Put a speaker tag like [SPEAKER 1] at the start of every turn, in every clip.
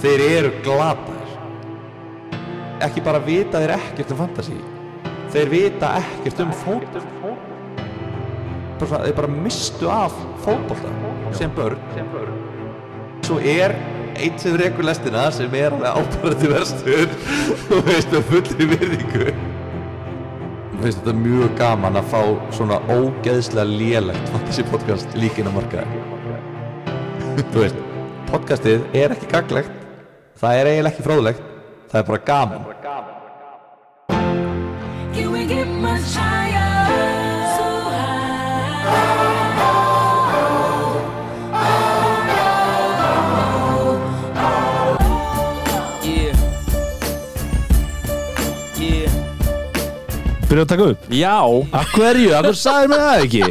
[SPEAKER 1] þeir eru glataðir ekki bara vita þeir ekkert um fantasy þeir vita ekkert um fótbolta Bara svona, þeir bara mistu af fótbolta sem börn svo er einn sem rekur lestina sem er alveg ábærandi verstur og veist með fullri virðingu Mér finnst þetta mjög gaman að fá svona ógeðslega lélegt fantasy podcast líkin á markaði þú veist, podcastið er ekki gaglegt það er eiginlega ekki fróðlegt það er bara gaman
[SPEAKER 2] Can we get much higher? So high.
[SPEAKER 3] Yeah. Yeah.
[SPEAKER 4] Byrja að taka upp
[SPEAKER 3] Já,
[SPEAKER 4] Af hverju? Af hverju sagði mér það ekki?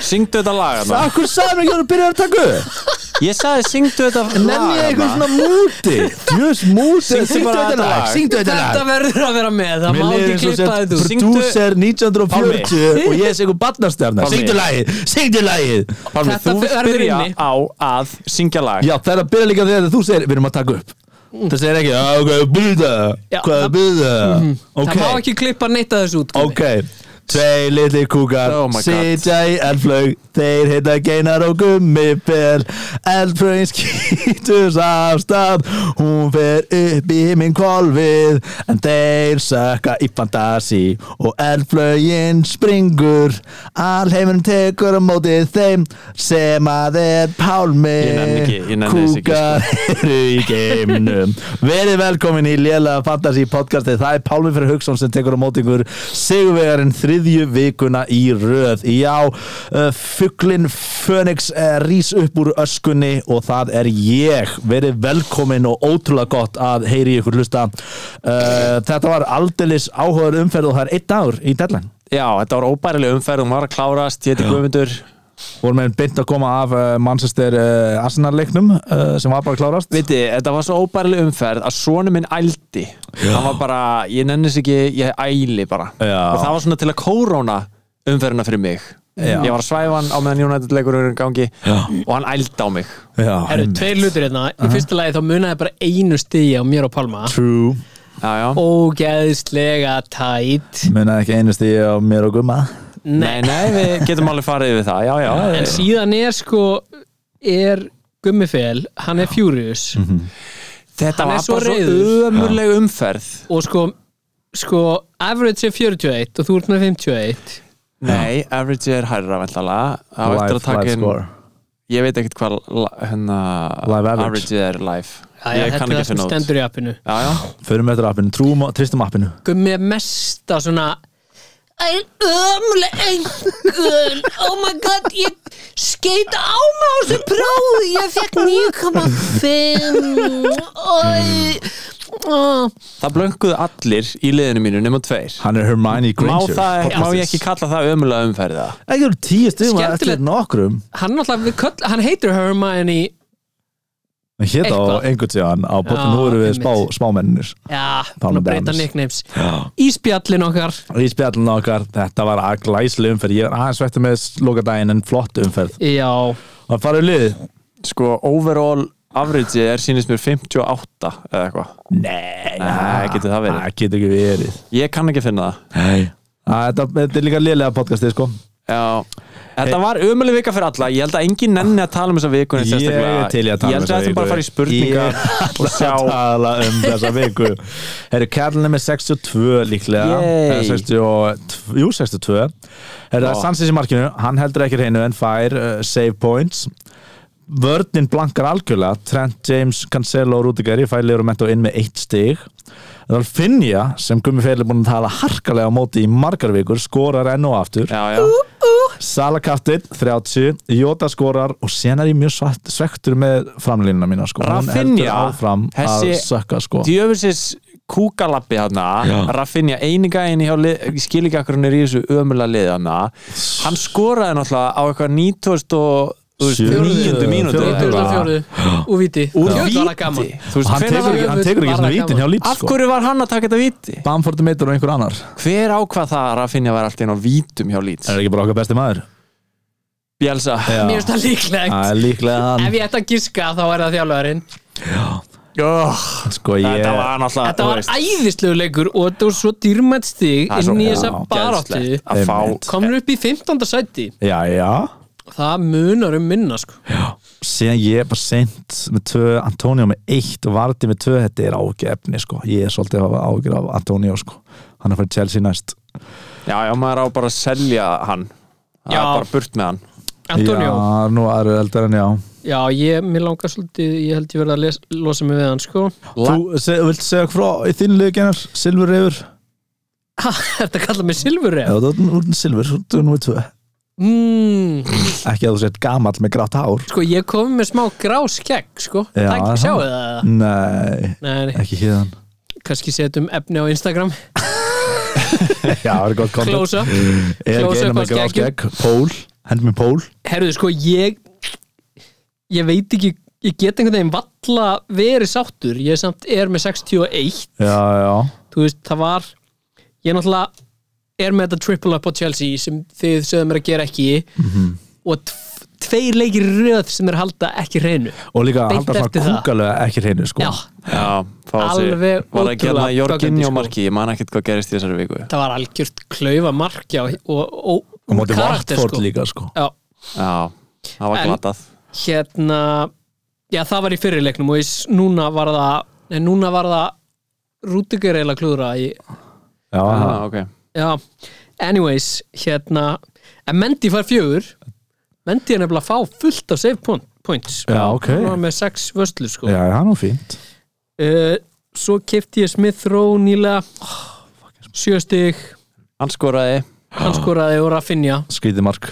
[SPEAKER 3] syngdu þetta lag hana
[SPEAKER 4] Af hverju sagði mér ekki að byrja að taka upp?
[SPEAKER 3] Ég sagði syngdu þetta lag hérna.
[SPEAKER 4] Nenni ég eitthvað
[SPEAKER 3] hana.
[SPEAKER 4] svona múti Djöðs múti
[SPEAKER 3] Syngdu
[SPEAKER 4] Syngdu
[SPEAKER 3] bara
[SPEAKER 4] þetta lag Syngdu þetta lag
[SPEAKER 5] Þetta verður að vera með, það má ekki klippa þetta
[SPEAKER 4] úr
[SPEAKER 5] út.
[SPEAKER 4] Producer 1940
[SPEAKER 3] Pálmi.
[SPEAKER 4] og ég er segur barnastjarnar
[SPEAKER 3] Pálmi.
[SPEAKER 4] Syngdu lagið, syngdu lagið
[SPEAKER 3] Pálmi,
[SPEAKER 5] Þetta
[SPEAKER 3] þú vilt
[SPEAKER 5] verður
[SPEAKER 3] byrja
[SPEAKER 5] inni.
[SPEAKER 3] á að syngja lag
[SPEAKER 4] Já, það er að byrja líka þegar þú segir Við erum að taka upp
[SPEAKER 1] Mm.
[SPEAKER 4] Það segir ekki, "Já, ok, byrja
[SPEAKER 5] Já,
[SPEAKER 4] Hvað
[SPEAKER 5] það- Mhm.
[SPEAKER 4] byrja Ok,
[SPEAKER 5] Það má ekki klippa neitt að þessu út Gummi.
[SPEAKER 4] ok Tvei litli kúkar,
[SPEAKER 3] Oh my God.
[SPEAKER 4] sitja í eldflög Þeir heita Geinar og Gummibel Eldflögin skýtur afstaf Hún fer upp í minn kolfið En þeir sökka í fantasi Og eldflögin springur Alheimurinn tekur á móti þeim Sem að er Pálmi
[SPEAKER 3] Ég nenni ekki, ég nenni þessu ekki, sko.
[SPEAKER 4] Kúkar eru í geimnum Verið velkomin í Lélega Fantasí podcastið Það er Pálmi fyrir Hugson sem tekur á móti ykkur Sigurvegarinn þriðju vikuna í röð Já, uh, fugglin Fönix uh, rís upp úr öskunni og það er ég Verið velkomin og ótrúlega gott að heyri ykkur hlusta uh, Þetta var aldeilis áhugaður umferð og það er einn dagur í dellan
[SPEAKER 3] Já, þetta var óbærileg umferð, hún var að klárast, ég heiti Guðmundur
[SPEAKER 4] Vorum við beint að koma af uh, Manchester uh, Arsenal leiknum uh, sem var bara að klárast
[SPEAKER 3] Viti, þetta var svo óbærileg umferð að sonu minn ældi Hann var bara, ég nennis ekki, ég æli bara
[SPEAKER 4] Já.
[SPEAKER 3] Og það var svona til að kóróna umferðina fyrir mig
[SPEAKER 4] Já.
[SPEAKER 3] Ég var að svæfa hann á meðan United leikur er í gangi
[SPEAKER 4] Já.
[SPEAKER 3] og hann ældi á mig
[SPEAKER 4] Já,
[SPEAKER 5] Það eru tveir hlutir hérna Í fyrsta lagi þá munaði bara einu stigi á mér og Palma
[SPEAKER 4] True
[SPEAKER 3] Já, já
[SPEAKER 5] Ógeðslega tætt
[SPEAKER 4] Munaði ekki einu stíði á mér og gumma
[SPEAKER 3] Nei, nei, við getum alveg farið yfir það, já, já
[SPEAKER 5] En síðan er sko Er Gummifel, hann er Furious
[SPEAKER 3] Mhm. Þetta
[SPEAKER 5] Hann er
[SPEAKER 3] var
[SPEAKER 5] svo
[SPEAKER 3] bara svo
[SPEAKER 5] reiður.
[SPEAKER 3] ömurleg umferð
[SPEAKER 5] Og sko, sko Average er 41 og þú ert með 51
[SPEAKER 3] Nei, average er hærra væntalega Það var eftir að taka inn Ég veit ekkert hvað la- hérna,
[SPEAKER 4] Live average.
[SPEAKER 3] er life
[SPEAKER 5] Jæja,
[SPEAKER 3] Ég
[SPEAKER 5] Þetta
[SPEAKER 3] kann
[SPEAKER 5] er
[SPEAKER 3] ekki
[SPEAKER 5] það sem
[SPEAKER 3] finna út
[SPEAKER 5] stendur í appinu
[SPEAKER 3] Já, já
[SPEAKER 4] Förum eftir appinu, trúum, á- tristum appinu
[SPEAKER 5] Gummi er mesta svona
[SPEAKER 2] Það er ömuleg engun Oh my god, ég skeita á mig á þessu prófi Ég fekk 9,5 Oi. Ó.
[SPEAKER 3] Það blönguðu allir í liðinu mínu nema tveir
[SPEAKER 4] Hann er Hermione
[SPEAKER 3] má,
[SPEAKER 4] Granger
[SPEAKER 3] það, má ég ekki kalla það ömulega umferða
[SPEAKER 4] Ekki eru tíu stíðum að
[SPEAKER 5] Skemmtilegt.
[SPEAKER 4] eftir nokkrum
[SPEAKER 5] Hann, náttúrulega- við köll, hann heitir Hermione
[SPEAKER 4] En hér
[SPEAKER 5] Eitthvað.
[SPEAKER 4] þá einhvern tíðan á bóttu
[SPEAKER 5] Já,
[SPEAKER 4] Nú eru við
[SPEAKER 5] einmitt.
[SPEAKER 4] spá, smámenninir
[SPEAKER 5] Já,
[SPEAKER 4] Palm
[SPEAKER 5] búin að breyta
[SPEAKER 4] Dams.
[SPEAKER 5] nicknames Í spjallin okkar
[SPEAKER 4] Í spjallinu okkar, þetta var að glæsli umferð Ég er aðeins vettur með lokadaginn en flott umferð
[SPEAKER 5] Já,
[SPEAKER 4] Og farið liðið
[SPEAKER 3] Sko, overall average er sýnist mér 58 eða eitthvað
[SPEAKER 4] Nei,
[SPEAKER 3] Nei, getur það verið?
[SPEAKER 4] Það getur ekki verið
[SPEAKER 3] Ég kann ekki finna það
[SPEAKER 4] Nei Þetta þetta er líka liðlega podcastið sko
[SPEAKER 3] Já, þetta var ömuleg vika fyrir alla Ég held að engin nenni að tala um þessa viku
[SPEAKER 4] Ég er til í að tala
[SPEAKER 3] Ég
[SPEAKER 4] um
[SPEAKER 3] held að þetta bara að fara í spurningar
[SPEAKER 4] Ég
[SPEAKER 3] og
[SPEAKER 4] er
[SPEAKER 3] sjá
[SPEAKER 4] að tala um þessa viku Herru, Kærlin er með 62 líklega
[SPEAKER 3] Yay.
[SPEAKER 4] Eða 62, Jú, 62 Herru,
[SPEAKER 3] Já.
[SPEAKER 4] Sanchez í markinu, hann heldur ekki hreinu en fær uh, save points Vörninn blankar algjörlega Trent, James, Cancelo og Rúdikari fær Leifur Mentó inn með eitt stig Ralf Finja, sem Gummi Feil er búin að tala harkalega á móti í margar vikur skorar enn og aftur
[SPEAKER 3] Já, já
[SPEAKER 4] Salakaftinn 30, Jota skorar og sen er ég mjög svart, svektur með framlínuna mína sko. Hún heldur
[SPEAKER 3] Rafinha,
[SPEAKER 4] áfram að
[SPEAKER 3] þessi-
[SPEAKER 4] sökka sko.
[SPEAKER 3] djöfisins kúkalappi hana Raffinja eininga eini hjá lið, ég skil ekki akkur hann er í þessu ömulega lið hana hann skoraði náttúrulega á eitthvað 90 og þú veist,
[SPEAKER 4] Sjö.
[SPEAKER 3] 900 mínútu eða
[SPEAKER 4] Fjórðu.
[SPEAKER 3] eitthvað.
[SPEAKER 5] 24. úr víti
[SPEAKER 3] úr
[SPEAKER 5] Djöfull var það gaman.
[SPEAKER 3] viti Þú veist,
[SPEAKER 4] hann
[SPEAKER 3] hvenær
[SPEAKER 4] tekur,
[SPEAKER 3] var-
[SPEAKER 4] ekki, hann
[SPEAKER 5] jöfull
[SPEAKER 4] tekur ekki
[SPEAKER 5] var
[SPEAKER 4] svona
[SPEAKER 5] það
[SPEAKER 4] vítin hjá
[SPEAKER 5] gaman.
[SPEAKER 4] lít
[SPEAKER 3] af
[SPEAKER 4] sko.
[SPEAKER 3] hverju var hann að taka þetta viti
[SPEAKER 4] Bamford meitur og einhver annar
[SPEAKER 3] hver ákvað það að Raffinja var alltaf inn á vítum hjá lít
[SPEAKER 4] Er ekki bara okkar besti maður?
[SPEAKER 3] Bjelsa
[SPEAKER 4] Já.
[SPEAKER 5] Mér finnst það líklegt
[SPEAKER 4] Það er líklega hann
[SPEAKER 5] Ef ég ætti að giska þá er það þjálfarinn
[SPEAKER 3] oh,
[SPEAKER 4] Sko ég
[SPEAKER 3] Þetta var náttúrulega
[SPEAKER 5] Þetta
[SPEAKER 3] Ah, þú
[SPEAKER 5] var
[SPEAKER 3] veist,
[SPEAKER 5] æðislegu leikur og þetta var svo dýrmætt stig
[SPEAKER 3] það er svo
[SPEAKER 5] inn í þessa baráttu
[SPEAKER 3] ógeðslegt að
[SPEAKER 4] Einmitt.
[SPEAKER 3] fá
[SPEAKER 5] komur upp í 15. sæti
[SPEAKER 4] Já, já
[SPEAKER 5] það munar um minna sko
[SPEAKER 4] Síðan ég bara sent með tvö Antonio með eitt og Vardi með tvö Þetta er ágefni sko Ég er svolítið að ágjör af Antonio sko Hann er fyrir Chelsea næst
[SPEAKER 3] Já, já, maður á bara að selja hann Það
[SPEAKER 5] Já.
[SPEAKER 3] er bara burt með hann
[SPEAKER 5] Antonio,
[SPEAKER 4] Já, nú aðra eldar en já
[SPEAKER 5] já, ég, mér langar svolítið ég held ég verið að les, losa mig við hann sko
[SPEAKER 3] La-
[SPEAKER 4] Þú se, vilt segja okkur frá í þínu löggenar Silfur reyfur
[SPEAKER 5] Þetta kallað mig Silfurref
[SPEAKER 4] Ef þú ert úr Silfur, þú er nú með tvö
[SPEAKER 5] mm,
[SPEAKER 4] Ekki að þú sett gamall með grátt hár
[SPEAKER 5] Sko, ég kom með smá grá skegg sko, það
[SPEAKER 4] Já, er
[SPEAKER 5] ekki
[SPEAKER 4] það?
[SPEAKER 5] sjáu það
[SPEAKER 4] Nei,
[SPEAKER 5] Nei, nei,
[SPEAKER 4] ekki hérðan
[SPEAKER 5] kannski setjum efni á Instagram
[SPEAKER 4] Já, það er gott kontent
[SPEAKER 5] Close up Close
[SPEAKER 4] Er ekki
[SPEAKER 5] up
[SPEAKER 4] einu
[SPEAKER 5] á
[SPEAKER 4] með grátt
[SPEAKER 5] skeggjum.
[SPEAKER 4] skegg Pól, hendur með pól
[SPEAKER 5] Herruðu, sko, ég Ég veit ekki Ég get einhvern veginn valla verið sáttur Ég samt er með 61
[SPEAKER 4] Já, já
[SPEAKER 5] Þú veist, það var Ég náttúrulega er með þetta triple up á Chelsea sem þið sögðum er að gera ekki
[SPEAKER 4] Mhm.
[SPEAKER 5] og tf- tveir leikir í röð sem er að halda ekki hreinu
[SPEAKER 4] og líka
[SPEAKER 5] Beint
[SPEAKER 4] halda
[SPEAKER 5] eftir
[SPEAKER 4] svona
[SPEAKER 5] það.
[SPEAKER 4] kúkalega ekki hreinu sko.
[SPEAKER 5] Já,
[SPEAKER 3] Já, fá þessi
[SPEAKER 5] Alveg
[SPEAKER 3] Var það
[SPEAKER 5] ótrúlega
[SPEAKER 3] ekki hérna
[SPEAKER 5] böggandi,
[SPEAKER 3] Jorginjó
[SPEAKER 5] sko.
[SPEAKER 3] marki Ég man ekkert hvað gerist í þessari viku
[SPEAKER 5] það var algjört klaufa markja og, og, og,
[SPEAKER 4] og móti
[SPEAKER 5] karakter,
[SPEAKER 4] Watford
[SPEAKER 5] sko.
[SPEAKER 4] líka sko.
[SPEAKER 5] Já,
[SPEAKER 3] Já, það var
[SPEAKER 5] En-
[SPEAKER 3] glatað
[SPEAKER 5] hérna já það var í fyrirleiknum og ég, s- núna var það nei, núna var það Rúdiger eiginlega klúðra í,
[SPEAKER 4] já,
[SPEAKER 3] ah, okay.
[SPEAKER 5] já, anyways hérna, en Mendy fær fjögur Mendy er nefnilega að fá fullt af save point, points sko.
[SPEAKER 4] Já, ok.
[SPEAKER 5] hann var með sex vöslur sko
[SPEAKER 4] já, það er nú fínt
[SPEAKER 5] uh, svo kefti ég Smith Rowe nýlega
[SPEAKER 4] Ah,
[SPEAKER 5] sjö stig
[SPEAKER 3] Hann skoraði
[SPEAKER 5] hann
[SPEAKER 4] Ah.
[SPEAKER 5] skoraði og Rafinha
[SPEAKER 4] skrítið mark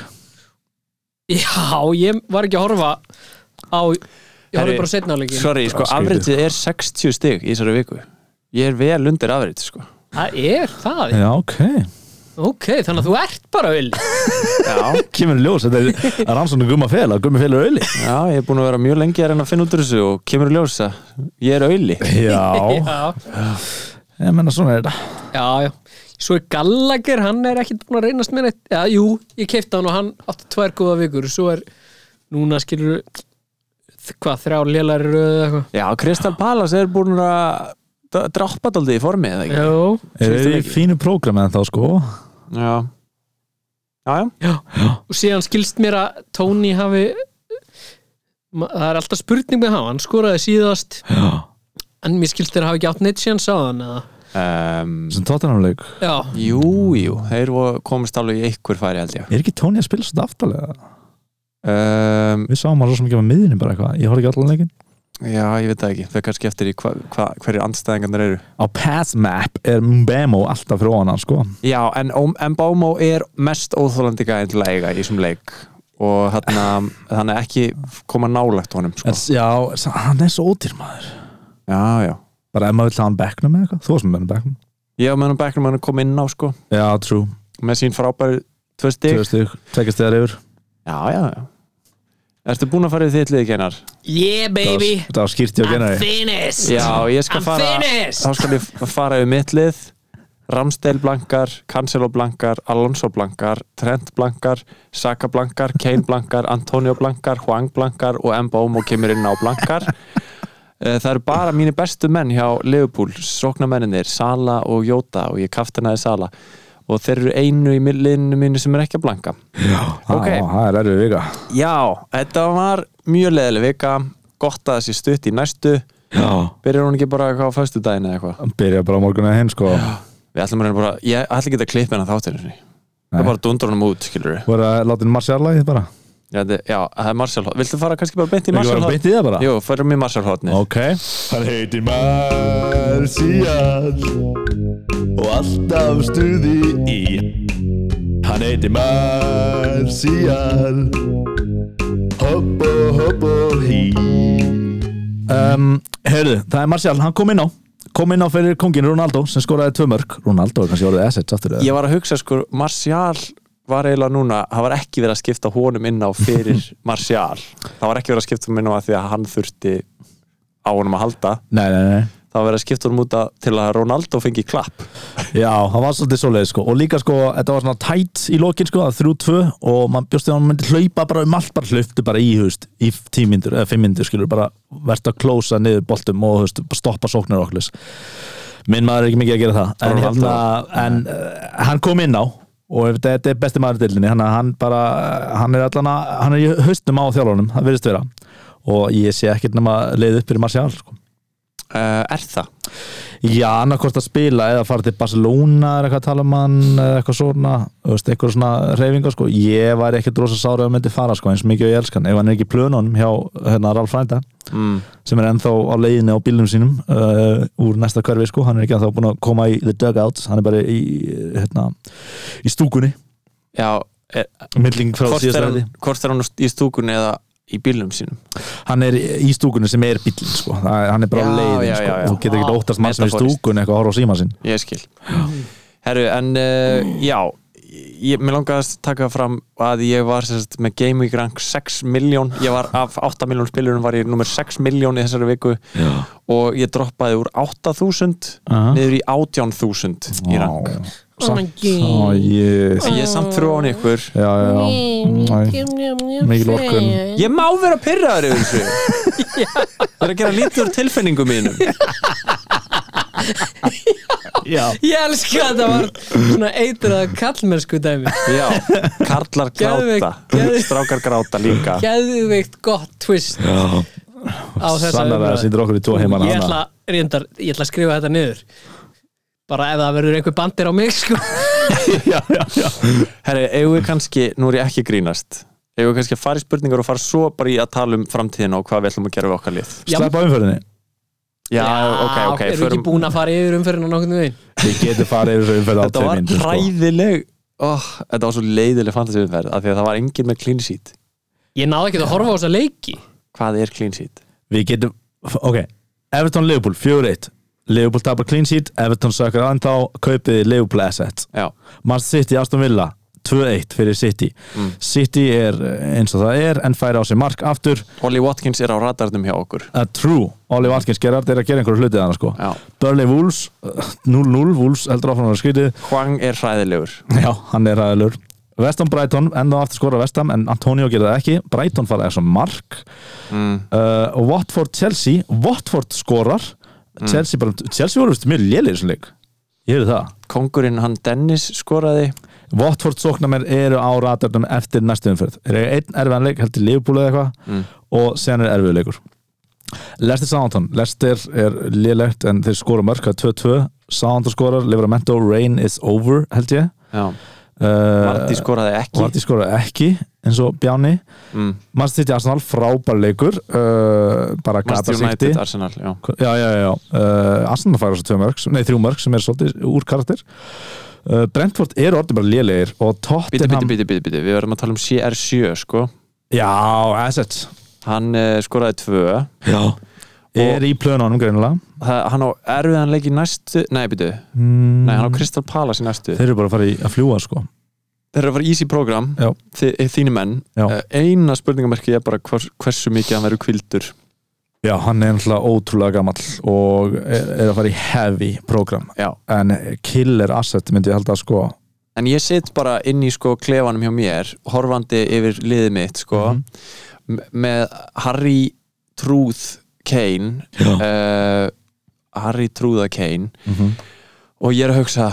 [SPEAKER 5] já, ég var ekki að horfa á ég
[SPEAKER 3] Herri,
[SPEAKER 5] horfði bara setna á leikin
[SPEAKER 3] Sorry, sko,
[SPEAKER 4] skrítið.
[SPEAKER 3] afritið er 60 stig í þessari viku Ég er vel undir afrit, sko
[SPEAKER 5] það er það,
[SPEAKER 4] já, ok
[SPEAKER 5] ok, þannig að þú ert bara öll
[SPEAKER 3] Já,
[SPEAKER 4] kemur í ljós, þetta er það er rannsóknu gumma fel að gummi fel er auðli
[SPEAKER 3] já, ég er búin að vera mjög lengi að reyna að finna út úr þessu og kemur í ljós að ég er auðli
[SPEAKER 4] já,
[SPEAKER 5] já,
[SPEAKER 4] ég menna svona er þetta
[SPEAKER 5] já, já. Svo er Gallagher, hann er ekkit búin að reynast með neitt. Já, jú, ég keipta hann og hann átti tvær góða vikur. Svo er, núna skilur hvað, þrjá lélari röðu eða eitthvað.
[SPEAKER 3] Já, Crystal Palace er búin að dra- droppa daldið í formið, eða ekki?
[SPEAKER 5] Já.
[SPEAKER 4] er þetta í fínu prógram en þá sko
[SPEAKER 3] Já Já, já,
[SPEAKER 5] Og síðan skilst mér að Tony hafi, ma- það er alltaf spurning með hann, hann skoraði síðast,
[SPEAKER 4] já,
[SPEAKER 5] en mér skilst þér hafi ekki átt neitt síðan sáðan eða.
[SPEAKER 3] um,
[SPEAKER 4] sem tóttanamleik
[SPEAKER 5] Já,
[SPEAKER 3] Jú, jú, þeir vo- komust alveg í einhver færi held ég
[SPEAKER 4] er ekki Tóni að spila svona aftalega
[SPEAKER 3] um,
[SPEAKER 4] við sáum hann svo sem ekki á miðinni bara eitthvað ég horf ekki allan leikin
[SPEAKER 3] Já, ég veit það ekki, þau kannski eftir í hva, hva, hverju andstæðingarnir eru
[SPEAKER 4] á pass map er Mbemo alltaf frá hann sko
[SPEAKER 3] Já, en, en Bámó er mest óþólandi gæðin til að eiga í þessum leik og hann, hann er ekki koma nálægt honum sko.
[SPEAKER 4] en, já, hann er svo ódýr maður
[SPEAKER 3] Já, já,
[SPEAKER 4] bara ef maður vil hafa hann bekknum eða eitthvað þú varst með hann bekknum
[SPEAKER 3] ég og mennum Beckham hann kom inn á sko,
[SPEAKER 4] já, true
[SPEAKER 3] með sín frábæri tvö stig
[SPEAKER 4] Tvö stygg, tvekja stegar yfir
[SPEAKER 3] Já, já, já Ertu búin að fara í þitt lið, Geinar?
[SPEAKER 5] yeah baby,
[SPEAKER 4] Þetta var skýrt ég að
[SPEAKER 5] I'm
[SPEAKER 4] genna því
[SPEAKER 5] finished.
[SPEAKER 3] Já, ég skal
[SPEAKER 5] I'm
[SPEAKER 3] fara
[SPEAKER 5] finished.
[SPEAKER 3] Þá skal ég f- fara yfir mitt lið Ramsdale blankar, Cancelo blankar Alonso blankar, Trent blankar Saka blankar, Kane blankar Antonio blankar, Huang blankar og Mbom og kemur inn á blankar Eh, Það eru bara mínir bestu menn hjá Liverpool, sóknarmenninir Sala og Jóta og ég kaftanaði Sala og þeir eru einu í mi- liðinu mínu sem er ekki að blanka
[SPEAKER 4] Ok
[SPEAKER 3] Ok.
[SPEAKER 4] Það er erfið vika
[SPEAKER 3] Já, þetta var mjög leðileg vika gott að það sé stutt í næstu
[SPEAKER 4] Já
[SPEAKER 3] byrjar hún ekki bara eitthvað á föstu daginn eða eitthvað
[SPEAKER 4] Byrja bara á morgun eða hinn sko
[SPEAKER 3] Við ætlum að reyna bara, ég ætla ekki að klippa hennar þáttir Það
[SPEAKER 4] Nei.
[SPEAKER 3] er bara að dundra honum út, skilur við
[SPEAKER 4] Voru að láta inn marsjarlægið bara
[SPEAKER 3] Já, þetta- já, það er Marshall Hot Viltu fara kannski bara beint í
[SPEAKER 4] Ekki
[SPEAKER 3] Marshall
[SPEAKER 4] bara
[SPEAKER 3] Hot?
[SPEAKER 4] beint í það bara
[SPEAKER 3] Jú, förum í Marshall Hotni
[SPEAKER 4] Ok Hann heitir Marcial Og alltaf stuði í Hann heitir Marcial Hopp og hopp og hí um, Heyrðu, það er Marcial, hann kom inn á Kom inn á fyrir kongin Ronaldo sem skoraði tvö mörg Ronaldo er kannski orðið assets aftur eða?
[SPEAKER 3] Ég var að hugsa, sko, Marshall var eiginlega núna, það var ekki verið að skipta honum inn á fyrir Marshall Það var ekki verið að skipta honum inn á að því að hann þurfti á honum að halda
[SPEAKER 4] Nei, nei, nei
[SPEAKER 3] það var verið að skipta honum út að, til að Ronaldo fengi klapp
[SPEAKER 4] Já, það var svolítið svoleiðis sko og líka sko, þetta var svona tætt í lokin sko að 3-2 og mann bjóst því að hann myndi hlaupa bara um allt, bara hlauptu bara í, þú veist, í tímindur eða fimmindur skilur, bara verðt að klósa niður boltum og þú veist, bara stoppa sóknir okkur minn maður er ekki mikið að gera það en,
[SPEAKER 3] Ronaldo.
[SPEAKER 4] hérna, en uh, hann kom inn á og ef þetta þetta er besti maður í deildinni hann, hann bara, hann er allan að hann er í haustum á þjálfunum, það virðist vera og ég sé ekkert nema leið upp fyrir Marcial sko.
[SPEAKER 3] uh, Er það?
[SPEAKER 4] Já, annarkvort að spila eða fara til Barcelona eða eitthvað að tala um hann eða eitthvað svona, þú veist, eitthvað svona reyfingar sko, ég var ekkert rosa sára að hann myndi fara sko, eins mikið og ég elska hann, ef hann er ekki í plönunum hjá hérna Ralf Frænda
[SPEAKER 3] Mm.
[SPEAKER 4] sem er ennþá á leiðinni á bílnum sínum uh, úr næsta hverfi sko, hann er ekki ennþá búin að koma í the dugout, hann er bara í hérna, í stúkunni
[SPEAKER 3] Já, er,
[SPEAKER 4] milling frá
[SPEAKER 3] hvort, er
[SPEAKER 4] síðast
[SPEAKER 3] hann,
[SPEAKER 4] ræði
[SPEAKER 3] hvort er hann í stúkunni eða í bílnum sínum
[SPEAKER 4] hann er í stúkunni sem er bílinn sko, Það er- hann er bara á
[SPEAKER 3] Já,
[SPEAKER 4] leiðinni
[SPEAKER 3] já, já,
[SPEAKER 4] sko,
[SPEAKER 3] já.
[SPEAKER 4] þú getur ekki óttast mann sem er í
[SPEAKER 3] Metaforist.
[SPEAKER 4] stúkunni eitthvað að horfa á síma sinn
[SPEAKER 3] Ég skil Herru, en uh, já ég, Mér langaðast taka fram að ég var sérst, með Game Week rank 6 miljón Ég var af 8 miljón spilurum var ég nummer 6 miljón í þessari viku já. og ég droppaði úr 8000
[SPEAKER 4] Aha.
[SPEAKER 3] niður í 18000 í rank
[SPEAKER 6] Oh my god.
[SPEAKER 4] Ó, jés.
[SPEAKER 3] Ég er samt frá án ykkur
[SPEAKER 4] já, já, já. Æ, Mikil vorkunn.
[SPEAKER 3] Ég má vera pyrraður yfir þessu Ég er að gera lítið úr tilfinningum mínum
[SPEAKER 4] já.
[SPEAKER 5] Ég elska að það var svona eitrað kallmennsku dæmi
[SPEAKER 3] Já, karlar
[SPEAKER 5] Geðveik,
[SPEAKER 3] gráta
[SPEAKER 5] geðveik.
[SPEAKER 3] Strákar gráta líka
[SPEAKER 5] Geðveikt gott twist á þessa
[SPEAKER 4] Sannarlega
[SPEAKER 5] umræðu.
[SPEAKER 4] sýndir okkur í tvo heimann
[SPEAKER 5] Ég ætla, reyndar, ég ætla að skrifa þetta niður bara ef það verður einhver bandir á mig sko.
[SPEAKER 4] já, já, já.
[SPEAKER 3] Herri, eigum við kannski, nú er ég ekki að grínast Eigum við kannski að fara í spurningar og fara svo bara í að tala um framtíðina og hvað við ætlum að gera við okkar lið
[SPEAKER 5] Já.
[SPEAKER 4] Sleppa umförðinni
[SPEAKER 3] Já, ok, ok
[SPEAKER 5] erum við ekki búin að fara yfir umferðina nokkurnu veginn
[SPEAKER 4] Við getum farið yfir þessu umförð á sko.
[SPEAKER 3] Þetta var
[SPEAKER 4] tveiminn
[SPEAKER 3] hræðileg oh, Þetta var svo leiðileg fantasíumferð af því að það var engin með clean sheet
[SPEAKER 5] Ég náði ekki að horfa á þessa leiki
[SPEAKER 3] Hvað er clean sheet?
[SPEAKER 4] Við getum, ok Everton Liverpool, 4-1 Liverpool tapar clean sheet, Everton sökkar ennþá kaupið Liverpool asset
[SPEAKER 3] Já,
[SPEAKER 4] Man City, Aston Villa 2-1 fyrir City
[SPEAKER 5] Mm.
[SPEAKER 4] City er eh, eins og það er en færi á sig mark aftur
[SPEAKER 3] Ollie Watkins er á radarnum hjá okkur
[SPEAKER 4] uh, True, Oliver Atkins Gerrard er að gera einhverju hlutið hana sko
[SPEAKER 3] Já.
[SPEAKER 4] Burnley Wolves, uh, 0-0 Wolves heldur áfram að vera skrítið
[SPEAKER 3] Hwang er hræðilegur
[SPEAKER 4] Já, hann er ræðilur Vestam Brighton, enda á aftur skora Vestam en Antonio gerði það ekki, Brighton fara þessum mark
[SPEAKER 3] mm.
[SPEAKER 4] uh, og Watford Chelsea, Watford skorar Chelsea bara, Chelsea voru vist mjög lélir þessum leik, ég hefði það
[SPEAKER 3] Kongurinn hann Dennis skoraði
[SPEAKER 4] Watford sóknamenn eru á ratarnum eftir næstu umferð, er einn erfiðan leik heldur Liverpool eða eitthvað og sen er erfiður leikur Leicester Southampton, Leicester er lélegt en þeir skora mörk, það er 2-2 Southampton skorar, Livermento, Rain is over held ég
[SPEAKER 3] Já,
[SPEAKER 4] uh,
[SPEAKER 3] Marti skoraði ekki
[SPEAKER 4] Varti skoraði ekki eins og Bjáni
[SPEAKER 3] mm.
[SPEAKER 4] Man City Arsenal frábær leikur uh, bara gata
[SPEAKER 3] Manchester
[SPEAKER 4] sikti
[SPEAKER 3] United, Arsenal já.
[SPEAKER 4] já, já, já, já. Uh, Arsenal fær þessu tvö mörg nei, þrjú mörg sem er svolítið úr karakter uh, Brentford er orðin bara lélegir og
[SPEAKER 3] Bíti, bíti,
[SPEAKER 4] Tottenham
[SPEAKER 3] bíti, bíti, bíti, við verðum að tala um CR7 sko.
[SPEAKER 4] já, assets
[SPEAKER 3] hann uh, skoraði tvö
[SPEAKER 4] já. er í plönunum greinilega
[SPEAKER 3] Það, hann á erfiðan leik í næstu nei, bíti,
[SPEAKER 4] mm,
[SPEAKER 3] nei, hann á Crystal Palace í næstu
[SPEAKER 4] þeir eru bara að fara í að fljúa sko
[SPEAKER 3] þeir eru að fara í easy program
[SPEAKER 4] Já.
[SPEAKER 3] þi, þínu menn,
[SPEAKER 4] Já.
[SPEAKER 3] Eh, eina spurningamerki er bara hvers, hversu mikið hann verður kvildur
[SPEAKER 4] já, hann er náttúrulega ótrúlega gamall og er, er að fara í heavy program
[SPEAKER 3] Já.
[SPEAKER 4] en killer asset myndi ég held að sko
[SPEAKER 3] en ég sitt bara inn í sko klefanum hjá mér horfandi yfir liðið mitt sko
[SPEAKER 4] Mhm.
[SPEAKER 3] m- með Harry Truth Kane uh, Harry Trúða Kane og ég er að hugsa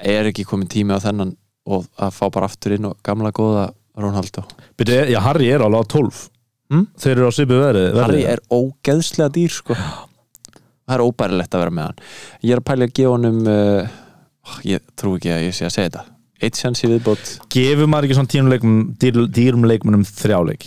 [SPEAKER 3] er ekki komin tími á þennan og að fá bara aftur inn og gamla góða Ronaldo
[SPEAKER 4] Byrja, já, Harry er alveg á 12
[SPEAKER 3] Mm?
[SPEAKER 4] Þeir eru á svipu verið
[SPEAKER 3] Harry er ógeðslega dýr sko það er óbærilegt að vera með hann ég er að pæla að gefa honum uh, ég trú ekki að ég sé að segja þetta eitt sjans í viðbót,
[SPEAKER 4] Gefur maður ekki svona tínuleikum, dýr, dýrum leikmunum þrjáleik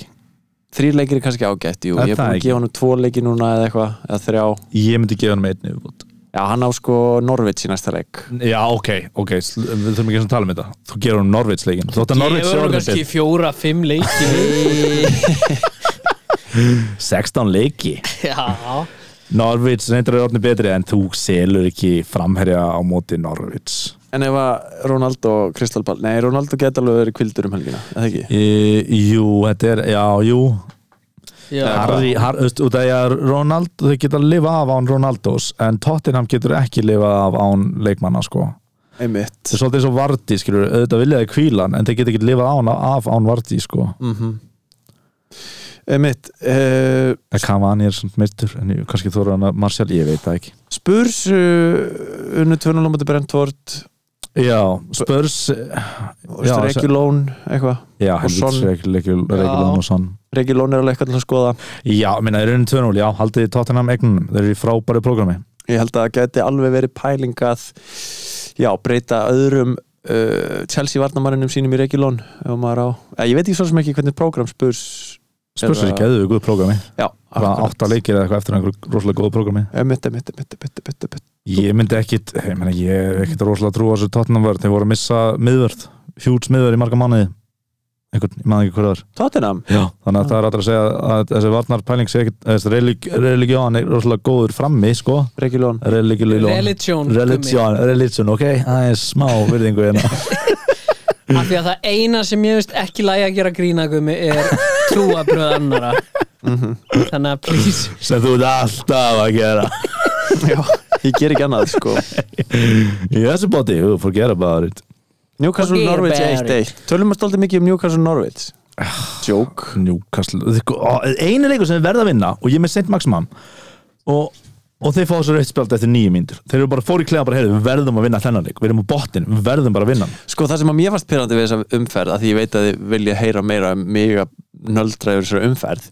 [SPEAKER 3] þrý leikir er kannski ágætt jú,
[SPEAKER 4] Er
[SPEAKER 3] ég er
[SPEAKER 4] það
[SPEAKER 3] búin að
[SPEAKER 4] ekki?
[SPEAKER 3] gefa honum tvo leiki núna eða eitthvað, eða þrjá
[SPEAKER 4] Ég myndi gefa hann með einni viðbútt
[SPEAKER 3] já, hann á sko Norvits í næsta leik
[SPEAKER 4] Já, ok, ok, sl- við þurfum ekki að tala um þetta Þú gerur hann Norvits leikin Þú ætti að Norvits
[SPEAKER 5] Ég var
[SPEAKER 4] er
[SPEAKER 5] nú
[SPEAKER 4] orðin
[SPEAKER 5] kannski
[SPEAKER 4] betri.
[SPEAKER 5] fjóra, fimm leiki
[SPEAKER 4] 16 leiki
[SPEAKER 5] Já
[SPEAKER 4] Norvits reyndar er orðin betri en þú selur ekki framherja á móti Norvits
[SPEAKER 3] En ef að Ronaldo Kristalball, nei Ronaldo geta alveg verið kvildur um helgina, eða ekki?
[SPEAKER 4] e, Jú, þetta er, já, jú
[SPEAKER 5] Já.
[SPEAKER 4] Harry, har, þú veist, út af því að Ronald, þau geta að lifa af án Ronaldos en Tottenham getur ekki lifa af án leikmanna sko
[SPEAKER 3] einmitt
[SPEAKER 4] það er svolítið eins og Vardí skilur, auðvitað vilja þau kvílan en þau geta ekki lifað án, af án Vardí sko
[SPEAKER 3] einmitt uh,
[SPEAKER 4] en Cavani er svona meittur en ég- kannski þóra hann að Martial, ég veit það ekki
[SPEAKER 3] Spurs uh, unnu tvönulómati Brentford
[SPEAKER 4] já, Spurs
[SPEAKER 3] og
[SPEAKER 4] Já,
[SPEAKER 3] Reykjulón eitthvað
[SPEAKER 4] já,
[SPEAKER 3] Son.
[SPEAKER 4] helvits Reykjulón og Son
[SPEAKER 3] Reykjulón er alveg eitthvað til að skoða
[SPEAKER 4] já, minna, þeir eru 2-0, já, haldið Tottenham eignunum þeir eru í frábæru prógrami
[SPEAKER 3] ég held að það geti alveg verið pælingað já, breyta öðrum uh, Chelsea varnamannunum sínum í Reykjulón ef maður á, eða, ég veit ekki svo sem ekki hvernig prógram Spurs
[SPEAKER 4] Spurs er
[SPEAKER 3] Eða-
[SPEAKER 4] ekki eða við guð prógrami
[SPEAKER 3] já, Eh,
[SPEAKER 4] bara átta leikir eða eitthvað eftir einhverju rosalega góð prógrami
[SPEAKER 3] emitt, emitt, emitt, emitt, emitt, emitt.
[SPEAKER 4] Ég myndi ekkit, ég meina ég er ekkit rosalega trú á þessu Tottenham vörð, þeir voru að missa miðvörð hjúts miðvörð í marga mánuði einhvern, ég maður ekki hver það er
[SPEAKER 3] Tottenham,
[SPEAKER 4] Já. þannig að það er alltaf að segja að þessi varnarpæling sé ekkit, þessi relig, religion er rosalega góður frammi, sko
[SPEAKER 3] Reykjulón
[SPEAKER 4] religion,
[SPEAKER 5] Religion Gummi.
[SPEAKER 4] religion, religion ok, það er smá virðingu hérna
[SPEAKER 5] Af því að það eina sem ég veist ekki lægi að gera grínagumi er trúabröð annara Þannig að please
[SPEAKER 4] sem þú ert alltaf að gera
[SPEAKER 3] já, ég ger ekki annað sko
[SPEAKER 4] í þessu bóti, þú fór að gera bara þitt
[SPEAKER 3] Newcastle
[SPEAKER 5] Forget
[SPEAKER 3] Norwich
[SPEAKER 5] about
[SPEAKER 3] 1-1 tölum að stolti mikið um Newcastle Norwich
[SPEAKER 4] Ah.
[SPEAKER 3] joke
[SPEAKER 4] Newcastle Sko, á, einu leikur sem þeir verða að vinna og ég er með sent maximum og, og þeir fá þessu rauðspjald eftir nýju mínútur þeir eru bara fór í klefa bara, heyrðu, við verðum að vinna þennan leik við erum á botnin, við verðum bara að vinna hann."
[SPEAKER 3] Sko það sem að mér fannst pyrrandi við þessa umferð að því ég veit að þið vilja heyra meira um mig að nöldra yfir þessari umferð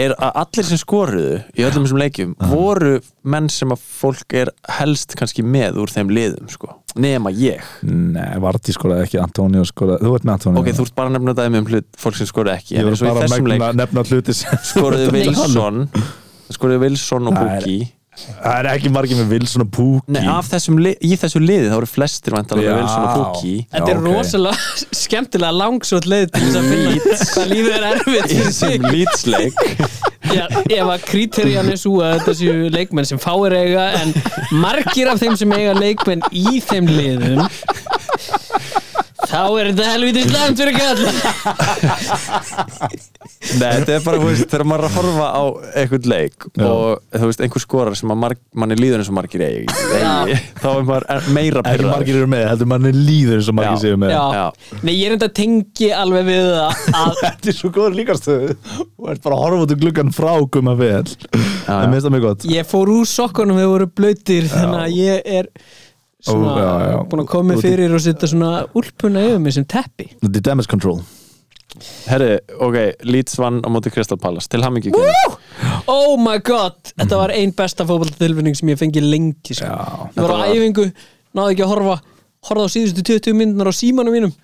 [SPEAKER 3] er að allir sem skoruðu í öllum þessum leikjum voru menn sem að fólk er helst kannski með úr þeim liðum sko nema ég
[SPEAKER 4] Nei, Vardí skoraði ekki, Antonio skoraði þú ert með Antonio
[SPEAKER 3] ok, þú ert bara að nefna dæmi um hlut fólk sem skoruðu ekki
[SPEAKER 4] ég
[SPEAKER 3] en
[SPEAKER 4] verður
[SPEAKER 3] eins og í
[SPEAKER 4] bara að
[SPEAKER 3] þessum leik
[SPEAKER 4] megna, nefna hluti sem
[SPEAKER 3] skoruðu Wilson skoruðu Wilson og
[SPEAKER 4] Nei.
[SPEAKER 3] Pukki
[SPEAKER 4] það er ekki margir með Wilson og Pukki
[SPEAKER 3] Nei, af þessum li í þessu liði þá eru flestir vantalega
[SPEAKER 4] Já.
[SPEAKER 3] með Wilson og Pukki
[SPEAKER 5] Þetta er
[SPEAKER 4] ok.
[SPEAKER 5] rosalega skemmtilega langsótt leið til þess að finna hvað lífið er erfitt
[SPEAKER 3] í
[SPEAKER 5] fyrir sig
[SPEAKER 3] þessum lýtsleik
[SPEAKER 5] Já, ef að kríterjan er svo að þetta séu leikmenn sem fáir eiga en margir af þeim sem eiga leikmenn í þeim liðum þá er þetta helviti slæmt fyrir kall
[SPEAKER 3] Nei, þetta er bara, þú veist, þegar maður er að horfa á einhvern leik og þú veist, einhver skorar sem að marg, manni líður eins og margir eigi, eigi þá er maður er- meira
[SPEAKER 4] ekki
[SPEAKER 3] pirraður.
[SPEAKER 4] margir eru með, heldur manni líður eins og margir
[SPEAKER 3] Já.
[SPEAKER 4] séu með
[SPEAKER 5] Já. Nei, ég er enda tengi alveg við það að
[SPEAKER 4] þetta er svo góður líkastöðu og ert bara að horfa út um gluggan frá gumma vel
[SPEAKER 3] já.
[SPEAKER 4] það minnst það mjög gott
[SPEAKER 5] ég fór úr sokkunum við voru blöytir þannig að ég er svona,
[SPEAKER 4] Ó, já, já.
[SPEAKER 5] búin að koma mér fyrir og setja svona úlpuna yfir mig sem teppi
[SPEAKER 4] The damage control
[SPEAKER 3] Herri, ok, Leeds vann á móti Crystal Palace til hamingi
[SPEAKER 5] Oh my god, þetta var ein besta fótballtilfinning sem ég fengi lengi sko. Ég var á æfingu, náði ekki að horfa horfði á síðustu 20 minnunar á símanum mínum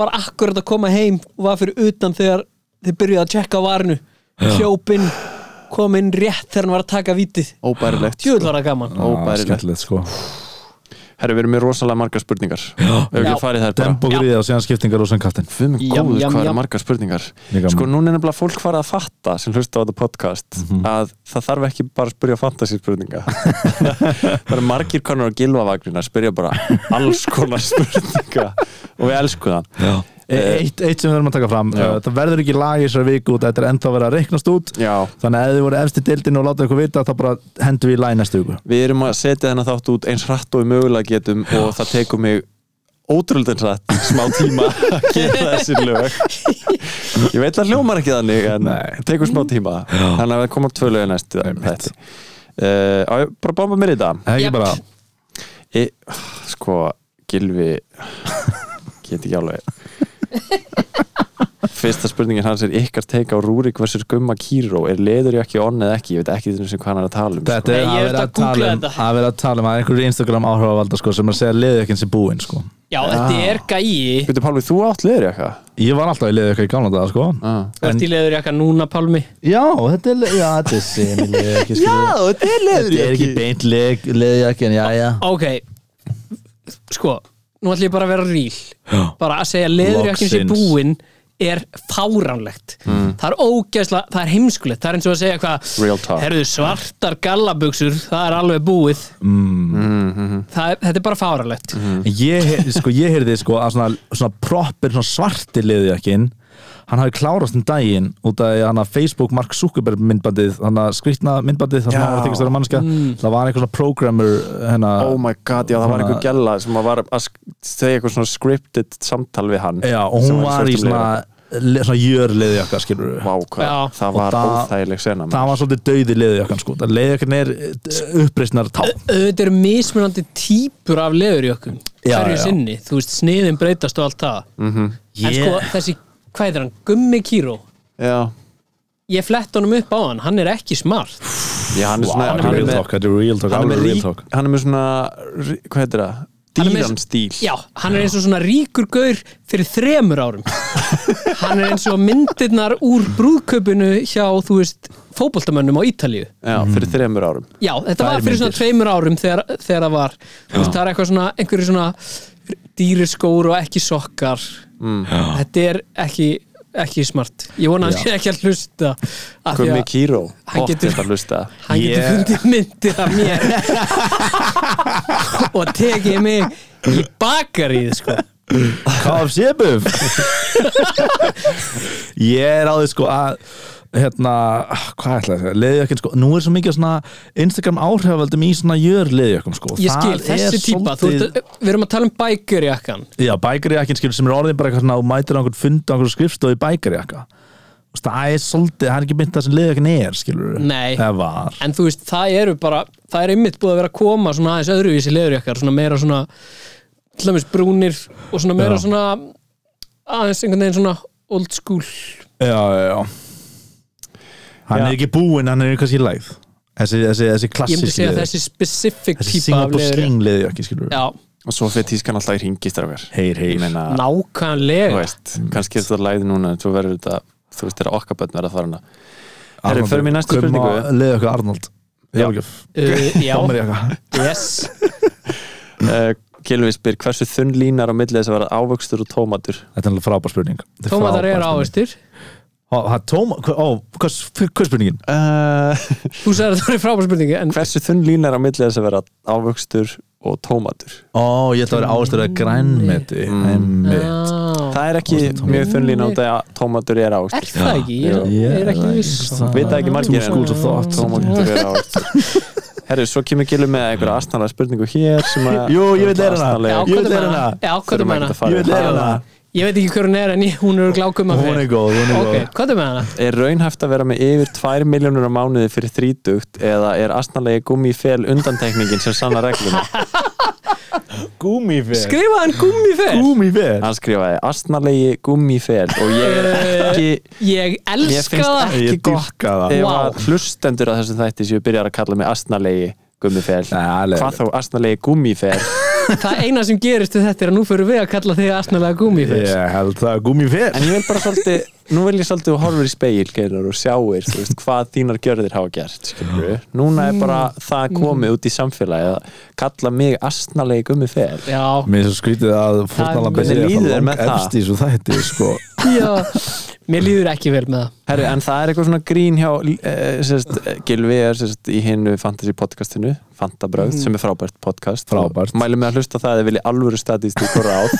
[SPEAKER 5] var akkurat að koma heim og var fyrir utan þegar þið byrjuði að tjekka á varinu hljópin, kom inn rétt þegar hann var að taka vítið
[SPEAKER 3] Óbærilegt
[SPEAKER 5] Tjóðl var það gaman
[SPEAKER 4] Já,
[SPEAKER 3] Óbærilegt
[SPEAKER 4] skemmtilegt sko
[SPEAKER 3] Herri, við erum með rosalega margar spurningar Ef ekki
[SPEAKER 5] Já.
[SPEAKER 3] að farið þær bara
[SPEAKER 4] Dembo gríða og síðan skiptingar og sem kattin
[SPEAKER 3] Við með
[SPEAKER 5] Jam,
[SPEAKER 3] góður
[SPEAKER 5] jam,
[SPEAKER 3] hvað
[SPEAKER 5] jam.
[SPEAKER 3] er margar spurningar
[SPEAKER 4] Ég gaman.
[SPEAKER 3] Sko, núna er nefnilega fólk farið að fatta sem hlusta á þetta podcast að það þarf ekki bara að spyrja fantasy spurninga Það eru margir konar á gilvavagnina að spyrja bara alls konar spurninga og við elskum það Eh.
[SPEAKER 4] E- eitt, eitt sem við erum að taka fram uh, það verður ekki lag í þessari viku og þetta er ennþá verið að reiknast út
[SPEAKER 3] Já,
[SPEAKER 4] þannig að ef þið voru efst í deildinu og láta ykkur vita þá bara hendur við í lag í næstu viku
[SPEAKER 3] við erum að setja þennan þátt út eins hratt og við mögulega getum og það tekur mig ótrúldin hratt smá tíma að gera þessi lög Ég veit að hljómar ekki þannig en
[SPEAKER 4] Nei.
[SPEAKER 3] tekur smá tíma þannig að við komum tvö lög í næstu þetta Uh, á ég bara að bomba mér í þetta
[SPEAKER 4] ekki
[SPEAKER 5] Jep.
[SPEAKER 4] bara,
[SPEAKER 3] e, sko, Gilvi get ekki alveg fyrsta spurningin hans er ykkar teika á Rúrik versus Gumma Kíró er leður ég ekki onn eða ekki, ég veit ekki þessum hvað hann er að tala um
[SPEAKER 4] þetta er
[SPEAKER 5] Nei, ég
[SPEAKER 4] að
[SPEAKER 5] er
[SPEAKER 4] vera
[SPEAKER 5] að
[SPEAKER 4] að tala
[SPEAKER 5] googla
[SPEAKER 4] um
[SPEAKER 5] þetta.
[SPEAKER 4] að vera að tala um að einhverju Instagram áhrifavalda sko, sem er að segja liðið ekki eins í búinn sko.
[SPEAKER 5] Já, þetta er gæi
[SPEAKER 3] Býttu Pálvi, þú átt leður ég eitthvað
[SPEAKER 4] ég var alltaf í liðið ekki í gamla daga sko.
[SPEAKER 5] Þú ert í leður jakka núna, Pálmi
[SPEAKER 4] já, þetta er já, þetta er semi liðið ekki
[SPEAKER 3] þetta er leður
[SPEAKER 4] þetta er ekki beint liðið ekki en já, já
[SPEAKER 5] Ok, sko Nú ætlum ég bara að vera ríl Bara að segja leðurjakkin sé
[SPEAKER 4] Loksins. Hmm.
[SPEAKER 5] búinn er fáránlegt Það er ógeðslega, það er heimskulegt Það er eins og að segja
[SPEAKER 3] Real talk.
[SPEAKER 5] hvað Herðu svartar gallabuxur, það er alveg búið mm.
[SPEAKER 4] Hmm.
[SPEAKER 5] er, Þetta er bara fáránlegt
[SPEAKER 4] Mm. ég, he- sko, ég heyrði sko, að svona, svona proper svona svarti liðið ekki hann hafi klárast um daginn út af hann að Facebook Mark Zuckerberg myndbandið hann að skrittna myndbandið þannig að hann var að þykist vera mannskja það var einhver svona programmer hérna, hennar,
[SPEAKER 3] oh my god, já það var
[SPEAKER 4] Ah. Svona-
[SPEAKER 3] einhver gælla sem að var að sk- segja eitthvað svona scripted samtal við hann
[SPEAKER 4] já, og
[SPEAKER 3] sem
[SPEAKER 4] hún var í
[SPEAKER 3] svörtum
[SPEAKER 4] svona, le- svona jörliði okkar skilur
[SPEAKER 3] leður. Vá, hvað,
[SPEAKER 5] Já.
[SPEAKER 3] það var
[SPEAKER 4] Og það-
[SPEAKER 3] óþægileg sena
[SPEAKER 4] það var svolítið dauði leiði okkar sko leiði okkar er eh, uppreisnar tá
[SPEAKER 5] auðvitað eru mismunandi típur af leðurjökkum
[SPEAKER 4] Já,
[SPEAKER 5] hverju
[SPEAKER 4] já. Hmm.
[SPEAKER 5] sinni, þú veist, sniðin breytast og allt það en sko þessi, hvað heitir hann, Gummi Kíró
[SPEAKER 3] já,
[SPEAKER 5] ég flett honum upp á hann, hann er ekki smart
[SPEAKER 3] já, hann er svona
[SPEAKER 4] Wow,
[SPEAKER 3] hann,
[SPEAKER 4] þetta er
[SPEAKER 3] er
[SPEAKER 4] real
[SPEAKER 3] með,
[SPEAKER 4] talk, þetta er real
[SPEAKER 3] hann,
[SPEAKER 4] talk,
[SPEAKER 3] er
[SPEAKER 4] alveg
[SPEAKER 3] með
[SPEAKER 4] real talk
[SPEAKER 3] rík, hann er með svona rí- hvað heitir það,
[SPEAKER 5] Hann er með-
[SPEAKER 3] dýran stíl
[SPEAKER 5] já, hann er eins og svona ríkur gaur fyrir þremur árum hann er eins og myndirnar úr brúðkaupinu hjá, þú veist fótboltamönnum á Ítalíu
[SPEAKER 3] Já,
[SPEAKER 4] Mhm.
[SPEAKER 3] fyrir þremur árum
[SPEAKER 5] já, þetta
[SPEAKER 4] Tvær
[SPEAKER 5] var fyrir svona
[SPEAKER 4] myndir.
[SPEAKER 5] tveimur árum þegar, þegar það var, þú veist, það er eitthvað svona einhverju svona dýri skór og ekki sokkar mm. þetta er ekki, ekki smart ég vona að hann sé ekki að hlusta af því
[SPEAKER 3] Gummi
[SPEAKER 5] að
[SPEAKER 3] Kíró,
[SPEAKER 5] hann
[SPEAKER 3] hótt
[SPEAKER 5] getur-
[SPEAKER 3] þetta að hlusta
[SPEAKER 5] hann getur
[SPEAKER 4] Ég-
[SPEAKER 5] fundið myndir af mér og tekið mig í bakarið sko.
[SPEAKER 4] KFC-buf Ég er á því sko að hérna, hvað ætla ég að segja leiðjökkin sko, nú er svo mikið svona Instagram áhrifavöldum í svona jör leiðjökkum sko
[SPEAKER 5] ég skil,
[SPEAKER 4] Það er
[SPEAKER 5] þessi típa þú
[SPEAKER 4] svolítið-
[SPEAKER 5] ert að- við erum að tala um bækurjakkan
[SPEAKER 4] Já, bækarjakkin skil sem er orðin bara eitthvað svona og mætir á einhvern fund á einhvern skrifstof í bækarjakka Þú veist, Það er svolítið, það er ekki mynd það sem leiðjökkin er skilur
[SPEAKER 5] Nei.
[SPEAKER 4] Það var
[SPEAKER 5] en þú veist, það eru bara það er ymmit búið að vera að koma svona aðeins öðruvísi leðurjakkar, svona meira svona til dæmis brúnir og svona meira
[SPEAKER 4] Já.
[SPEAKER 5] svona aðeins einhvern veginn svona old school
[SPEAKER 4] Já, já, já Hann
[SPEAKER 3] Já.
[SPEAKER 4] er ekki búinn, hann er kannski í lægð Þessi, þessi, þessi
[SPEAKER 5] ég myndi
[SPEAKER 4] klassíski
[SPEAKER 5] segja
[SPEAKER 4] leðurjökk
[SPEAKER 5] þessi specific
[SPEAKER 4] Þessi
[SPEAKER 5] típa af
[SPEAKER 4] Singapore
[SPEAKER 5] leðurjakk
[SPEAKER 4] sling leðjökki skilur
[SPEAKER 5] já,
[SPEAKER 3] og svo fyrir tískan alltaf í ringistrákar
[SPEAKER 4] Heyr, heyr.
[SPEAKER 3] ég meina, þú
[SPEAKER 5] nákvæmlega
[SPEAKER 3] veist,
[SPEAKER 4] Mm.
[SPEAKER 3] kannski er þetta læði núna þú verður þetta, þú veist, þegar okkar börn verða að fara hana Herru, förum í næstu spurningu.
[SPEAKER 4] Leðu okkur Arnold Jálgjöf
[SPEAKER 5] uh, já,
[SPEAKER 4] Dómar í eitthvað
[SPEAKER 5] yes
[SPEAKER 3] uh, Gilvi spyr, hversu þunn línar á milli þess að vera ávöxtur og tómatur
[SPEAKER 4] Þetta er alveg frábær spurning Þetta er
[SPEAKER 5] tómatar
[SPEAKER 4] frábær
[SPEAKER 5] eru
[SPEAKER 4] spurning.
[SPEAKER 5] ávestir
[SPEAKER 4] Ó, það- Tóma, hva- ó, hvað hver er spurningin?
[SPEAKER 3] uh,
[SPEAKER 5] þú sagði að það eru frábær spurningi en
[SPEAKER 3] hversu þunn línar á milli þess að vera ávöxtur og tómatur
[SPEAKER 4] Ó, ég ætla að vera ástöru að grænmeti
[SPEAKER 3] Mm.
[SPEAKER 4] Einmitt
[SPEAKER 5] ah,
[SPEAKER 3] það er ekki
[SPEAKER 4] Ávöxtur og tómatur.
[SPEAKER 3] mjög þunn lína út af að tómatur er
[SPEAKER 5] er
[SPEAKER 3] ávöxtur
[SPEAKER 5] það ekki? ég,
[SPEAKER 4] Já.
[SPEAKER 5] ég er ekki
[SPEAKER 4] Ég-
[SPEAKER 5] viss
[SPEAKER 4] það-
[SPEAKER 3] veit það ekki margir
[SPEAKER 4] Two schools of
[SPEAKER 3] en
[SPEAKER 4] thought.
[SPEAKER 3] tómatur er ávöxtur herru, svo kemur Gilvi með einhverja astanlega spurningu hér sem að
[SPEAKER 4] Jú, ég vil læra hana.
[SPEAKER 3] astanlega-
[SPEAKER 5] já,
[SPEAKER 4] Ég
[SPEAKER 5] hvað
[SPEAKER 4] vil
[SPEAKER 5] er með
[SPEAKER 4] læra
[SPEAKER 5] hana?
[SPEAKER 4] hana.
[SPEAKER 5] já, hvað er
[SPEAKER 3] Þurfum
[SPEAKER 5] með hana?
[SPEAKER 3] ekkert að fara
[SPEAKER 4] Ég vil
[SPEAKER 3] í það.
[SPEAKER 4] læra hana.
[SPEAKER 5] Ég veit ekki hver hún er en ég, hún er glákum að
[SPEAKER 4] Hún er góð, hún er góð
[SPEAKER 5] Ok, hvað er með hana?
[SPEAKER 3] Er raunhæft að vera með yfir 2 miljónur á mánuði fyrir þrítugt eða er astanlega gummi fel undantekningin sem sanna reglum?
[SPEAKER 4] Gúmífer
[SPEAKER 5] Skrifa hann gummi
[SPEAKER 4] Gúmífer
[SPEAKER 3] Hann skrifaði astanlega gummi fel og ég er ekki,
[SPEAKER 5] Ég
[SPEAKER 3] mér
[SPEAKER 5] elska
[SPEAKER 3] finnst
[SPEAKER 5] það
[SPEAKER 3] ekki
[SPEAKER 4] Ég
[SPEAKER 3] gott
[SPEAKER 4] dýrka það
[SPEAKER 3] ef
[SPEAKER 5] Vá.
[SPEAKER 3] að hlustendur að þessum þætti sem ég byrjar að kalla mig astanlega gummi fel.
[SPEAKER 4] Nei, alveg.
[SPEAKER 3] Hvað þá astanlega gummi fel?
[SPEAKER 5] Það eina sem gerist við þetta er að nú fyrir við að kalla þig aðsnalega gummi
[SPEAKER 4] Ég held það, gúmífer
[SPEAKER 3] En ég vil bara svolítið, nú vil ég svolítið og horfur í speil geirar og sjáir þú veist, hvað þínar gjörðir hafa gert skilurðu. núna er bara það komið út í samfélagi að kalla mig astnalegi gummi fel
[SPEAKER 5] Já,
[SPEAKER 4] Mér er svo skrítið að
[SPEAKER 5] Hvernig
[SPEAKER 4] fórnalambið
[SPEAKER 3] líður þér með það?
[SPEAKER 4] Efst í svo þætti, sko
[SPEAKER 5] já Mér líður ekki vel með það
[SPEAKER 3] Herru, en það er eitthvað svona grín hjá uh, sérst, eh, Gylfi er sérst, í hinnu fantasy podcastinu, Fantabröð sem er frábært podcast
[SPEAKER 4] Frábært.
[SPEAKER 3] Og mælum við að hlusta það eða vilji alvöru statistík og ráð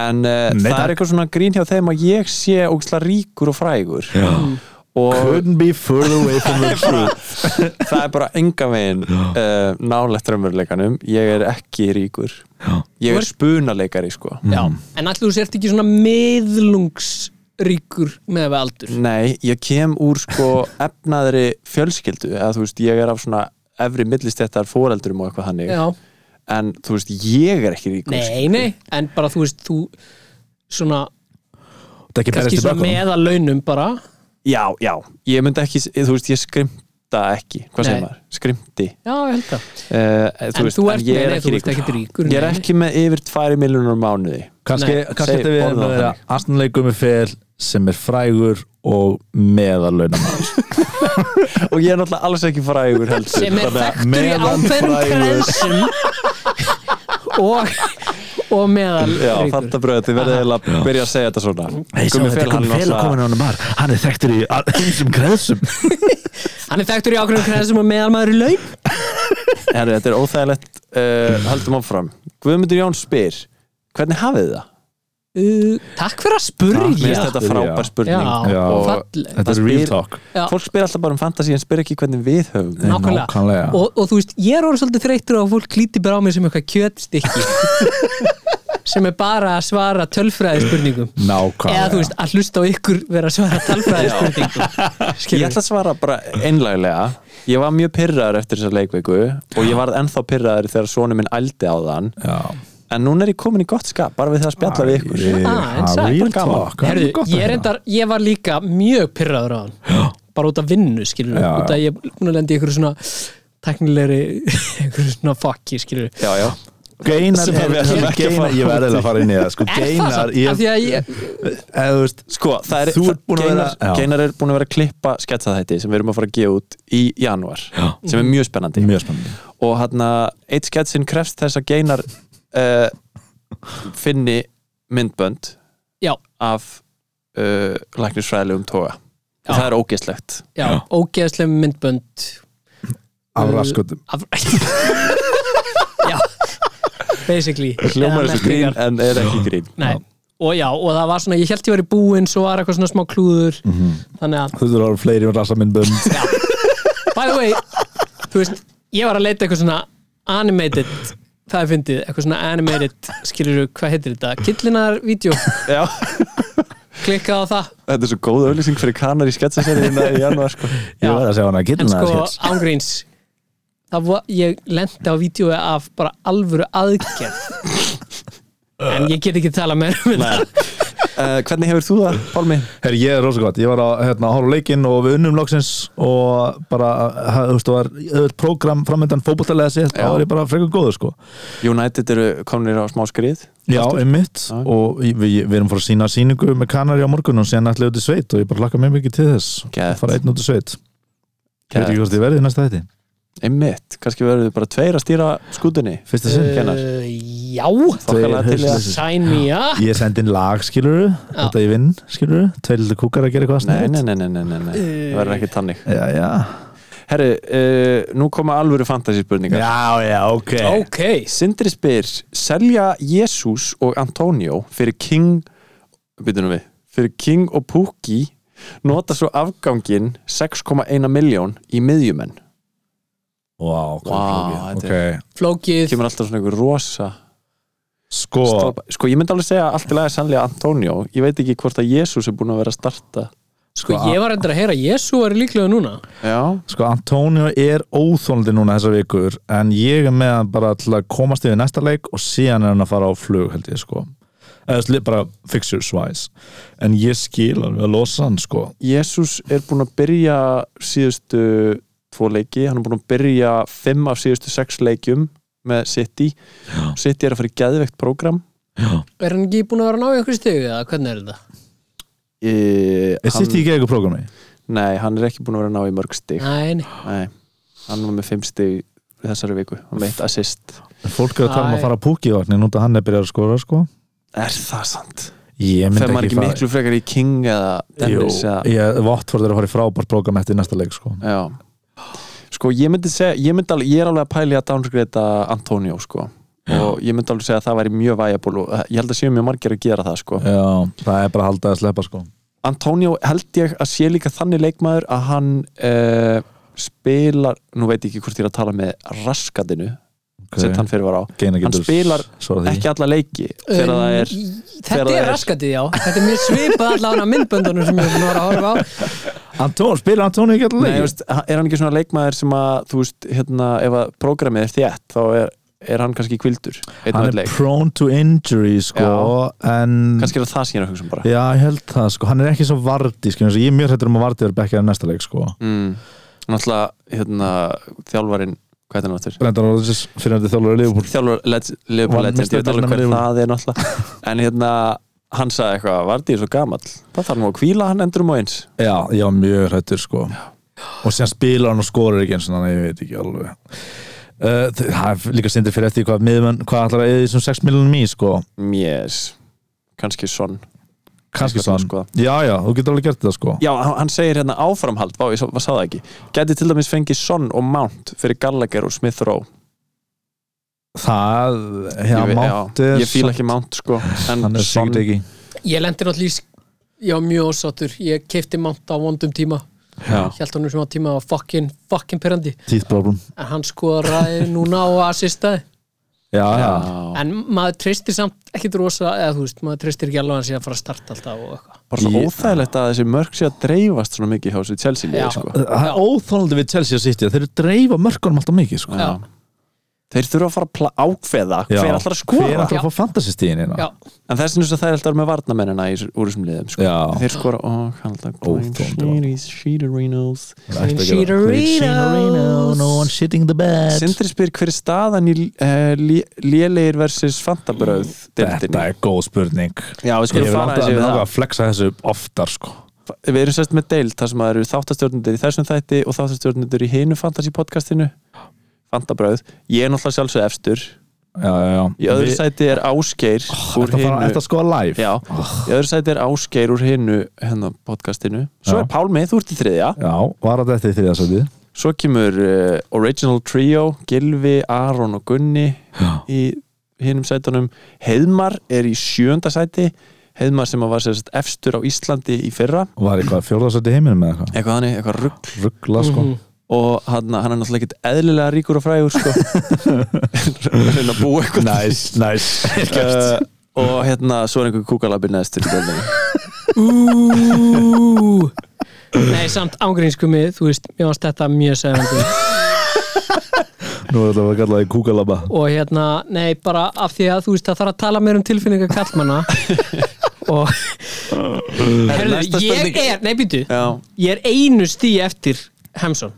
[SPEAKER 3] en uh,
[SPEAKER 4] Nei,
[SPEAKER 3] það
[SPEAKER 4] takk.
[SPEAKER 3] er eitthvað svona grín hjá þeim að ég sé ógislega ríkur og frægur
[SPEAKER 4] Já.
[SPEAKER 3] og
[SPEAKER 4] Couldn't be further away from the truth
[SPEAKER 3] það er bara enga veginn uh, nálegt raunveruleikanum ég er ekki ríkur
[SPEAKER 4] Já.
[SPEAKER 3] ég er spunaleikari sko
[SPEAKER 5] Já, en allir þú sért ekki svona miðlungsríkur með við aldur
[SPEAKER 4] Mm.
[SPEAKER 3] nei, ég kem úr sko efnaðri fjölskyldu eða þú veist, ég er af svona efri millistettar fóreldurum og eitthvað hannig
[SPEAKER 5] Já,
[SPEAKER 3] en þú veist, ég er ekki ríkur sko.
[SPEAKER 5] nei, nei En bara þú veist, þú svona
[SPEAKER 4] Það er ekki berjast
[SPEAKER 5] kannski
[SPEAKER 4] í
[SPEAKER 5] svona
[SPEAKER 4] bökum
[SPEAKER 5] meðalaunum bara
[SPEAKER 3] já, já, ég myndi ekki, þú veist, ég skrimta ekki hvað
[SPEAKER 5] Nei.
[SPEAKER 3] segir maður, skrimti
[SPEAKER 5] Já, ég held það
[SPEAKER 3] uh, þú
[SPEAKER 5] En
[SPEAKER 3] veist,
[SPEAKER 5] þú
[SPEAKER 3] en
[SPEAKER 5] ert-
[SPEAKER 3] ég
[SPEAKER 5] nei,
[SPEAKER 3] er
[SPEAKER 5] nei, þú
[SPEAKER 3] ekki
[SPEAKER 5] ert
[SPEAKER 3] ríkur,
[SPEAKER 5] ekkert ríkur,
[SPEAKER 3] ég er
[SPEAKER 5] nei, nei.
[SPEAKER 3] ekki með yfir 2 miljónur mánuði
[SPEAKER 4] kannski,
[SPEAKER 5] Nei,
[SPEAKER 4] kannski
[SPEAKER 3] segi-
[SPEAKER 4] þetta við
[SPEAKER 3] orðum
[SPEAKER 4] erum
[SPEAKER 3] það
[SPEAKER 4] að vera astanleikum með fel sem er frægur og meðalaunamann
[SPEAKER 3] og ég er náttúrulega alls ekki frægur heldur
[SPEAKER 5] sem er
[SPEAKER 3] þannig að-
[SPEAKER 5] þekktur í
[SPEAKER 4] meðan
[SPEAKER 5] ákveðnum
[SPEAKER 4] frægur.
[SPEAKER 5] kreðsum og, og meðal
[SPEAKER 3] Já,
[SPEAKER 5] ríkur.
[SPEAKER 3] þetta bröð, þið verðið eiginlega að byrja að segja þetta svona Gummi Fel, hann náttúrulega
[SPEAKER 4] á hann bar hann er þekktur í einsum kreðsum
[SPEAKER 5] hann er þekktur í ákveðnum kreðsum og meðal maður í laun
[SPEAKER 3] Herru, þetta er óþægilegt, uh, höldum áfram Guðmundur Jón spyr Hvernig hafið þið það?
[SPEAKER 5] uh, Takk fyrir að
[SPEAKER 7] Mér
[SPEAKER 5] spurja
[SPEAKER 7] finnst þetta
[SPEAKER 4] Já.
[SPEAKER 7] frábær spurning
[SPEAKER 5] Já,
[SPEAKER 4] Já.
[SPEAKER 7] Og-
[SPEAKER 5] falleg
[SPEAKER 4] Þetta
[SPEAKER 7] Það
[SPEAKER 4] er real
[SPEAKER 7] spyr-
[SPEAKER 4] talk
[SPEAKER 5] Já.
[SPEAKER 7] Fólk spyr alltaf bara um fantasy en spyr ekki hvernig við höfum það.
[SPEAKER 5] Nákvæmlega.
[SPEAKER 4] Nákvæmlega.
[SPEAKER 5] og, og þú veist, ég er orðið svolítið þreyttur á að fólk líti bara á mig sem eitthvað kjötstykki sem er bara að svara tölfræði spurningum
[SPEAKER 4] Nákvæmlega
[SPEAKER 5] eða þú veist, að hlusta á ykkur vera að svara tölfræði spurningum
[SPEAKER 3] Ég ætla að svara bara einlæglega Ég var mjög pyrraður eftir þessa leikveiku og ég varð ennþá pyrraður þegar sonu minn ældi á þann
[SPEAKER 4] Já.
[SPEAKER 3] en núna er ég komin í gott skap bara við það að spjalla við ykkur
[SPEAKER 4] Ég-
[SPEAKER 5] Ah, en
[SPEAKER 4] það
[SPEAKER 5] sagði
[SPEAKER 4] er real
[SPEAKER 5] bara
[SPEAKER 3] gaman.
[SPEAKER 4] talk Það er
[SPEAKER 5] Herðu,
[SPEAKER 4] gott að
[SPEAKER 5] ég,
[SPEAKER 4] heyra.
[SPEAKER 5] reyndar, ég var líka mjög pyrraður á hann bara út af vinnu, skilur
[SPEAKER 4] Já,
[SPEAKER 5] út af ég er búin að lendi ykkur svona teknilegri, ykkur svona fucki, skilur
[SPEAKER 3] Já, já
[SPEAKER 4] Geinar
[SPEAKER 3] Sem að við ætlum
[SPEAKER 4] er-
[SPEAKER 3] ekki að fara
[SPEAKER 4] Geinar, ég verði að fara inn í það sko,
[SPEAKER 5] Er það
[SPEAKER 4] Geinar,
[SPEAKER 5] satt?
[SPEAKER 4] ég,
[SPEAKER 5] Af því að ég,
[SPEAKER 4] eða þú veist
[SPEAKER 3] Sko, það er,
[SPEAKER 4] Þú ert búin að
[SPEAKER 3] Geinar,
[SPEAKER 4] vera- já.
[SPEAKER 3] Geinar er búin að vera að klippa sketsaþætti sem við erum að fara að gefa út í janúar sem er mjög spennandi
[SPEAKER 4] Mjög spennandi
[SPEAKER 3] og hann að eitt sketsinn krefst þess að Geinar uh, finni myndbönd
[SPEAKER 5] já,
[SPEAKER 3] af uh, læknisfræðilegum toga
[SPEAKER 5] Já.
[SPEAKER 3] það er ógeðslegt
[SPEAKER 5] já, ógeðslega myndbönd
[SPEAKER 4] Af raskutum
[SPEAKER 5] af já, basically
[SPEAKER 3] hljómar
[SPEAKER 5] Eða
[SPEAKER 3] þessu grín
[SPEAKER 5] merkingar.
[SPEAKER 3] en er ekki grín
[SPEAKER 5] Nei, og já, og það var svona, ég held ég var í búinn svo var eitthvað svona smá klúður þannig að
[SPEAKER 4] Þú þurfur að hafa fleiri um rasaminnbönd
[SPEAKER 5] by the way, þú veist ég var að leita eitthvað svona animated það er fyndið, eitthvað svona animated skilur þú, hvað heitir þetta, killinar vídeo,
[SPEAKER 3] Já,
[SPEAKER 5] klikkað á það
[SPEAKER 3] þetta er svo góð auðlýsing fyrir kanar í sketsaserina í janúar sko.
[SPEAKER 4] Ég verði að segja hann að
[SPEAKER 5] en
[SPEAKER 4] gillna
[SPEAKER 5] sko, ángríns það var, ég lendi á vídeo af bara alvöru aðgerð en ég get ekki tala meira um þetta
[SPEAKER 3] uh, Hvernig hefur þú það, Pálmi?
[SPEAKER 4] Herri, ég er rosa gott, ég var að hérna, horfa á leikinn og við unnum loksins og bara, ha- þú veist, það var öðvöld prógram framöndan fótboltalega sétt, þá
[SPEAKER 3] Já.
[SPEAKER 4] var ég bara frekar góður sko.
[SPEAKER 3] United eru komnir á smá skrið
[SPEAKER 4] Já, einmitt
[SPEAKER 3] Já.
[SPEAKER 4] og ég- við, við erum fór að sína síningu með Kanari á morgun og sen ætlaði út í sveit og ég bara hlakka mjög mikið til þess
[SPEAKER 3] Gett.
[SPEAKER 4] að fara einn út í sveit Veit ekki hvort ég verði í næsta þætti
[SPEAKER 3] Einmitt, kannski verður þið bara tveir að stýra skútunni
[SPEAKER 4] Fyrsta sinn,
[SPEAKER 3] Hvenær?
[SPEAKER 5] uh, já,
[SPEAKER 3] þokkalega til í það.
[SPEAKER 4] haust-
[SPEAKER 5] sign me up
[SPEAKER 4] Ég sendi inn lag, skilurðu,
[SPEAKER 5] Já.
[SPEAKER 4] þetta ég vinn, skilurðu Tveir lítið kúkar að gera eitthvað
[SPEAKER 3] Nei,
[SPEAKER 4] snöðt
[SPEAKER 3] nei, nei, nei, nei, nei, nei. það verður ekki tannig
[SPEAKER 4] Já, já,
[SPEAKER 3] Herri, uh, nú koma alvöru fantasyspurningar
[SPEAKER 4] já, já, ok
[SPEAKER 5] ok,
[SPEAKER 3] Sindri spyr, selja Jésús og Antonio fyrir King byrjunum við, fyrir King og Pukki nota svo afgangin 6,1 miljón í miðjumenn
[SPEAKER 4] Vá, hvað
[SPEAKER 3] Vá,
[SPEAKER 4] flókið.
[SPEAKER 3] þetta er-
[SPEAKER 4] Ok.
[SPEAKER 5] flókið
[SPEAKER 3] kemur alltaf svona einhver rosa
[SPEAKER 4] Sko,
[SPEAKER 3] strópa. sko ég myndi alveg segja allt í lagi sannlega Antonio, ég veit ekki hvort að Jésús er búin að vera að starta
[SPEAKER 5] Sko, ég var endur að heyra, Jésu er líklega núna
[SPEAKER 3] já,
[SPEAKER 4] Sko, Antonio er óþólandi núna þessar vikur en ég er með hann bara til að komast yfir næsta leik og síðan er hann að fara á flug held ég sko eða slið bara fixtures wise en ég skil hann við að losa hann sko
[SPEAKER 3] Jésús er búin að byrja síðustu tvo leiki hann er búin að byrja fimm af síðustu sex leikjum með City
[SPEAKER 4] Já.
[SPEAKER 3] City er að fara í geðveikt prógram
[SPEAKER 4] Já.
[SPEAKER 5] Er hann ekki búin að vera að ná í einhverju stegu eða hvernig er þetta?
[SPEAKER 3] e,
[SPEAKER 4] Er sitt í gegn prógrami?
[SPEAKER 3] Nei, hann er ekki búin að vera að ná í mörg stig
[SPEAKER 5] Nei, nei.
[SPEAKER 3] Nei, hann var með fimm stig í þessari viku, hann veit assist
[SPEAKER 4] Fólk er að tala um
[SPEAKER 5] Æ.
[SPEAKER 4] að fara að púki í vagnin út að hann er byrjað að skora sko
[SPEAKER 3] Er það sant?
[SPEAKER 4] Ég myndi
[SPEAKER 3] Þegar maður
[SPEAKER 4] ekki
[SPEAKER 3] ekki
[SPEAKER 4] fara
[SPEAKER 3] miklu frekar í King eða Dennis
[SPEAKER 4] Jú,
[SPEAKER 3] eða,
[SPEAKER 4] ég, Votford er að fara í frábært prógram eftir næsta leik sko
[SPEAKER 3] Já Sko, ég myndi segja, ég myndi alveg, ég er alveg að pæli að downsgreta Antonio, sko og ég myndi alveg segja að það væri mjög væjaból og eh, ég held að séu mjög margir að gera það, sko
[SPEAKER 4] Já, það er bara að halda að sleppa sko
[SPEAKER 3] Antonio held ég að sé líka þannig leikmaður að hann uh, spilar, nú veit ég ekki hvort ég er að tala með raskatinu sem hann fyrir var á
[SPEAKER 4] Geina
[SPEAKER 3] hann
[SPEAKER 4] getur
[SPEAKER 3] spilar
[SPEAKER 4] svarað því.
[SPEAKER 3] ekki alla leiki þegar það er þegar
[SPEAKER 5] Um, Þetta
[SPEAKER 3] það
[SPEAKER 5] er
[SPEAKER 3] er-
[SPEAKER 5] raskatið, já Þetta er mjög svipað allavega á myndböndunum sem ég er búin að vera að horfa á
[SPEAKER 4] Anton, spilar Antonio ekki alltaf
[SPEAKER 3] Nei,
[SPEAKER 4] leik?
[SPEAKER 3] þú veist, er hann ekki svona leikmaður sem að þú veist, hérna, ef að prógramið er þétt þá er, er hann kannski kvildur einn og
[SPEAKER 4] hann
[SPEAKER 3] einn
[SPEAKER 4] er
[SPEAKER 3] leik,
[SPEAKER 4] prone to injury sko, en
[SPEAKER 3] kannski er það það sem ég er að hugsa um bara
[SPEAKER 4] já, ég held það, sko, hann er ekki svo vardi sko, eins og ég er mjög hrættur um að vardi er bekkjaði næsta leik sko.
[SPEAKER 3] mm. náttúrulega, hérna, þjálfarin hvað er það náttúrulega?
[SPEAKER 4] Brendan Rodgers, fyrirandi þjálfur í Liverpool
[SPEAKER 3] Þjálfur Liverpool
[SPEAKER 4] Var
[SPEAKER 3] Legend, ég veit alveg hver
[SPEAKER 4] meistaradeildarmenn
[SPEAKER 3] það er náttúrulega en hérna, hann sagði eitthvað, Vardí er svo gamall það þarf nú að hvíla hann endur um og eins
[SPEAKER 4] já, ég var mjög hrættur sko. og sér spila hann og skorur ekki eins og þannig, ég veit ekki alveg uh, það er líka sindir fyrir eftir hvað miðmenn, hvað ætlar að eða þessum 6 miljonum í sko.
[SPEAKER 3] yes, kannski sonn
[SPEAKER 4] kannski
[SPEAKER 3] Eitthvað
[SPEAKER 4] svo
[SPEAKER 3] svona, sko.
[SPEAKER 4] já, já, þú getur alveg gert þetta sko.
[SPEAKER 3] Já, hann hann segir hérna áframhald, vá, ég sá, sá það ekki Gæti til dæmis fengið Son og Mount fyrir Gallagher og Smith Rowe
[SPEAKER 4] það, já,
[SPEAKER 3] Ég veit-
[SPEAKER 4] Mount
[SPEAKER 3] já,
[SPEAKER 4] er
[SPEAKER 3] Ég fíla ekki Mount sko En
[SPEAKER 4] hann er
[SPEAKER 3] Son-
[SPEAKER 4] sýkt ekki
[SPEAKER 5] Ég lendi náttúrulega í sk- ég var mjög ósáttur Ég keipti mount á vondum tíma
[SPEAKER 3] Já.
[SPEAKER 5] Hjælt honum sem á tíma var fucking, fucking perandi
[SPEAKER 4] teeth problem
[SPEAKER 5] En hann skoraði núna á assistaði
[SPEAKER 4] já, já,
[SPEAKER 3] Já,
[SPEAKER 5] En maður treystir samt ekkit rosa Eða þú veist, maður treystir ekki alveg að hann sé að fara að starta alltaf og eitthvað
[SPEAKER 3] bara svona
[SPEAKER 4] Ég-
[SPEAKER 3] óþægilegt að þessi mörg sé að dreifast svona mikið hjá þessu Chelsea liði
[SPEAKER 5] Já.
[SPEAKER 3] sko.
[SPEAKER 4] það er óþónaldi við Chelsea City að þeir dreifa mörkunum alltaf mikið sko.
[SPEAKER 5] Já.
[SPEAKER 3] Þeir þurfa að fara að pla- ákveða
[SPEAKER 4] Já.
[SPEAKER 3] hver allar að
[SPEAKER 4] hver
[SPEAKER 3] skora
[SPEAKER 4] ætlar
[SPEAKER 5] Já.
[SPEAKER 4] að fá fantasy-stíðin hérna
[SPEAKER 5] Já,
[SPEAKER 3] En þessin þess að það er alltaf með varnamennina í, þessu- úr þessum liðum sko.
[SPEAKER 4] Já.
[SPEAKER 3] Þeir skora og kallta
[SPEAKER 4] Óþolandi
[SPEAKER 3] Sheetarinos
[SPEAKER 4] Ættu ekki að-
[SPEAKER 5] Chicharito.
[SPEAKER 4] Chicharito, no one sitting in the bed
[SPEAKER 3] Sindri spyr hver er staðan í uh, lélegir versus fantabröð
[SPEAKER 4] þetta
[SPEAKER 3] deildinni
[SPEAKER 4] er góð spurning
[SPEAKER 3] Já, við
[SPEAKER 4] ég
[SPEAKER 3] skulum
[SPEAKER 4] vil
[SPEAKER 3] fara
[SPEAKER 4] alltaf
[SPEAKER 3] þessi
[SPEAKER 4] að,
[SPEAKER 3] við
[SPEAKER 4] að
[SPEAKER 3] það
[SPEAKER 4] flexa þessu oftar sko.
[SPEAKER 3] Við erum sérst með deild þar sem það eru þáttastjórnundur í þessum þætti og þáttastjórnundur í hinu fantasy podcastinu Fantabröð Ég er náttúrulega sjálfsög efstur
[SPEAKER 4] já, já, já.
[SPEAKER 3] Í öðru
[SPEAKER 4] Við-
[SPEAKER 3] sæti er Ásgeir úr
[SPEAKER 4] Þetta fara-
[SPEAKER 3] hinu
[SPEAKER 4] þetta sko að live
[SPEAKER 3] Já, í öðru sæti er Ásgeir úr hinu hérna podcastinu Svo
[SPEAKER 4] Já.
[SPEAKER 3] er Pálmi, þú ert í þriðja
[SPEAKER 4] Já, var þetta eftir þriða sætið
[SPEAKER 3] Svo kemur uh, Original Trio, Gilvi, Aron og Gunni í hinnum sætunum. Heiðmar er í sjönda sæti. Heiðmar sem að var sérst efstur á Íslandi í fyrra.
[SPEAKER 4] Var eitthvað fjórða sætið heiminum með eitthvað
[SPEAKER 3] Eitthvað þannig, eitthvað rugg.
[SPEAKER 4] Ruggla sko
[SPEAKER 3] Og hann, hann er náttúrulega ekkert eðlilega ríkur og frægur, sko. Reyna að búa eitthvað.
[SPEAKER 4] Næs, næs
[SPEAKER 3] Uh, og hérna, svo er einhver kúkalabi neðstur í bjöldinu.
[SPEAKER 5] Ú. Nei, samt ángrinskumið, þú veist, mér varst þetta mjög segandi
[SPEAKER 4] Nú er þetta að kalla því kúkalabba
[SPEAKER 5] og hérna, nei, bara af því að þú veist, það þarf að tala meir um tilfinningar kallmanna og Herðu, ég er, nei, býtu
[SPEAKER 3] Já,
[SPEAKER 5] ég er einu stí eftir Hemsson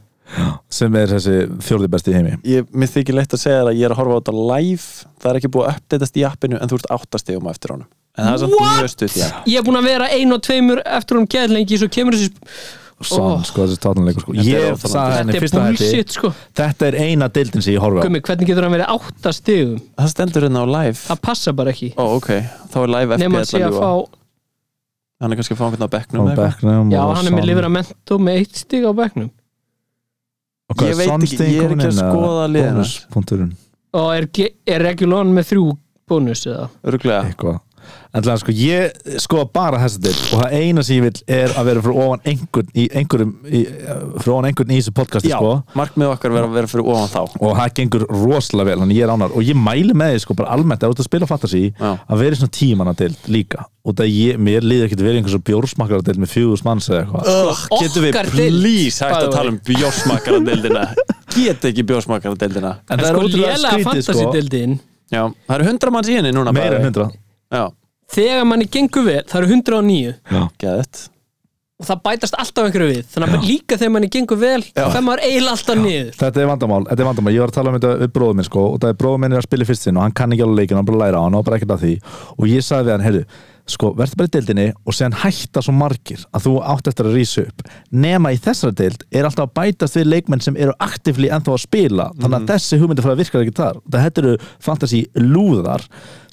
[SPEAKER 4] Sem er þessi fjórði besti í heimi
[SPEAKER 3] ég, mér þykir leitt að segja þér að ég er að horfa á þetta live. Það er ekki búið að uppdeitast í appinu en þú ert áttastegum eftir honum. En það er samt
[SPEAKER 5] What?
[SPEAKER 3] mjög stutt í app.
[SPEAKER 5] ég er búin að vera einu og tveimur eftir um gæðlengi svo kemur þessi,
[SPEAKER 4] Sann,
[SPEAKER 5] Ó.
[SPEAKER 4] sko, þessi tátunleikur sko
[SPEAKER 3] Þetta er
[SPEAKER 4] Ég
[SPEAKER 3] óþolandi.
[SPEAKER 4] sagði henni
[SPEAKER 5] þetta er
[SPEAKER 4] fyrsta hætti
[SPEAKER 5] bullshit sko
[SPEAKER 4] Þetta er eina deildin sem ég horfa á
[SPEAKER 5] Gumi, hvernig getur hann verið átta stigum
[SPEAKER 3] Það stendur hérna á live
[SPEAKER 5] það passa bara ekki
[SPEAKER 3] Ó, ok, þá er live FB
[SPEAKER 5] Nefn að sé
[SPEAKER 3] alltaf
[SPEAKER 5] að
[SPEAKER 3] ljúa
[SPEAKER 5] fá,
[SPEAKER 3] Hann er kannski að fá einhvern á bekknum
[SPEAKER 4] Á
[SPEAKER 3] eða eitthvað.
[SPEAKER 4] bekknum
[SPEAKER 5] já
[SPEAKER 4] og
[SPEAKER 5] hann er með
[SPEAKER 4] Son.
[SPEAKER 5] liveramento með eitt stig á bekknum
[SPEAKER 4] Og hvað,
[SPEAKER 3] Ég veit
[SPEAKER 4] Son
[SPEAKER 3] ekki,
[SPEAKER 4] stigin
[SPEAKER 3] ég er
[SPEAKER 4] komin
[SPEAKER 3] ekki að
[SPEAKER 4] inn, eða?
[SPEAKER 3] skoða liðina.
[SPEAKER 4] Bónuspunkturinn,
[SPEAKER 5] og er, ge- er regulón með þrjú bónus eða
[SPEAKER 3] Örugglega.
[SPEAKER 4] eitthvað En það sko, ég skoða bara þessa deild Og það eina sem ég vil er að vera frá ofan einhvern í einhverjum í, Frá ofan einhvern í þessu podcasti
[SPEAKER 3] Já,
[SPEAKER 4] sko
[SPEAKER 3] markmið okkar verður að vera fyrir ofan þá
[SPEAKER 4] og það gengur rosalega vel þannig ég er ánar og ég mæli með því sko bara almennt ef þú ert að spila fantasy
[SPEAKER 3] Já.
[SPEAKER 4] að vera í svona tímanna deild líka og það ég, mér líður ekkert verið einhvers og bjórsmakkara deild með fjögurs manns eða eitthvað
[SPEAKER 3] Ugh, Oh, Getum við
[SPEAKER 5] okkar deild,
[SPEAKER 3] please hægt
[SPEAKER 5] by the
[SPEAKER 3] að tala um bjósmakaradeldina Get ekki bjósmakaradeldina
[SPEAKER 4] en
[SPEAKER 5] en
[SPEAKER 4] það er
[SPEAKER 5] sko
[SPEAKER 4] ótrúlega
[SPEAKER 5] lélega
[SPEAKER 4] skrítið sko
[SPEAKER 5] fantasy-dildin
[SPEAKER 3] Já, það eru hundra manns í henni núna
[SPEAKER 4] meira en hundra
[SPEAKER 3] Já,
[SPEAKER 5] þegar manni gengur vel, það eru 109
[SPEAKER 3] geðið
[SPEAKER 5] og það bætast alltaf einhverju við þannig að líka þegar manni gengur vel þegar maður eiginlega alltaf niður
[SPEAKER 4] þetta er vandamál, þetta er vandamál, ég var að tala um þetta við bróðum minn sko og það er bróðum minn er að spila í fyrst sinn og hann kann ekki alveg leikin, hann bara læra á hann og bara ekkert að því og ég sagði við hann, heyrðu, sko verður bara í deildinni og séðan hætta svo margir að þú átt eftir að rísa upp nema í þessari deild er alltaf að bætast við leikmenn sem eru aktivli ennþá að spila þannig að þessi hugmyndi frá það virkar ekki þar þetta eru fantasy lúðar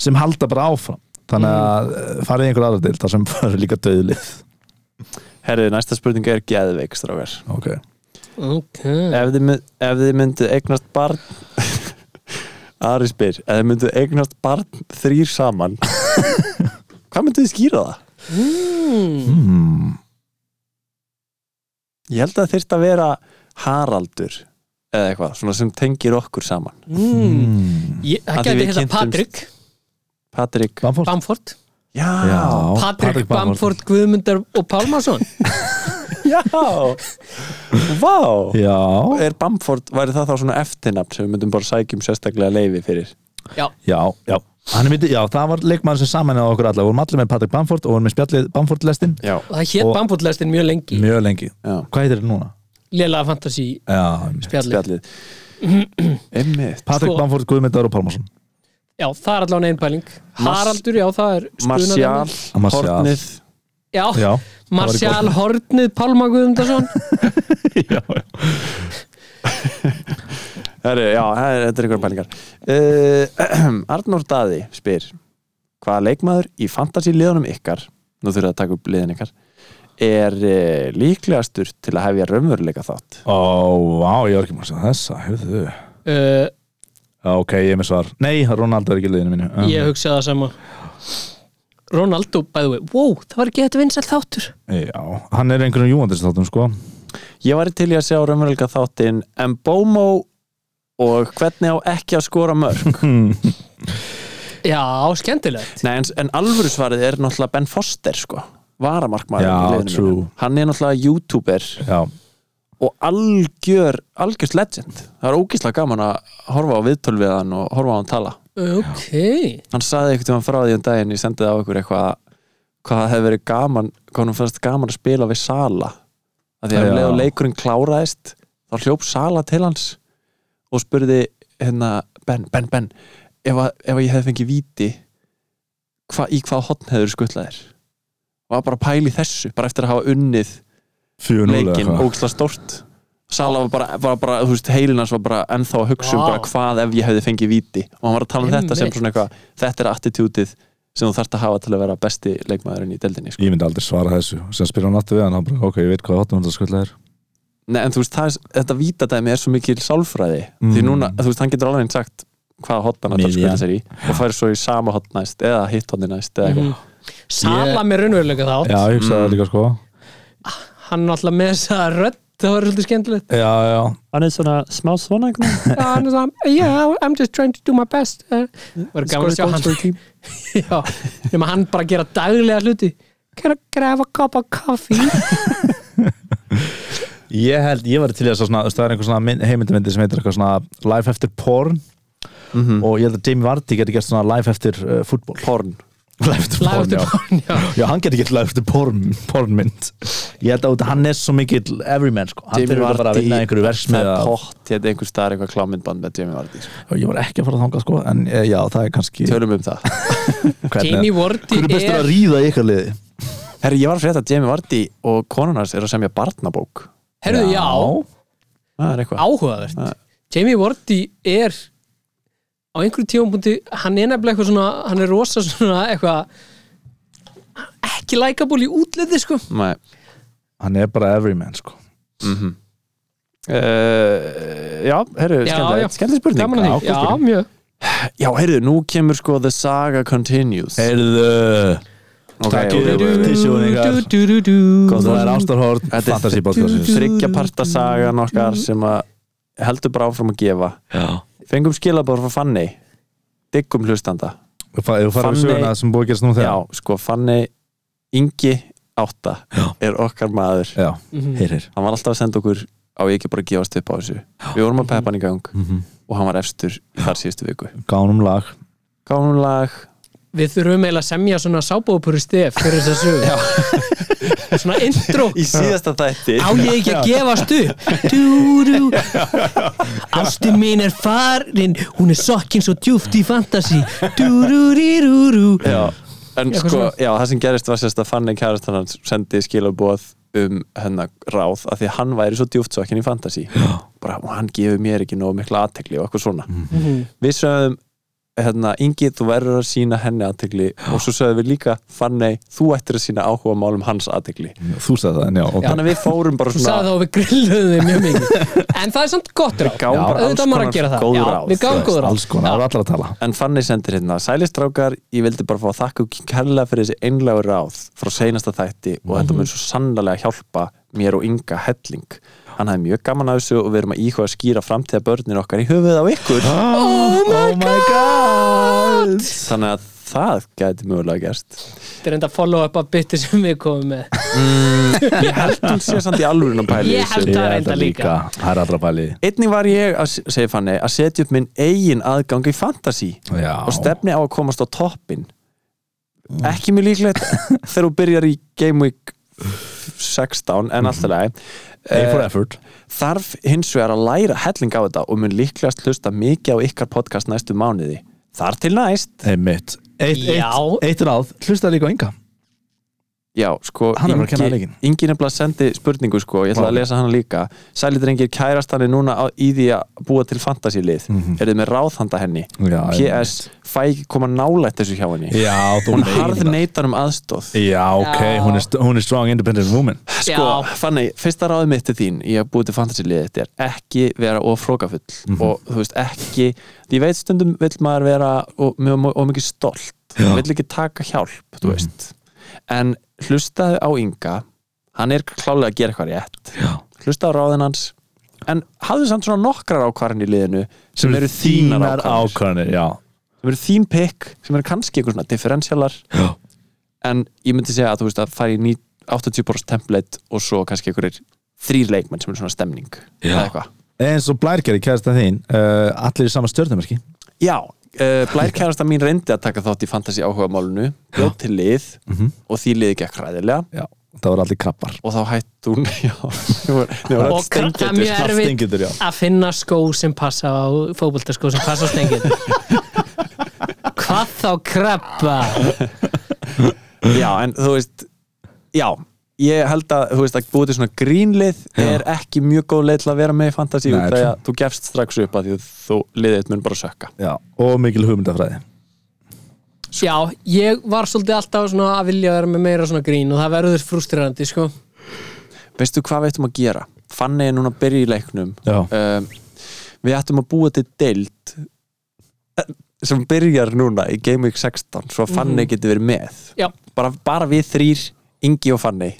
[SPEAKER 4] sem halda bara áfram þannig að eh, farið í einhver aðra deild þar sem eru líka döðlið
[SPEAKER 3] Herrið, næsta spurning er geðveik, strákar
[SPEAKER 4] okay.
[SPEAKER 5] okay.
[SPEAKER 3] ef þið, mun- ef þið myndu eignast barn Ari spyr ef þið myndu eignast barn þrýr saman hvað myndu þið skýra það?
[SPEAKER 4] hmm.
[SPEAKER 3] ég held að þyrst að vera Haraldur eða eitthvað, svona sem tengir okkur saman
[SPEAKER 5] mm.
[SPEAKER 4] Hmm.
[SPEAKER 5] Ég-
[SPEAKER 3] Af
[SPEAKER 5] það
[SPEAKER 3] því
[SPEAKER 5] gæti
[SPEAKER 3] við
[SPEAKER 5] hérna
[SPEAKER 3] kynntumst.
[SPEAKER 5] Patrik
[SPEAKER 3] Patrik
[SPEAKER 4] Bamford?
[SPEAKER 5] Bamford
[SPEAKER 3] já,
[SPEAKER 4] Já,
[SPEAKER 5] Patrik
[SPEAKER 4] Patrik
[SPEAKER 5] Bamford, Guðmundar og Pálmarsson
[SPEAKER 3] já vá
[SPEAKER 4] Já,
[SPEAKER 3] er Bamford, væri það þá svona eftirnafn sem við myndum bara sækjum sérstaklega leifi fyrir
[SPEAKER 5] já,
[SPEAKER 4] Já, já Hann er myndi, já, það var leikmann sem samanlega okkur alla Við vorum allir með Patrik Bamford og vorum með spjallið Bamford-lestin
[SPEAKER 3] já,
[SPEAKER 5] og það hétt
[SPEAKER 4] Og-
[SPEAKER 5] Bamfordlæstin mjög lengi
[SPEAKER 4] Mjög lengi
[SPEAKER 3] já
[SPEAKER 4] Hvað heitir þetta núna?
[SPEAKER 5] lélega fantasi
[SPEAKER 4] Já,
[SPEAKER 5] spjalli
[SPEAKER 3] spjallið einmitt
[SPEAKER 4] Patrik
[SPEAKER 5] Sko-
[SPEAKER 4] Bamford, Guðmyndar og Pálmarsson
[SPEAKER 5] já, það er allavega einn pæling
[SPEAKER 3] Mars-
[SPEAKER 5] Haraldur, já, það er
[SPEAKER 3] Martial,
[SPEAKER 5] spunadæmi.
[SPEAKER 4] Martial.
[SPEAKER 3] Hornið
[SPEAKER 5] já,
[SPEAKER 4] Já,
[SPEAKER 5] Martial Hornið Pálma Guðmundarsson
[SPEAKER 3] Heru, já, það er- þetta er ykkur pælingar uh, Arnór Daði spyr hvaða leikmaður í fantasy liðunum ykkar nú þurfum við að taka upp liðin ykkar er uh, líklegastur til að hefja raunveruleika þátt
[SPEAKER 4] Ó, vá, ég var ekki maður sem þessa, hefðu
[SPEAKER 5] uh,
[SPEAKER 4] Já, ok, ég er með svar Nei, Ronaldo er ekki í liðinu mínu um,
[SPEAKER 5] Ég hugsa það sama Ronaldo, by the way, wow, það var ekki þetta vinsælt þáttur
[SPEAKER 4] Já, hann er einhverjum júandist þáttum sko
[SPEAKER 3] Ég var til í að sjá raunveruleika þáttinn Mbomo og hvernig á ekki að skora mörg
[SPEAKER 5] Já, skemmtilegt
[SPEAKER 3] Nei, en, en alvöru svarið er náttúrulega Ben Foster sko varamarkmaður
[SPEAKER 4] Já, true.
[SPEAKER 3] hann er náttúrulega youtuber
[SPEAKER 4] Já,
[SPEAKER 3] og algjör, algjörst legend það er ógíslega gaman að horfa á viðtöl við hann og horfa á hann tala
[SPEAKER 5] Ok
[SPEAKER 3] hann saði eitthvað tímann frá því um daginn ég sendið á ykkur eitthvað hvað það hefði verið gaman, hvað hann fannst gaman að spila við Sala að því að
[SPEAKER 4] Já.
[SPEAKER 3] um leið og leikurinn kláraðist þá hljóp Sala til hans og spurði hérna Ben, Ben, Ben ef, að, ef að ég hefði fengið víti hva, í hvað hotn hefur skuttlaðir og var bara að pæli þessu bara eftir að hafa unnið
[SPEAKER 4] 4-0 eða
[SPEAKER 3] leikinn
[SPEAKER 4] eitthvað.
[SPEAKER 3] ógislega stórt Sala var bara, var bara þú veist, heilinans var bara ennþá að hugsa um
[SPEAKER 5] Vá.
[SPEAKER 3] bara hvað ef ég hefði fengið víti og hann var að tala um þetta sem
[SPEAKER 5] Einmitt.
[SPEAKER 3] svona eitthvað þetta er attitútið sem þú þarft að hafa til að vera besti leikmaðurinn í deldinni sko.
[SPEAKER 4] Ég myndi aldrei svara þessu Sem spyrir hann aftur við hann hann bara, Ok, ég veit hvað hotnum þetta skulda er
[SPEAKER 3] Nei, en þú veist, það, er- þetta vítadæmi er svo mikil sálfræði því núna, þú veist, hann getur alveg eins sagt hvaða hotna hann ætlar að
[SPEAKER 4] Mm. Miðjan.
[SPEAKER 3] skölda sér í og færi svo í sama hotn næst eða hitt hotni næst eða
[SPEAKER 8] Mm.
[SPEAKER 3] eitthvað
[SPEAKER 5] Sala með raunveruleika þátt
[SPEAKER 4] Já, ég hugsaði það líka sko
[SPEAKER 5] Hann náttúrulega með þess að rödd Það var svolítið skemmtilegt
[SPEAKER 4] Já, já,
[SPEAKER 8] Hann er svona smá svona einhvern veginn.
[SPEAKER 5] Já, hann er svona, Yeah, I'm just trying to do my best uh, Var gaman að sjá
[SPEAKER 8] Score goals
[SPEAKER 5] hann
[SPEAKER 8] for the team.
[SPEAKER 5] Já, nema hann bara að gera daglega hluti Can I grab a cup of coffee?
[SPEAKER 4] Ég held, ég var til í að sjá svona, þú veist, það er einhver svona mynd- heimildamyndi sem heitir eitthvað svona Life After Porn og ég held að Jamie Vardy geti gert svona Life After uh, Football
[SPEAKER 3] Porn,
[SPEAKER 4] Life After
[SPEAKER 5] Life
[SPEAKER 4] Porn,
[SPEAKER 5] after porn, já.
[SPEAKER 4] já Já, hann geti gert Life After Porn, pornmynd Ég held að hann er svo mikill everyman, sko Hann
[SPEAKER 3] Jamie
[SPEAKER 4] fyrir bara að
[SPEAKER 3] Vardy,
[SPEAKER 4] vinna í einhverju versmið
[SPEAKER 3] það er
[SPEAKER 4] að...
[SPEAKER 3] pott hérna einhvers staðar eitthvað klámyndband með Jamie Vardy sko.
[SPEAKER 4] Ég var ekki að fara að þanga, sko, en eh, já, það er kannski
[SPEAKER 3] Tölum um það
[SPEAKER 5] Jamie Vardy
[SPEAKER 4] Hver er bestur að
[SPEAKER 5] er
[SPEAKER 4] ríða í ykkar liði?
[SPEAKER 3] Herri, ég var að frétta að Jamie Vardy og konunars er að semja barnabók
[SPEAKER 5] Herðu, já,
[SPEAKER 3] Það er eitthvað
[SPEAKER 5] áhugavert Jamie Vardy er á einhverju tímapunkti hann er nefnilega eitthvað svona hann er rosa svona eitthvað ekki likeable í útliti sko
[SPEAKER 3] Nei
[SPEAKER 4] Hann er bara everyman, sko
[SPEAKER 3] uh, Já, herru,
[SPEAKER 5] Já, já.
[SPEAKER 3] skemmtileg skemmtileg spurning
[SPEAKER 5] Gaman að því.
[SPEAKER 3] Já,
[SPEAKER 5] Já, mjög
[SPEAKER 3] já herru, nú kemur sko The Saga Continues
[SPEAKER 4] Heyrðu,
[SPEAKER 3] Ok,
[SPEAKER 4] takk
[SPEAKER 3] ok,
[SPEAKER 4] fyrir
[SPEAKER 3] ok.
[SPEAKER 4] tissúin ykkar
[SPEAKER 5] Du-du-du-du.
[SPEAKER 4] Það er Ástarhórn,
[SPEAKER 3] Þetta er-
[SPEAKER 4] Fantasy Podcast
[SPEAKER 3] Þriggja parta sagan okkar sem að heldur bara áfram að gefa
[SPEAKER 4] Já
[SPEAKER 3] Fengum skilabóður frá Fanny Diggum hlustanda
[SPEAKER 4] Ef þú farið við
[SPEAKER 3] Fanney-
[SPEAKER 4] söguna sem búið að gerast nú þegar
[SPEAKER 3] Já, sko Fanny Ingi Átta er okkar maður
[SPEAKER 4] Já,
[SPEAKER 5] Mhm.
[SPEAKER 4] heyrir
[SPEAKER 3] Hann var alltaf að senda okkur á ég ekki bara að gefast upp á þessu Við vorum að peppa hann í gang
[SPEAKER 5] Mhm.
[SPEAKER 3] og hann var efstur í þar síðustu viku
[SPEAKER 4] Gánum lag
[SPEAKER 3] Gáum lag
[SPEAKER 5] Við þurfum eiginlega að semja svona sábúðupurri stef fyrir þess að sög Svona intro
[SPEAKER 3] Í síðasta þætti
[SPEAKER 5] Á ég ekki að gefast upp Dú-dú Ástin mín er farin Hún er sokkin svo djúft í fantasi Dú-dú-dí-dú-dú
[SPEAKER 3] já, en
[SPEAKER 5] Eitthvað
[SPEAKER 3] sko,
[SPEAKER 5] svona.
[SPEAKER 3] já, það sem gerist var sérst að Fanny kærastan hans sendi skilabóð um hennar ráð að því að hann væri svo djúft svo í fantasi bara "Og hann gefur mér ekki nógu mikla aðtegli og eitthvað svona
[SPEAKER 5] Mm.
[SPEAKER 3] við sögum hérna, Ingi, þú verður að sína henni aðtegli og svo sögum við líka Fanny, þú ættir að sína áhuga málum hans aðtegli
[SPEAKER 4] Þú sagði það, en já, ok
[SPEAKER 3] þannig að við fórum bara
[SPEAKER 5] Þú sagði
[SPEAKER 3] svona
[SPEAKER 5] þá að við grilluðum þig mjög mikið En það er samt gott ráð
[SPEAKER 3] gáum bara alls
[SPEAKER 5] Auðvitað maður
[SPEAKER 3] konar
[SPEAKER 5] að gera það
[SPEAKER 3] góð
[SPEAKER 5] Já,
[SPEAKER 3] ráð
[SPEAKER 5] Við gáum góð ráð
[SPEAKER 4] Alls konar, það er allar að tala
[SPEAKER 3] En Fanny sendir hérna Sælistrákar, ég vildi bara fá að þakka ykkur kærlega fyrir þessi einlægur ráð frá seinasta þætti
[SPEAKER 5] Mhm.
[SPEAKER 3] og þetta mun svo sannlega hjálpa mér og Inga Helling Hann hafði mjög gaman af þessu og við erum að íhuga að skýra framtíða börnin okkar í höfuð á ykkur
[SPEAKER 4] Oh my, god,
[SPEAKER 3] Þannig að það gæti mögulega gerst
[SPEAKER 5] Þetta er enda follow up að bytti sem við komum með
[SPEAKER 3] Ég held hún sé samt í alvörun að pæli
[SPEAKER 5] Ég held
[SPEAKER 4] Ég
[SPEAKER 5] það
[SPEAKER 4] er
[SPEAKER 5] reynda
[SPEAKER 4] þetta líka
[SPEAKER 5] líka
[SPEAKER 4] Það er allra bæli
[SPEAKER 3] Einnig var ég, að, segir Fanny, að setja upp minn eigin aðgang í fantasy
[SPEAKER 4] Já
[SPEAKER 3] og stefni á að komast á toppin ekki mjög líklegt þegar þú byrjar í Game Week 16 en
[SPEAKER 4] Mhm.
[SPEAKER 3] alltaf
[SPEAKER 4] A for
[SPEAKER 3] leið
[SPEAKER 4] effort
[SPEAKER 3] Eh, þarf hins vegar að læra helling á þetta og mun líklegast hlusta mikið á ykkar podcast næstu mánuði þar til næst
[SPEAKER 4] Einmitt Eitt,
[SPEAKER 5] Já.
[SPEAKER 4] eitt, eitt ráð Hlusta líka á enga
[SPEAKER 3] Já, sko,
[SPEAKER 4] Hann er bara að kenna leikinn.
[SPEAKER 3] Ingi nefnilega sendi spurningu sko, ég ætla
[SPEAKER 4] Vá.
[SPEAKER 3] að lesa hana líka Sælitrengir kærast hann er núna á, í því að búa til fantasílið mm -hmm. Er þið með ráðhanda henni?
[SPEAKER 4] Mhm. Já,
[SPEAKER 3] PS, fæ ekki koma nálætt þessu hjá henni
[SPEAKER 4] Já, þú
[SPEAKER 3] Hún
[SPEAKER 4] meinar.
[SPEAKER 3] harð neytar um aðstóð
[SPEAKER 4] Já, ok,
[SPEAKER 5] Já.
[SPEAKER 4] hún er, st- hún er strong independent woman
[SPEAKER 3] Sko, fannig, fyrsta ráðið mitt til þín í að búa til fantasíliðið þetta er ekki vera of frókafull og þú veist ekki því ég veit stundum vill maður vera og, og, og mikið stolt,
[SPEAKER 4] Já.
[SPEAKER 3] vill ekki taka hjálp þú veist en hlustaðu á Inga hann er klálega að gera eitthvað rétt
[SPEAKER 4] Já.
[SPEAKER 3] hlustaðu á ráðin hans en hafðu samt svona nokkrar ákvarðin í liðinu sem, eru þínar
[SPEAKER 4] þínar
[SPEAKER 3] ákvarðin
[SPEAKER 4] ákvarðanir Já,
[SPEAKER 3] sem eru þín pick, sem eru kannski einhver svona differentialar
[SPEAKER 4] Já.
[SPEAKER 3] en ég myndi segja að þú veist að fara í ný- 80% template og svo kannski einhverjir þrýr leikmenn sem eru svona stemning
[SPEAKER 4] Já.
[SPEAKER 3] eða eitthvað.
[SPEAKER 4] eins og blærgeri kæðast að þín uh, allir í sama stjörnumerki
[SPEAKER 3] Já, uh, blærkærasta mín reyndi að taka þátt í fantasy áhuga málunu bjóð til lið
[SPEAKER 4] Mhm.
[SPEAKER 3] og því liði gekk hræðilega
[SPEAKER 4] Já, það voru allir krappar
[SPEAKER 3] og þá hætti hún já, þau voru- þau voru öll
[SPEAKER 5] Og kra- það er
[SPEAKER 3] steingetur.
[SPEAKER 5] mjög erfitt
[SPEAKER 4] Stengitur, já
[SPEAKER 5] að finna skó sem passa á fótboltaskó sem passa á stengið hvað þá krabba
[SPEAKER 3] Já, en þú veist Já, ég held að þú veist að búið til svona grínlið er ekki mjög góð leið til að vera með í fantasí
[SPEAKER 4] Nei,
[SPEAKER 3] út af því
[SPEAKER 4] klart.
[SPEAKER 3] að þú gefst strax upp að því að þú liðið þitt mun bara sökka
[SPEAKER 4] Já, og mikil hugmyndafræði
[SPEAKER 5] já, ég var svolítið alltaf svona að vilja vera með meira svona grín og það verður frustrerandi sko
[SPEAKER 3] Veistu hvað við ættum að gera? Fanni er núna að byrja í leiknum
[SPEAKER 4] Já,
[SPEAKER 3] um, Við ættum að búa til deild eh, sem byrjar núna í Game Week 16 svo að Fanni getur verið með
[SPEAKER 5] já,
[SPEAKER 3] bara, bara við þrýr, Ingi og Fanni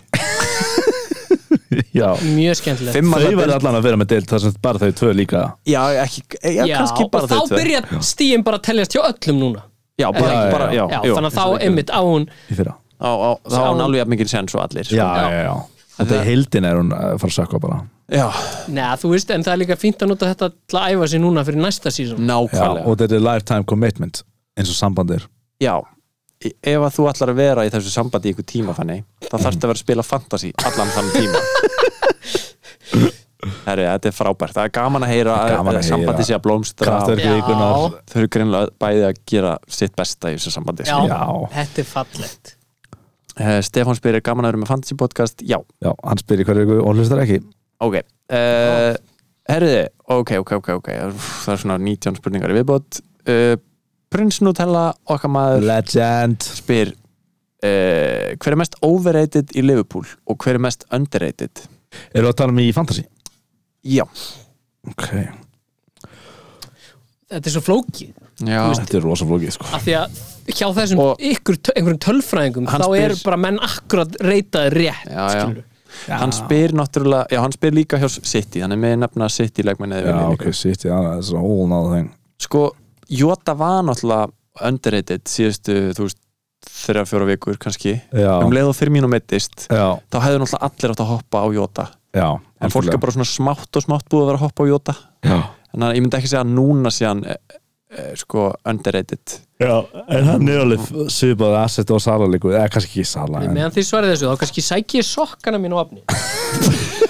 [SPEAKER 4] já
[SPEAKER 5] mjög skemmtilegt
[SPEAKER 3] Fimm manna
[SPEAKER 4] Þau verður
[SPEAKER 3] deild-
[SPEAKER 4] allan að vera með deilt þar sem bara þau tvö líka
[SPEAKER 3] Já, ekki, eh, já, kannski bara
[SPEAKER 5] og þá
[SPEAKER 3] þau tvö.
[SPEAKER 5] byrja stíin bara að teljast hjá öllum núna
[SPEAKER 3] Já, bara,
[SPEAKER 4] Já, já,
[SPEAKER 3] bara, já,
[SPEAKER 5] já, þannig að þá einmitt á hún
[SPEAKER 4] í fyrra
[SPEAKER 3] á, á, þá á
[SPEAKER 5] Sá-
[SPEAKER 3] hann alveg jafn mikið sens og allir sko.
[SPEAKER 4] Já, já, já, já. Þetta er heildin er hún að fara að sökka bara
[SPEAKER 3] já,
[SPEAKER 5] neða, þú veist, en það er líka fínt að nota þetta til að æfa sig núna fyrir næsta sísón
[SPEAKER 4] já,
[SPEAKER 3] nákvæmlega já,
[SPEAKER 4] Og þetta er lifetime commitment eins og sambandir
[SPEAKER 3] Í- e, ef að þú ætlar að vera í þessu sambandi í ykkur tíma þannig, þá þarftu að vera að spila fantasy allan þann tíma Herri, þetta er frábært, það er gaman að heyra
[SPEAKER 4] Það er gaman að
[SPEAKER 3] að
[SPEAKER 4] heyra.
[SPEAKER 3] sambandi sé að blómstra
[SPEAKER 4] Kraftverk
[SPEAKER 5] Já.
[SPEAKER 4] vikunar
[SPEAKER 3] þau eru greinlega bæði að gera sitt besta í þessu sambandi
[SPEAKER 5] já,
[SPEAKER 3] sko.
[SPEAKER 4] Já.
[SPEAKER 5] þetta er fallegt
[SPEAKER 3] Eh, Stefán spyrir gaman að vera með fantasy podcast já,
[SPEAKER 4] Já, hann spyrir hverju viku og hlustar ekki
[SPEAKER 3] ok uh, herriði, ok, ok, ok, ok Úff, það er svona 19 spurningar í viðbót uh, Prins Nutella okkar maður
[SPEAKER 4] Legend
[SPEAKER 3] spyr uh, hver er mest overrated í Liverpool og hver er mest underrated
[SPEAKER 4] Eru að tala um í fantasy?
[SPEAKER 3] já,
[SPEAKER 4] Ok,
[SPEAKER 5] þetta er svo flókið
[SPEAKER 3] já.
[SPEAKER 4] þetta er rosa flókið sko
[SPEAKER 5] af því að hjá þessum
[SPEAKER 3] Og-
[SPEAKER 5] ykkur, tö- einhverjum tölfræðingum
[SPEAKER 3] Hann
[SPEAKER 5] þá
[SPEAKER 3] spyr-
[SPEAKER 5] er bara menn akkurat reytaði rétt
[SPEAKER 3] Já, já.
[SPEAKER 5] skilurðu.
[SPEAKER 3] hann spyr náttúrulega, já hann spyr líka hjá City hann er með nefna City leikmenni
[SPEAKER 4] Já, ok, sitt, já, that's a whole nother thing
[SPEAKER 3] sko, Jota var náttúrulega underrated síðustu þú veist, þrjá fjóra vikur kannski
[SPEAKER 4] Já.
[SPEAKER 3] um leið og fyrir mínum meittist
[SPEAKER 4] Já,
[SPEAKER 3] þá hefðu náttúrulega allir átt að hoppa á Jota
[SPEAKER 4] já
[SPEAKER 3] en fólk er bara svona smátt og smátt búið að vera að hoppa á Jota
[SPEAKER 4] Já,
[SPEAKER 3] en að, ég myndi ekki segja að núna sé hann e, e, sko underrated
[SPEAKER 4] já en hann er alveg svipað asset og sala líku eða kannski ekki sala
[SPEAKER 5] En
[SPEAKER 4] en...
[SPEAKER 5] meðan þið svarið þessu, þá kannski sæki ég sokkana mín á afni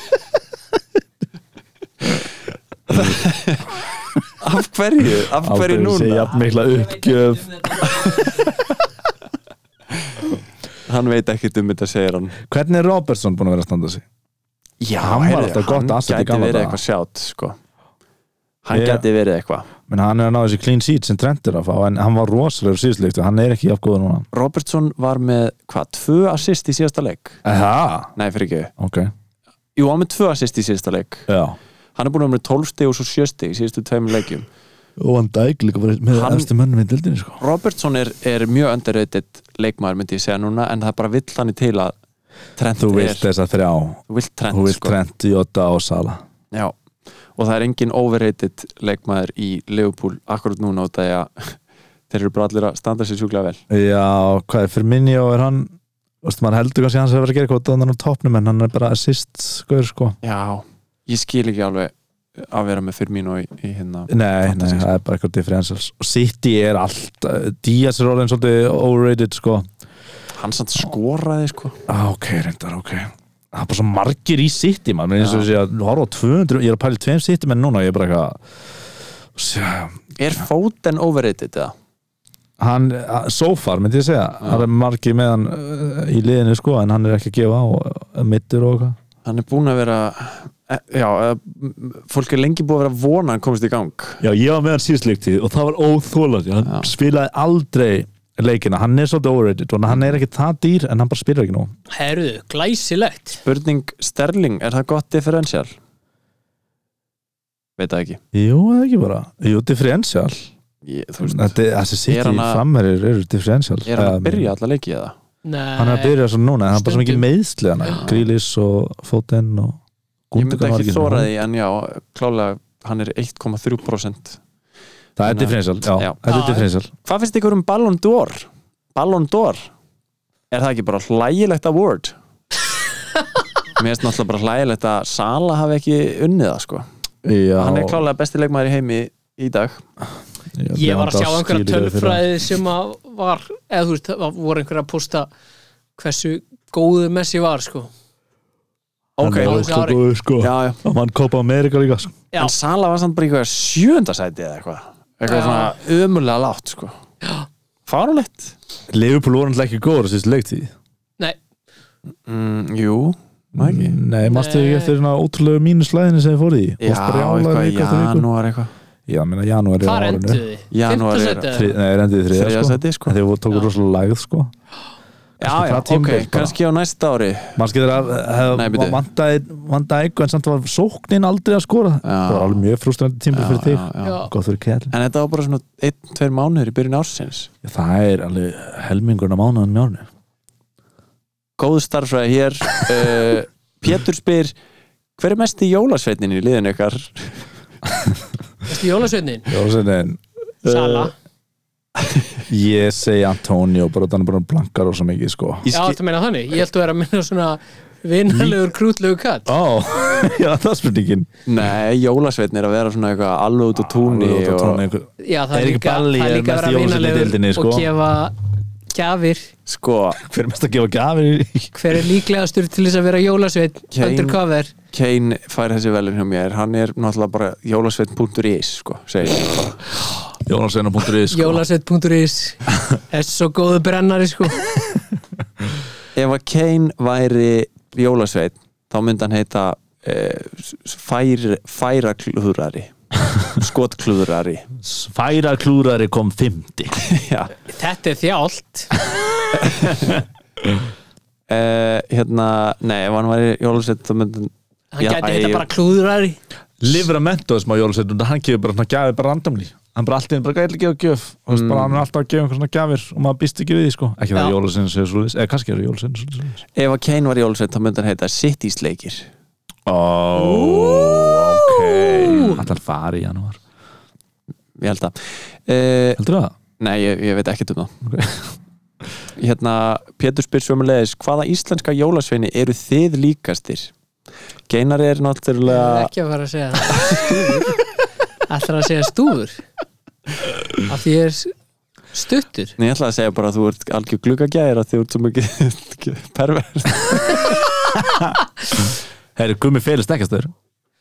[SPEAKER 3] af hverju, af hverju
[SPEAKER 4] sé
[SPEAKER 3] núna
[SPEAKER 4] jafn mikla uppgjöf
[SPEAKER 3] hann veit ekkert um þetta segir hann
[SPEAKER 4] Hvernig er Robertson búin að vera að standa sig?
[SPEAKER 3] já,
[SPEAKER 4] Hann var
[SPEAKER 3] heyrðu,
[SPEAKER 4] alltaf gott asset í
[SPEAKER 3] hann gæti
[SPEAKER 4] gamla
[SPEAKER 3] verið
[SPEAKER 4] daga.
[SPEAKER 3] eitthvað sjátt sko. hann
[SPEAKER 4] Ég-
[SPEAKER 3] gæti verið eitthvað
[SPEAKER 4] menn hann er að ná þessi clean sheet sem Trent er að fá en hann var rosalegur síðusleikt og hann er ekki jafn góður núna
[SPEAKER 3] Robertson var með hvað, tvö assist í síðasta leik
[SPEAKER 4] Aha,
[SPEAKER 3] nei, fyrir ekki,
[SPEAKER 4] ok
[SPEAKER 3] jú, hann var með tvö assist í síðasta leik
[SPEAKER 4] Já
[SPEAKER 3] hann er búin að vera með 12 stig og svo 7 stig í síðustu tveimur leikjum
[SPEAKER 4] Og hann dæk líka bara með
[SPEAKER 3] Hann-
[SPEAKER 4] efstu mönnum í dildinni sko
[SPEAKER 3] Robertson er, er mjög underrated leikmaður myndi ég segja núna, en það er bara vill hann til að Trent
[SPEAKER 4] Þú
[SPEAKER 3] er,
[SPEAKER 4] vilt þessa þrjá
[SPEAKER 3] þú vilt Trent,
[SPEAKER 4] Þú vilt
[SPEAKER 3] sko.
[SPEAKER 4] Trent, Jota og Sala
[SPEAKER 3] Já, og það er engin overrated leikmaður í Liverpool akkurat núna út af því að þeir eru bara allir að standa sér sjúklega vel
[SPEAKER 4] Já, hvað er Firmino er hann Vestu, maður heldur kannski að hann sem verið að gera eitthvað þannig á topnum en hann er bara assist skoður sko
[SPEAKER 3] Já, ég skil ekki alveg að vera með Firmino í, í hérna
[SPEAKER 4] Nei, nei,
[SPEAKER 3] Fantasy, sko.
[SPEAKER 4] það er bara eitthvað differentials og City er allt uh, Díaz er orðin svolítið overrated sko
[SPEAKER 3] hann samt skoraði sko
[SPEAKER 4] ah, Ok, reyndar, ok Það er bara svo margir í City maður Mér finnst þess að ég horfa á 200 Ég er að pæla í tveim City menn núna og ég er bara eitthvað Sjá,
[SPEAKER 3] Er Foden overrated eða?
[SPEAKER 4] hann, sófar myndi ég segja hann er margi með hann uh, í liðinu sko en hann er ekki að gefa og uh, middur og eitthvað
[SPEAKER 3] hann er búin að vera e- já, e- m- fólk er lengi búin að vera að vona að hann komist í gang
[SPEAKER 4] Já, ég var með hann síðsleiktið og það var óþólandi hann
[SPEAKER 3] Já.
[SPEAKER 4] spilaði aldrei leikina, hann er svolítið overrated og hann er ekki það dýr en hann bara spilar ekki nú
[SPEAKER 5] Herðu, glæsilegt
[SPEAKER 3] spurning Sterling, er það gott differential? veit það ekki
[SPEAKER 4] Jú, eða ekki bara, jú, differential
[SPEAKER 3] ég, þú veist,
[SPEAKER 4] Þetta, þessi
[SPEAKER 3] Er
[SPEAKER 4] sitt í
[SPEAKER 3] hann að-
[SPEAKER 4] frammerir eru differential
[SPEAKER 3] er hann
[SPEAKER 4] Um,
[SPEAKER 3] að byrja alla leiki eða?
[SPEAKER 5] Nei,
[SPEAKER 4] Hann er að byrja svo núna, en hann er bara svo mikið
[SPEAKER 5] Stundum.
[SPEAKER 4] meiðslega
[SPEAKER 3] Já.
[SPEAKER 4] Grílis og Fótinn og
[SPEAKER 3] ég myndi
[SPEAKER 4] Gundogan var
[SPEAKER 3] ekki
[SPEAKER 4] svona.
[SPEAKER 3] þóra því, en já, klálega hann er 1,3%
[SPEAKER 4] Það er
[SPEAKER 3] Þannig að-
[SPEAKER 4] differential, já,
[SPEAKER 3] Já.
[SPEAKER 4] þetta er
[SPEAKER 5] Já.
[SPEAKER 4] differential
[SPEAKER 3] Hvað finnst ykkur um Ballon d'Or? Ballon d'Or? Er það ekki bara hlægilegt award? Mér finnst náttúrulega bara hlægilegt að Sala hafi ekki unnið það sko
[SPEAKER 4] já,
[SPEAKER 3] Hann er klálega besti leikmaður í heimi í dag
[SPEAKER 5] Ég var að sjá einhverja
[SPEAKER 4] skilur við fyrir hann.
[SPEAKER 5] tölfræði sem að var, eða þú veist, það voru einhverja að posta hversu góðu Messi var, sko.
[SPEAKER 3] Ok,
[SPEAKER 4] Hann er
[SPEAKER 5] á þessu
[SPEAKER 4] ósköp
[SPEAKER 5] ári.
[SPEAKER 4] góður, sko
[SPEAKER 3] já, já.
[SPEAKER 4] Og hann kopa Amerika líka sko.
[SPEAKER 5] Já.
[SPEAKER 3] En Sala var samt bara í eitthvað sjöndasæti eða eitthvað Eitthvað
[SPEAKER 5] Já.
[SPEAKER 3] svona ömulega látt sko Fárulegt
[SPEAKER 4] Liverpool voru hann ekki góður þessi leiktið
[SPEAKER 5] Nei,
[SPEAKER 3] mm, Jú, maður ekki
[SPEAKER 4] Nei, mástu ekki
[SPEAKER 5] Nei.
[SPEAKER 4] eftir svona ótrúlegu mínuslæðinu sem þið fóru í
[SPEAKER 3] Já, eitthvað í janúar eitthvað
[SPEAKER 4] Já, meina janúar
[SPEAKER 5] hvar enduðu þið?
[SPEAKER 3] Janúar er-
[SPEAKER 5] Fimmta sæti
[SPEAKER 4] Þri,
[SPEAKER 5] eða?
[SPEAKER 4] Nei, rendið í þriða
[SPEAKER 3] Þriðja
[SPEAKER 4] sko
[SPEAKER 3] sæti, sko.
[SPEAKER 4] En Þeir voru- tóku
[SPEAKER 5] Já.
[SPEAKER 4] rosalega lægð sko
[SPEAKER 3] Já,
[SPEAKER 4] Kannski sko.
[SPEAKER 3] já,
[SPEAKER 4] það
[SPEAKER 3] ok,
[SPEAKER 4] tímabil bara.
[SPEAKER 3] kannski á næsta ári
[SPEAKER 4] Manski þeir að
[SPEAKER 3] Nei, bíddu.
[SPEAKER 4] vantaði vantaði eitthvað en samt var sóknin aldrei að skora Það var alveg mjög frústrandi tímur fyrir þig
[SPEAKER 3] já, já.
[SPEAKER 5] Já,
[SPEAKER 4] Góð fyrir kæl
[SPEAKER 3] En þetta var bara svona einn, tveir mánuður í byrjun ársins
[SPEAKER 4] Það er alveg helmingurinn á mánuðan mjörnu
[SPEAKER 3] Góð starfræði hér uh, Pétur spyr Hver er mest í jólasveitnin í liðinu ykkar?
[SPEAKER 5] Þessi jólasveitnin,
[SPEAKER 4] Jólasveinin Eh,
[SPEAKER 5] Sala
[SPEAKER 4] Ég segi Antonio bara þannig bara blankar og svo mikið sko
[SPEAKER 3] Ég
[SPEAKER 5] Já,
[SPEAKER 3] skil-
[SPEAKER 5] þetta meina þannig, ég held að vera að minna svona vinnalegur, krútlegur katt
[SPEAKER 4] Ó, já það er spurningin
[SPEAKER 3] Nei, jólasveitnin er að vera svona eitthvað alveg út á túnni
[SPEAKER 4] Alveg út á
[SPEAKER 3] og
[SPEAKER 4] túni einhver-
[SPEAKER 5] Já, það er
[SPEAKER 4] Eirík
[SPEAKER 5] líka,
[SPEAKER 4] Balli
[SPEAKER 5] það
[SPEAKER 4] er
[SPEAKER 5] er líka að
[SPEAKER 4] mesti
[SPEAKER 5] vera
[SPEAKER 4] jólasveinn í deildinni,
[SPEAKER 5] vinnalegur
[SPEAKER 4] sko.
[SPEAKER 5] og gefa gjafir
[SPEAKER 3] sko,
[SPEAKER 4] Hver er mest að gefa gafir í
[SPEAKER 5] Hver er líklegastur til þess að vera jólasveit
[SPEAKER 3] Kane.
[SPEAKER 5] undercover?
[SPEAKER 3] Kane fær þessi velin hjá mér hann er náttúrulega bara jólasveitn.is sko, segir ég bara.
[SPEAKER 4] Jólasveina.is sko.
[SPEAKER 5] Jólasveit.is Er svo góðu brennari sko
[SPEAKER 3] Ef að Kane væri jólasveitn þá myndi hann heita uh, fær, færa klúðrari skotklúðrari
[SPEAKER 4] Færa klúrari kom 50
[SPEAKER 3] Já
[SPEAKER 5] Þetta er þjált
[SPEAKER 3] uh, hérna, nei, ef hann væri jólasett þá myndi
[SPEAKER 5] Hann
[SPEAKER 3] Já,
[SPEAKER 5] gæti
[SPEAKER 3] æ,
[SPEAKER 5] þetta
[SPEAKER 3] ég-
[SPEAKER 5] bara klúðurari
[SPEAKER 4] Livramento sem á jólasveitum hann gefur bara svona gafir bara randomli hann bara alltaf bara gæti að gefa gjöf mm. veist, bara, hann er alltaf að gefa einhver svona gafir og maður býst ekki við því sko ekki það
[SPEAKER 5] Já.
[SPEAKER 4] jólasveinu segir svo eða kannski er jólasveinu svo leiðis
[SPEAKER 3] ef að Kane var jólasett þá myndi hann heita City's leikir
[SPEAKER 4] oh, ok alltaf fari í janúar
[SPEAKER 3] ég held að uh,
[SPEAKER 4] heldur það?
[SPEAKER 3] nei, ég, ég veit ekkert um það hérna, Pétur spyr sömulegis hvaða íslenska jólasveini eru þið líkastir? Geinar er
[SPEAKER 5] Ég
[SPEAKER 3] náttúrulega
[SPEAKER 5] er ekki að fara að segja það Stúfur Ætlar að segja stúfur Af því ég er stuttur
[SPEAKER 3] Nei, ég ætla að segja bara að þú ert algjör gluggagæðir að þú ert svo mikið pervert
[SPEAKER 4] Herri, gummi félist ekkert þér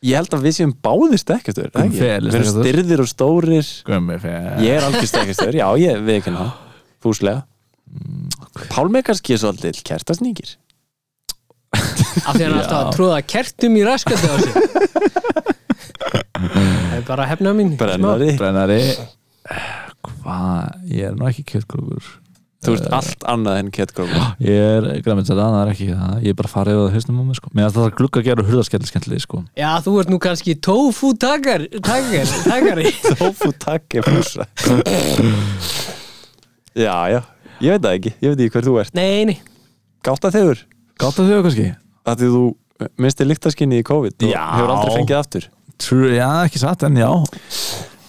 [SPEAKER 3] Ég held að við séum báðir stekkastur
[SPEAKER 4] Gummi Felix
[SPEAKER 3] Við erum
[SPEAKER 4] stekkjastur.
[SPEAKER 3] styrðir og stórir
[SPEAKER 4] gummi félist
[SPEAKER 3] Ég er algjör stekkastur, já, ég við ekki ná Fúslega Pálmi er kannski svolítið kertasnýkir
[SPEAKER 5] Af því hann er alltaf að tróða kertum í raskandi á sig Það er bara hefna mín
[SPEAKER 3] Brennari
[SPEAKER 4] brennari hvað ég er nú ekki kjötklúkur
[SPEAKER 3] Þú ert allt annað en kettkrókur
[SPEAKER 4] ég er græminsæta það er ekki það ég er bara farið á það hausnum á mig sko meðan það glugga að gera hurðaskell skemmtileg sko
[SPEAKER 5] Já, þú ert nú kannski tofu takar, takar, takari
[SPEAKER 3] Tófu takk er fúsa Já, já Ég veit það ekki, ég veit ekki hver þú ert
[SPEAKER 5] Nei, nei,
[SPEAKER 3] Gáta þegur,
[SPEAKER 4] Gáta þau kannski?
[SPEAKER 3] að því þú misti lyktaskinni í COVID og
[SPEAKER 4] Já.
[SPEAKER 3] hefur aldrei fengið aftur
[SPEAKER 4] True, já, ekki satt, en já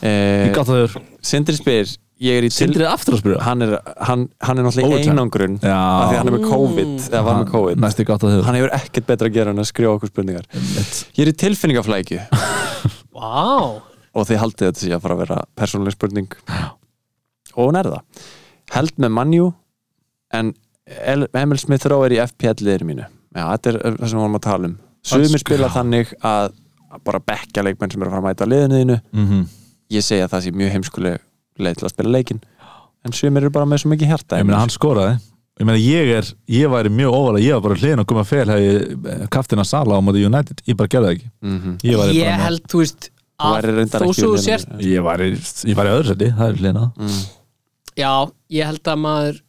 [SPEAKER 3] eh,
[SPEAKER 4] Gáta þau
[SPEAKER 3] Sindri spyr Ég er í til
[SPEAKER 4] Sindri er aftur að spyrja
[SPEAKER 3] hann er, hann, hann er náttúrulega í
[SPEAKER 4] Overtime.
[SPEAKER 3] einangrun
[SPEAKER 4] Já.
[SPEAKER 3] af því að hann er með COVID, eða var með COVID
[SPEAKER 4] Næsti gáta þau
[SPEAKER 3] hann hefur ekkert betra að gera en að skrifa okkur spurningar ég er í tilfinningaflækju
[SPEAKER 5] vá
[SPEAKER 3] og þið haldið þetta sé að fara að vera persónuleg spurning og hún er það held með mannjú en El- Emil Smith Rowe er í FPL-liðir mínu já, þetta er það sem við vorum að tala um sumir spila þannig að að bara bekka leikmenn sem eru að fara að mæta liðinu þínu
[SPEAKER 4] mm -hmm.
[SPEAKER 3] ég segi að það sé mjög heimskuleg leið til að spila leikin en sumir eru bara með svo mikið hjarta
[SPEAKER 4] ég meina hann skoraði ég meina ég er, ég væri mjög óvala ég var bara hliðin og koma fel hefði kaftina Sala á móti United, ég bara gerði það ekki
[SPEAKER 3] mm -hmm.
[SPEAKER 4] ég væri, bara
[SPEAKER 5] ég
[SPEAKER 4] með-
[SPEAKER 5] held, þú veist að
[SPEAKER 3] væri reyndar
[SPEAKER 5] þó
[SPEAKER 3] ekki
[SPEAKER 5] svo
[SPEAKER 3] við
[SPEAKER 5] þú
[SPEAKER 3] liðinu.
[SPEAKER 5] sért
[SPEAKER 4] ég væri, ég væri öðru seti, það er hliðin á
[SPEAKER 5] já, ég held að maður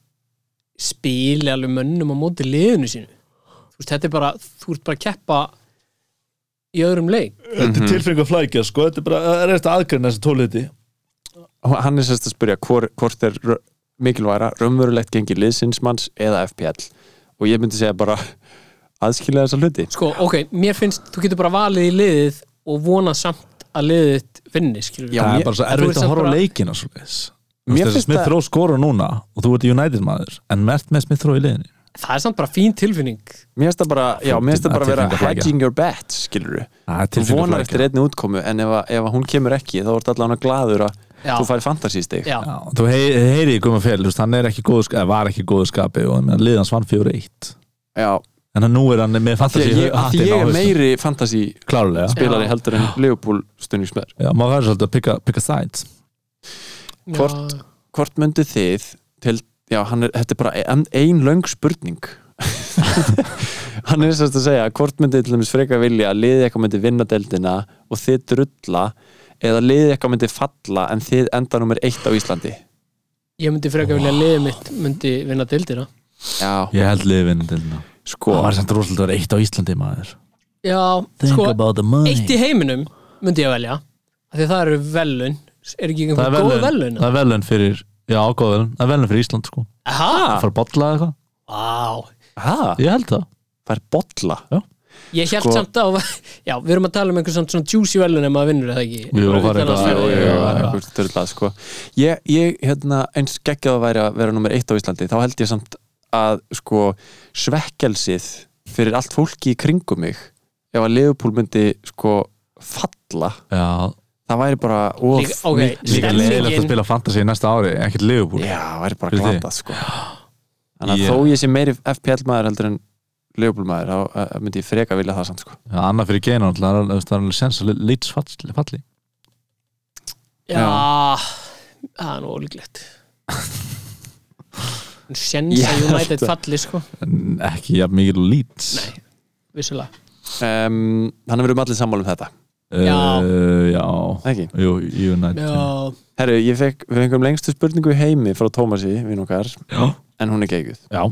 [SPEAKER 5] spili alveg mönnum á móti liðinu sínu þú veist, þetta er bara, þú ert bara að keppa í öðrum leik
[SPEAKER 4] þetta
[SPEAKER 3] Mhm.
[SPEAKER 4] er tilfengu að flækja sko, þetta er bara reyðst aðgreina þessi tóliti
[SPEAKER 3] hann er sérst að spyrja hvor, hvort er rö- mikilværa raunverulegt gengi liðsinsmanns eða FPL og ég myndi segja bara aðskilja þessa hluti
[SPEAKER 5] sko, ok, mér finnst, þú getur bara valið í liðið og vonað samt að liðið þitt vinni, skilur
[SPEAKER 3] Já,
[SPEAKER 4] það
[SPEAKER 3] mér-
[SPEAKER 4] er bara svo
[SPEAKER 5] en þú
[SPEAKER 4] erfitt
[SPEAKER 5] ert
[SPEAKER 4] að
[SPEAKER 5] samt
[SPEAKER 4] horfa á
[SPEAKER 5] bara-
[SPEAKER 4] leikina svo leiðis
[SPEAKER 3] Mér
[SPEAKER 4] Þessi
[SPEAKER 3] finnst
[SPEAKER 4] Smith
[SPEAKER 3] það-
[SPEAKER 4] Rowe skora núna og þú ert United maður en mert með Smith Rowe í liðinu
[SPEAKER 5] það er samt bara fín tilfinning
[SPEAKER 3] mér finnst það bara, já, mér finnst það bara að vera
[SPEAKER 4] Tilfinningaflækja.
[SPEAKER 3] hedging your bets, skilur
[SPEAKER 4] Það er
[SPEAKER 3] þú
[SPEAKER 4] tilfinningu
[SPEAKER 3] vonar
[SPEAKER 4] flækja.
[SPEAKER 3] eftir einni útkomu en ef, að- ef að hún kemur ekki þá ertu allavega gladur að
[SPEAKER 5] Já.
[SPEAKER 3] þú færi fantasístig
[SPEAKER 5] já,
[SPEAKER 4] Já, þú hey, heyri í Guma Fel, hann er ekki góð, eða var ekki góðu skapi og menn, liðans vann 4-1
[SPEAKER 3] Já,
[SPEAKER 4] en hann nú er hann
[SPEAKER 3] því
[SPEAKER 4] með fantasi
[SPEAKER 3] að ég, að því ég er meiri fantasy
[SPEAKER 4] klárlega,
[SPEAKER 3] spilari
[SPEAKER 5] Já.
[SPEAKER 3] heldur en Leopold stundingsmöður
[SPEAKER 4] já, maður verður svolítið að picka, picka sides
[SPEAKER 3] Hvort- Hvort myndu þið til, já, hann er, þetta er bara ein, ein löng spurning Hann er sérst að segja hvort myndið til dæmis freka vilja að liðið eitthvað myndi vinna deildina og þið drulla eða liðið eitthvað myndi falla en þið enda nummer eitt á Íslandi
[SPEAKER 5] ég myndi frekar vilja að liðið mitt myndi vinna dildina
[SPEAKER 3] Já,
[SPEAKER 4] ég held liðvinni til hann
[SPEAKER 3] sko
[SPEAKER 4] það var samt rosalega að vera eitt á Íslandi maður
[SPEAKER 5] já,
[SPEAKER 4] think
[SPEAKER 5] sko,
[SPEAKER 4] about the money
[SPEAKER 5] eitt í heiminum myndi ég velja af því að það eru velun er ekki
[SPEAKER 4] það
[SPEAKER 5] einhver
[SPEAKER 4] er
[SPEAKER 5] góð
[SPEAKER 4] velun,
[SPEAKER 5] velun
[SPEAKER 4] það er velun fyrir já, góð velun, það er velun fyrir Ísland sko
[SPEAKER 5] aha,
[SPEAKER 4] það fara bolla eða eitthvað,
[SPEAKER 5] vá
[SPEAKER 3] Hæ?
[SPEAKER 4] ég held það
[SPEAKER 3] Það er bolla
[SPEAKER 5] ég held
[SPEAKER 3] Sko-
[SPEAKER 5] samt á já, við erum að tala um einhver samt svona juicy velun ef maður vinnur eða ekki
[SPEAKER 4] Jú, það er
[SPEAKER 5] Utan að
[SPEAKER 4] eitthvað-
[SPEAKER 5] sverja.
[SPEAKER 4] jú, jú, jú, jú.
[SPEAKER 3] eitthvað styrlað sko ég, ég hérna, eins geggjað að væri að vera nummer eitt á Íslandi, þá held ég samt að sko svekkelsið fyrir allt fólki í kringum mig ef að Leopold myndi sko falla,
[SPEAKER 4] já,
[SPEAKER 3] það væri bara of,
[SPEAKER 5] Líka- ok,
[SPEAKER 3] mikið-
[SPEAKER 4] líka
[SPEAKER 5] Stemningin-
[SPEAKER 4] leiðilegt að spila fantasi næsta ári ekkert liðbúl
[SPEAKER 3] já, það væri bara
[SPEAKER 4] Fyrir þig.
[SPEAKER 3] glatað sko þannig að
[SPEAKER 4] Ég-
[SPEAKER 3] þó ég sé meiri FPL maður heldur en Leopold maður, þá eh, myndi ég freka vilja það samt sko
[SPEAKER 4] Já, annað fyrir geina alltaf, það er alveg- það er alveg sens að Leeds fall- falli
[SPEAKER 5] já, það er nú ólíklegt en sjens
[SPEAKER 3] Ég
[SPEAKER 5] að
[SPEAKER 3] held
[SPEAKER 5] United
[SPEAKER 3] að-
[SPEAKER 5] falli sko,
[SPEAKER 4] En ekki jafn mikið og Leeds
[SPEAKER 5] Nei. vissulega
[SPEAKER 3] um, þannig að við erum allir sammála um þetta
[SPEAKER 4] uh,
[SPEAKER 5] Já.
[SPEAKER 4] já.
[SPEAKER 3] ekki?
[SPEAKER 4] Jú, United
[SPEAKER 5] já,
[SPEAKER 3] Herru, ég fekk, við fengum lengstu spurningu í heimi frá Tómasi, vinn okkar,
[SPEAKER 4] Já.
[SPEAKER 3] en hún er geguð.
[SPEAKER 4] Já.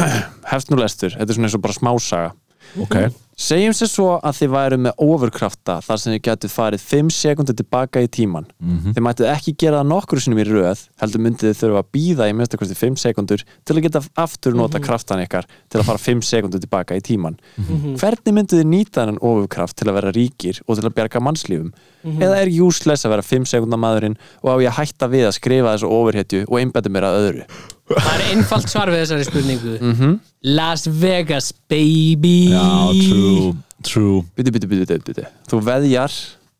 [SPEAKER 3] Hefst nú lestur, þetta er svona eins og bara smásaga.
[SPEAKER 4] ok
[SPEAKER 3] Segjum sér svo að þið væru með overkrafta þar sem þið gætu farið 5 sekundir tilbaka í tíman.
[SPEAKER 4] Mhm.
[SPEAKER 3] Þið mættu ekki gera það nokkru sinum í röð, heldur myndið þið þurfa að býða í mesta kosti 5 sekundur til að geta aftur nota kraftan ykkar til að fara 5 sekundur tilbaka í tíman. Hvernig myndið þið nýta þennan overkraft til að vera ríkir og til að bjarga mannslífum? Eða er useless að vera 5 sekundar maðurinn og á ég að hætta við að skrifa þessu overhetju og einbæta mér að öðru?
[SPEAKER 5] það er einfalt svar við þessari spurningu Las Vegas baby
[SPEAKER 4] Mhm. Já, true, true
[SPEAKER 3] Bitu, bitu, bitu, bitu, bitu. Þú veðjar,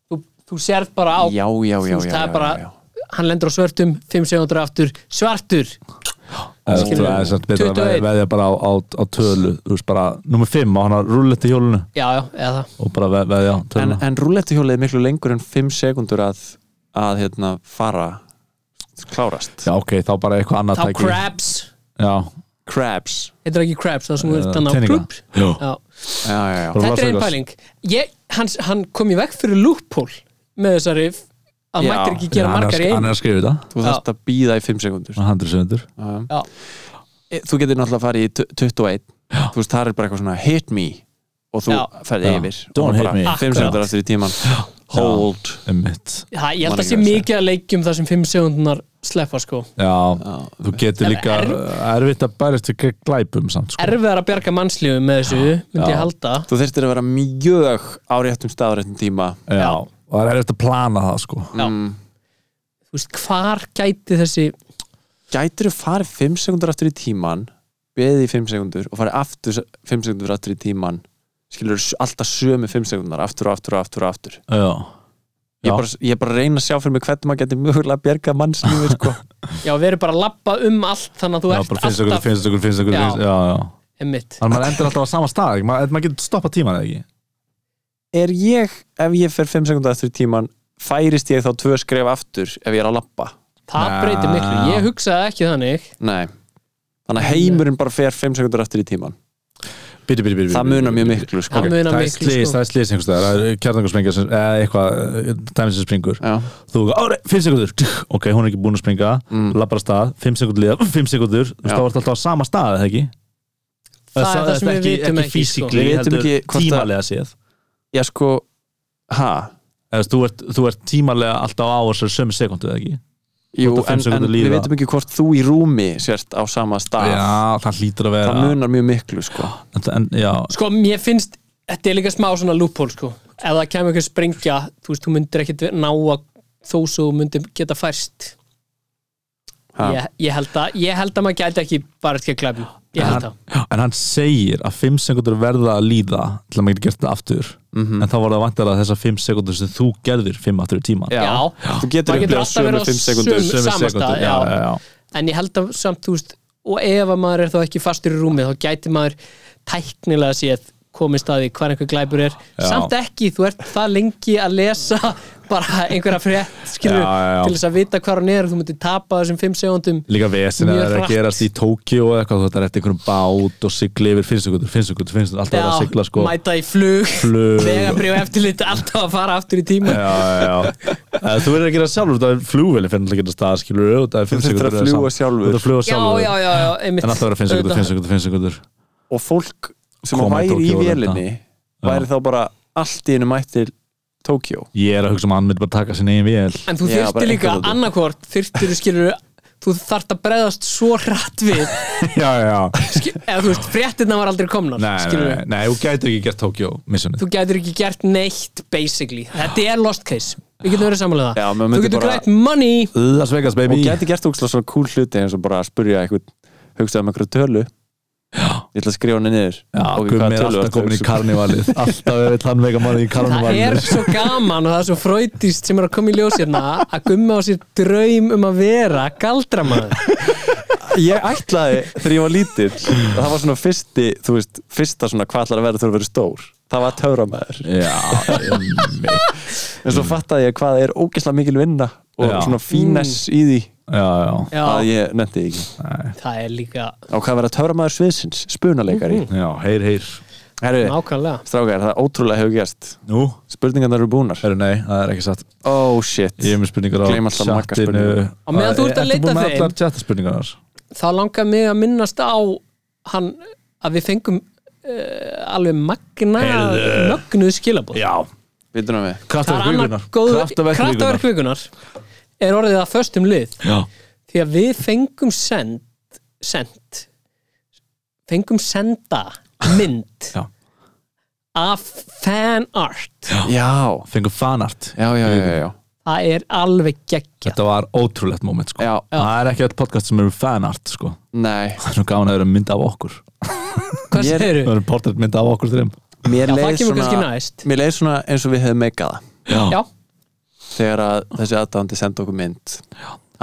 [SPEAKER 5] þú, þú sérð bara á
[SPEAKER 3] já, já, já,
[SPEAKER 5] Þú veist,
[SPEAKER 3] já,
[SPEAKER 5] það er
[SPEAKER 3] já,
[SPEAKER 5] bara-
[SPEAKER 3] já, já.
[SPEAKER 5] hann lendur á svörtum, 5 sekundur aftur svartur,
[SPEAKER 4] Það er-
[SPEAKER 5] Skilur.
[SPEAKER 4] það er samt betur að
[SPEAKER 5] 21.
[SPEAKER 4] veðja- veðja bara á, á, á tölu Þú veist bara, nummer 5 á hana rúlletti hjólunu
[SPEAKER 5] já, já, eða það
[SPEAKER 4] og bara ve- veðja á
[SPEAKER 3] En,
[SPEAKER 4] töluna
[SPEAKER 3] en rúlettuhjólið er miklu lengur en 5 sekundur að, að hérna, fara klárast.
[SPEAKER 4] Já, ok, þá bara eitthvað annað
[SPEAKER 5] þá
[SPEAKER 4] tæki.
[SPEAKER 5] crabs,
[SPEAKER 4] Já,
[SPEAKER 3] Crabs.
[SPEAKER 5] heitir það ekki crabs það sem
[SPEAKER 4] Eh,
[SPEAKER 5] er þannig á
[SPEAKER 4] teninga.
[SPEAKER 5] klub
[SPEAKER 4] Jú.
[SPEAKER 3] Já, já, já.
[SPEAKER 5] þetta
[SPEAKER 4] Bara
[SPEAKER 5] er
[SPEAKER 4] Las Vegas.
[SPEAKER 5] einn pæling ég, hann, hann kom í veg fyrir loophole með þessari f- að
[SPEAKER 3] Já.
[SPEAKER 5] mættir ekki gera
[SPEAKER 4] Já, hann er að
[SPEAKER 5] margar í
[SPEAKER 4] sk-
[SPEAKER 5] einu
[SPEAKER 4] Hann er að skrifa þetta
[SPEAKER 3] Þú þarft að býða í 5 sekundur.
[SPEAKER 4] 100 sekundur
[SPEAKER 5] Já.
[SPEAKER 3] E, Þú getur náttúrulega að fara í tu- 21. Þú veist, það er bara eitthvað svona hit me og þú
[SPEAKER 5] Já.
[SPEAKER 3] ferði
[SPEAKER 4] Já.
[SPEAKER 3] yfir.
[SPEAKER 4] Don't
[SPEAKER 3] Og
[SPEAKER 4] hit
[SPEAKER 3] bara
[SPEAKER 4] me.
[SPEAKER 3] 5
[SPEAKER 5] Akkurat.
[SPEAKER 3] sekundur aftur í tíman. Hold.
[SPEAKER 4] Emmitt
[SPEAKER 5] Ha, ég held að sé
[SPEAKER 3] Man ekki að
[SPEAKER 5] mikið að leikjum það sem 5 sekundunar sleppa sko
[SPEAKER 4] Já, þú getur
[SPEAKER 5] En
[SPEAKER 4] líka erfitt að bærast við gegn glæpum samt sko.
[SPEAKER 5] erfiðar að bjarga mannslífum með þessu myndi ég
[SPEAKER 4] Já.
[SPEAKER 5] halda
[SPEAKER 3] Þú þurftir að vera mjög á réttum stað á réttum tíma. Mm.
[SPEAKER 4] Já, og það er erfitt að plana það sko.
[SPEAKER 5] Já. Þú veist, hvar gæti þessi
[SPEAKER 3] Gætur þú farið 5 sekundur aftur í tíman, beðið í 5 sekundur og farið aftur 5 sekundur aftur í tíman skilur alltaf sömu 5 sekundar aftur og aftur og aftur og aftur
[SPEAKER 4] Já,
[SPEAKER 3] ég
[SPEAKER 4] Já.
[SPEAKER 3] bara, ég bara reyna að sjá fyrir mig hvernig maður getur mögulega að bjerga mannslífi sko.
[SPEAKER 5] já, við erum bara að labba um allt þannig að þú
[SPEAKER 4] já
[SPEAKER 5] ert
[SPEAKER 4] bara finnst okkur,
[SPEAKER 5] alltaf
[SPEAKER 4] finnst okkur, finnst okkur
[SPEAKER 5] Já.
[SPEAKER 4] finnst, Já, já
[SPEAKER 5] einmitt
[SPEAKER 4] Þannig að maður endur alltaf á sama stað ekki? maður, maður getur stoppað tíman eða ekki
[SPEAKER 3] er ég, ef ég fer 5 sekundar eftir tíman færist ég þá tvö skref aftur ef ég er að lappa
[SPEAKER 5] það
[SPEAKER 4] Já.
[SPEAKER 5] breytir miklu, ég hugsaði ekki þannig
[SPEAKER 3] Nei Þannig að heimurinn bara fer 5 sekundur eftir í tíman
[SPEAKER 4] Bíti, bíti, bíti,
[SPEAKER 3] Það munar mjög miklu sko
[SPEAKER 5] Það munar
[SPEAKER 4] það er
[SPEAKER 5] miklu,
[SPEAKER 4] slís,
[SPEAKER 5] sko.
[SPEAKER 4] það er slís einhvers staðar, það er kjarnangarsprengja sem- eða eitthvað, dæmi sem springur
[SPEAKER 3] Já.
[SPEAKER 4] þú, ári, fimm sekundur, ok, hún er ekki búin að springa mm. labbar að stað, fimm sekundur liða fimm sekundur, þú veist,
[SPEAKER 3] Já.
[SPEAKER 4] þá ertu alltaf á sama stað eða ekki
[SPEAKER 5] Það er það
[SPEAKER 4] er
[SPEAKER 5] sem við vitum
[SPEAKER 4] ekki
[SPEAKER 5] ekki,
[SPEAKER 4] físikli,
[SPEAKER 3] sko. Við vitum
[SPEAKER 4] heldur
[SPEAKER 3] ekki hvort að-
[SPEAKER 4] tímalega séð
[SPEAKER 3] Já sko Ha?
[SPEAKER 4] eða þú veist, þú ert, þú ert tímalega alltaf á þessar sömu sekundu eða ekki
[SPEAKER 3] Jú,
[SPEAKER 4] Hvort að fimm
[SPEAKER 3] en, en
[SPEAKER 4] sekúndur
[SPEAKER 3] við
[SPEAKER 4] líða.
[SPEAKER 3] veitum ekki hvort þú í rúmi sért á sama stað
[SPEAKER 4] það hlýtur að
[SPEAKER 3] Það munar mjög miklu sko
[SPEAKER 4] en, en, já,
[SPEAKER 5] sko, mér finnst, þetta er líka smá svona loophole, sko, ef það kemur einhver springja þú veist, þú myndir ekkit ná að þó svo þú myndir geta færst
[SPEAKER 3] Ha.
[SPEAKER 5] ég, ég held að ég held að maður gæti ekki bara ekki að glæfum ég held að,
[SPEAKER 4] en hann segir að fimm sekundur verða að líða til að maður getur gert þetta aftur
[SPEAKER 3] Mhm.
[SPEAKER 4] en þá var það vantar að þessar fimm sekundur sem þú gerðir fimm aftur í tíman
[SPEAKER 5] já,
[SPEAKER 3] Þú getur
[SPEAKER 5] Maður getur
[SPEAKER 3] upplifað
[SPEAKER 5] alltaf verið
[SPEAKER 3] sömu
[SPEAKER 5] á
[SPEAKER 3] 5 sekundur
[SPEAKER 5] sömu-
[SPEAKER 4] Sömu
[SPEAKER 5] sama
[SPEAKER 4] sekúndur,
[SPEAKER 5] stað,
[SPEAKER 4] já,
[SPEAKER 5] já.
[SPEAKER 4] já, já.
[SPEAKER 5] en ég held að samt, þú veist og ef að maður er þá ekki fastur í rúmið þá gæti maður tæknilega séð komist að því hvar einhver glæpur er samt ekki, þú ert það lengi að lesa bara einhverja frétt skilur,
[SPEAKER 4] Já, já, já.
[SPEAKER 5] til þess að vita hvar hann er þú myndir tapa þessum 5 segundum
[SPEAKER 4] líka vesin að
[SPEAKER 5] Mjög
[SPEAKER 4] það er að
[SPEAKER 5] hratt.
[SPEAKER 4] gerast í Tókíu og eitthvað, þú þetta er eftir einhverjum bát og sigli yfir finnstugutur, finnstugutur, finnstugutur alltaf er að sigla sko já,
[SPEAKER 5] mæta í flug,
[SPEAKER 4] Flug.
[SPEAKER 5] vegabrjóð eftirlit alltaf að fara aftur í tíma
[SPEAKER 4] já, já. Eh, þú verður að gera sjálfur það er flugveli fyrir að geta stað, skilur þú það er
[SPEAKER 3] Þú þurftir
[SPEAKER 4] finnstugutur
[SPEAKER 3] að fljúga sjálfur.
[SPEAKER 4] að fljúa
[SPEAKER 5] já,
[SPEAKER 4] sjálfur
[SPEAKER 5] já, já, já, einmitt
[SPEAKER 4] en alltaf er að finnstugutur, finnstugutur, finnstugutur
[SPEAKER 3] Og fólk sem
[SPEAKER 4] Koma
[SPEAKER 3] væri
[SPEAKER 4] í
[SPEAKER 3] í
[SPEAKER 4] Tókýó og
[SPEAKER 3] vélinni Væri þá bara allt í einu mættir Tókjó
[SPEAKER 4] ég er að hugsa um að hann myndi bara taka sinni einn vél
[SPEAKER 5] En þú
[SPEAKER 3] Já, bara
[SPEAKER 5] þyrftir líka
[SPEAKER 3] einhvern veginn.
[SPEAKER 5] annarkvort þyrftir þú skilur þú þarft að bregðast svo hratt við
[SPEAKER 4] já, já,
[SPEAKER 5] skil, eða þú veist, fréttina var aldrei komnar
[SPEAKER 4] nei, nei,
[SPEAKER 5] skilur
[SPEAKER 4] nei, nei, þú gætir ekki gert Tókíu missunni
[SPEAKER 5] þú gætir ekki gert neitt basically, þetta er lost case við getum verið samanlega
[SPEAKER 3] Já,
[SPEAKER 5] það
[SPEAKER 3] maður
[SPEAKER 5] þú
[SPEAKER 3] myndi
[SPEAKER 5] getur
[SPEAKER 3] bara-
[SPEAKER 5] grætt money
[SPEAKER 4] Las Vegas
[SPEAKER 3] og
[SPEAKER 4] baby
[SPEAKER 3] geti gert ógslag svona cool hluti eins og bara að spurja eitthvað hugsaði um einhverja tölu ég ætla að skrifa henni niður
[SPEAKER 4] já,
[SPEAKER 3] Ok, hvaða
[SPEAKER 4] Gummi er
[SPEAKER 3] tölu
[SPEAKER 4] alltaf
[SPEAKER 3] ertu að
[SPEAKER 4] komin í
[SPEAKER 3] hugsa um?
[SPEAKER 4] karnivalið alltaf er eitt hann veika manni
[SPEAKER 5] það
[SPEAKER 4] í
[SPEAKER 5] er
[SPEAKER 4] karnivalið
[SPEAKER 5] svo gaman og það er svo fröytist sem er að koma í ljós hérna að gumma á sér draum um að vera galdramaður
[SPEAKER 3] ég ætlaði þegar ég var lítill að það var svona fyrsti, þú veist, fyrsta svona hvað ætlar að vera þú að vera stór það var töframæður
[SPEAKER 4] já, einmitt.
[SPEAKER 3] en svo fattaði ég hvað það er ógeðslega mikil vinna og
[SPEAKER 4] Mm. Já.
[SPEAKER 3] svona fíness í því
[SPEAKER 4] já, já
[SPEAKER 3] að
[SPEAKER 5] já,
[SPEAKER 3] ég nefndi ekki
[SPEAKER 5] það er líka
[SPEAKER 3] á hvað að vera töframæður sviðsins, spunaleikari
[SPEAKER 4] Já, heyr, heyr
[SPEAKER 3] herru,
[SPEAKER 5] nákvæmlega
[SPEAKER 3] strákar, það ótrúlega hefur gerst
[SPEAKER 4] Nú?
[SPEAKER 3] spurningarnar eru búnar
[SPEAKER 4] Heyr, nei, það er ekki satt
[SPEAKER 3] oh shit,
[SPEAKER 4] Ég er með spurningar á
[SPEAKER 3] Gleym alltaf Magga spurningu.
[SPEAKER 4] Á Eh,
[SPEAKER 5] Á meðan þú ert að leita
[SPEAKER 4] Ertu búin með
[SPEAKER 5] þeim?
[SPEAKER 4] allar chatspurningar þar?
[SPEAKER 5] þá langar mig að minnast á hann að við fengum uh, alveg magna
[SPEAKER 4] Heyrðu.
[SPEAKER 5] mögnuð skilabóð
[SPEAKER 4] Já
[SPEAKER 3] vitur við
[SPEAKER 5] það er
[SPEAKER 4] Kraftaverk
[SPEAKER 5] annar
[SPEAKER 4] vikunar
[SPEAKER 5] góð
[SPEAKER 4] Kraftaverk vikunar
[SPEAKER 5] kraftaverk vikunar er orðið að föstum lið
[SPEAKER 4] Já
[SPEAKER 5] því að við fengum send send fengum senda mynd
[SPEAKER 4] Já.
[SPEAKER 5] af fanart
[SPEAKER 3] já,
[SPEAKER 4] Fengum fanart
[SPEAKER 3] já, já, já, já, já.
[SPEAKER 5] það er alveg geggjað
[SPEAKER 4] Þetta var ótrúlegt moment sko
[SPEAKER 3] Já.
[SPEAKER 4] Það er ekki öll podcast sem eru fanart sko
[SPEAKER 3] Nei,
[SPEAKER 4] Það er nú gaman að vera mynd af okkur
[SPEAKER 5] hvað
[SPEAKER 3] Mér-
[SPEAKER 5] segir
[SPEAKER 4] Það eru portrætt mynd af okkur þeim
[SPEAKER 3] mér
[SPEAKER 5] Já, það
[SPEAKER 3] leið
[SPEAKER 5] kemur kannski
[SPEAKER 3] svona
[SPEAKER 5] næst.
[SPEAKER 3] Mér leið svona eins og við hefum meikað það
[SPEAKER 5] já,
[SPEAKER 3] Þegar að þessi aðdáðandi senda okkur mynd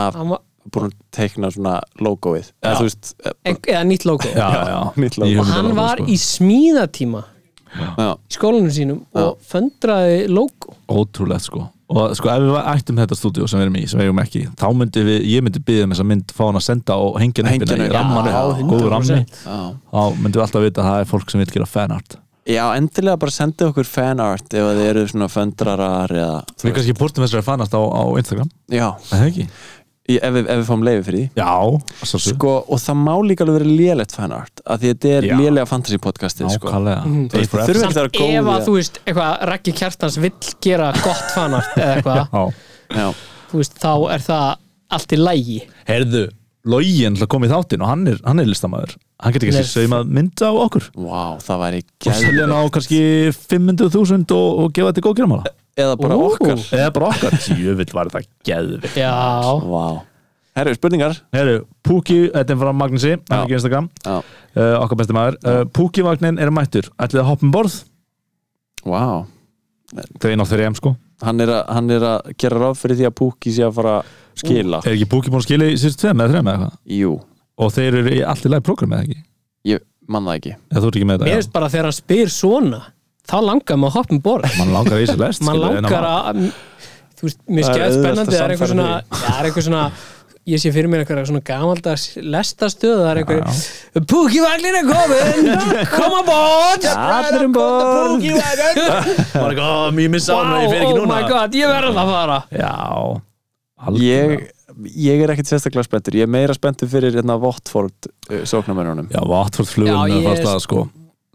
[SPEAKER 3] Af
[SPEAKER 5] hann var
[SPEAKER 3] búin að teikna svona logoið Eða þú veist eh,
[SPEAKER 5] ein- eða nýtt logo
[SPEAKER 4] Já, já
[SPEAKER 3] nýtt lag.
[SPEAKER 4] Í
[SPEAKER 5] og hann
[SPEAKER 4] hugmyndalaginu,
[SPEAKER 5] var
[SPEAKER 4] sko.
[SPEAKER 5] í smíðatíma
[SPEAKER 3] já,
[SPEAKER 5] í skólanum sínum og föndraði logo
[SPEAKER 4] Ótrúlegt sko Og sko ef við ættum þetta stúdíu sem við erum í sem við eigum ekki þá myndi við ég myndi byggja um þessa mynd fá hann að senda og hengja hann upp
[SPEAKER 3] Hengja hana
[SPEAKER 4] hérna í
[SPEAKER 3] upp,
[SPEAKER 4] ramman
[SPEAKER 3] já,
[SPEAKER 4] góður rammi
[SPEAKER 5] 100%.
[SPEAKER 3] já.
[SPEAKER 4] þá myndum við alltaf vita að það er fólk sem vil gera fanart
[SPEAKER 3] já, endilega bara senda okkur fanart Ef að þið eru svona föndrarar eða, þú
[SPEAKER 4] Við
[SPEAKER 3] veist.
[SPEAKER 4] kannski búrtum þessari fanart á, á Instagram
[SPEAKER 3] Já,
[SPEAKER 4] Er það ekki?
[SPEAKER 3] í- ef við, ef við fáum leiði fyrir því
[SPEAKER 4] Já, svolítið
[SPEAKER 3] Sko, og það má líka alveg verið lélegt fanart Af því að þetta er
[SPEAKER 4] Já.
[SPEAKER 3] lélega fantasy podcastið sko.
[SPEAKER 4] Nákvæmlega
[SPEAKER 3] Þú veist,
[SPEAKER 4] Eitt
[SPEAKER 3] þurfum
[SPEAKER 4] rep.
[SPEAKER 3] ekki að
[SPEAKER 5] samt
[SPEAKER 3] vera
[SPEAKER 5] ef að
[SPEAKER 3] góð
[SPEAKER 5] þú veist eitthvað Raggi Kjartans vill gera gott fanart eða eitthvað,
[SPEAKER 4] Já.
[SPEAKER 3] Já,
[SPEAKER 5] þú veist, þá er það allt í lægi
[SPEAKER 4] Herðu, Lógin kom í þáttinn og hann er, hann er listamæður Hann getur
[SPEAKER 5] Nei.
[SPEAKER 4] ekki saumað mynd á okkur
[SPEAKER 3] vá, það væri
[SPEAKER 4] og selja hann á
[SPEAKER 3] gæðið
[SPEAKER 4] kannski 500.000 og, og gefa þetta í góðgerðamála
[SPEAKER 3] Eða bara
[SPEAKER 5] Ú.
[SPEAKER 3] okkar
[SPEAKER 4] Eða bara okkar, jöfull var það geðvikt
[SPEAKER 5] já,
[SPEAKER 3] Vá Herru, spurningar
[SPEAKER 4] Herru, Púki, þetta er frá Magnúsi hann
[SPEAKER 3] Já.
[SPEAKER 4] er ekki Instagram,
[SPEAKER 3] Já.
[SPEAKER 4] uh, okkar besti maður uh, Púkivagnin er mættur, ætlið að hoppa um borð
[SPEAKER 3] Vá
[SPEAKER 4] Það er einn á þeirri sko
[SPEAKER 3] hann er, að, hann er að gera ráð fyrir því að Pukki sé að fara að skila
[SPEAKER 4] Er ekki Púki búin að skila í sérstu tveim eða þreim eða eitthvað?
[SPEAKER 3] Jú,
[SPEAKER 4] Og þeir eru í allt í lagi prógram eða ekki?
[SPEAKER 3] ég man það ekki
[SPEAKER 4] Eða þú ert ekki með
[SPEAKER 5] mér
[SPEAKER 4] þetta?
[SPEAKER 5] veist bara þegar hann spyr svona þá langar maður að hoppa um borð
[SPEAKER 4] Já. Man langar í sér lest
[SPEAKER 5] mann langar að þú þú veist, mér
[SPEAKER 7] Það er
[SPEAKER 5] skemmt
[SPEAKER 7] auðvelt
[SPEAKER 5] spennandi
[SPEAKER 7] að
[SPEAKER 5] það er einhver svona,
[SPEAKER 7] sannfæra
[SPEAKER 5] það er einhver svona ég sé fyrir mér einhverja svona gamaldags lestastöð, það er einhver Púkivagnin er komin, koma bort
[SPEAKER 7] Allir um borð
[SPEAKER 4] Bara ekki, ó, mér missa á hana, ég fer ekki
[SPEAKER 5] oh
[SPEAKER 4] núna
[SPEAKER 5] my god, ég verður það að fara
[SPEAKER 4] Já,
[SPEAKER 7] ég, ég er ekkit sérstaklega spenntur ég er meira spenntur fyrir hérna Votford
[SPEAKER 3] eh,
[SPEAKER 7] sóknarmennunum
[SPEAKER 4] Já, Watford flugurinn
[SPEAKER 5] Já,
[SPEAKER 4] er
[SPEAKER 5] ég-
[SPEAKER 4] fast að sko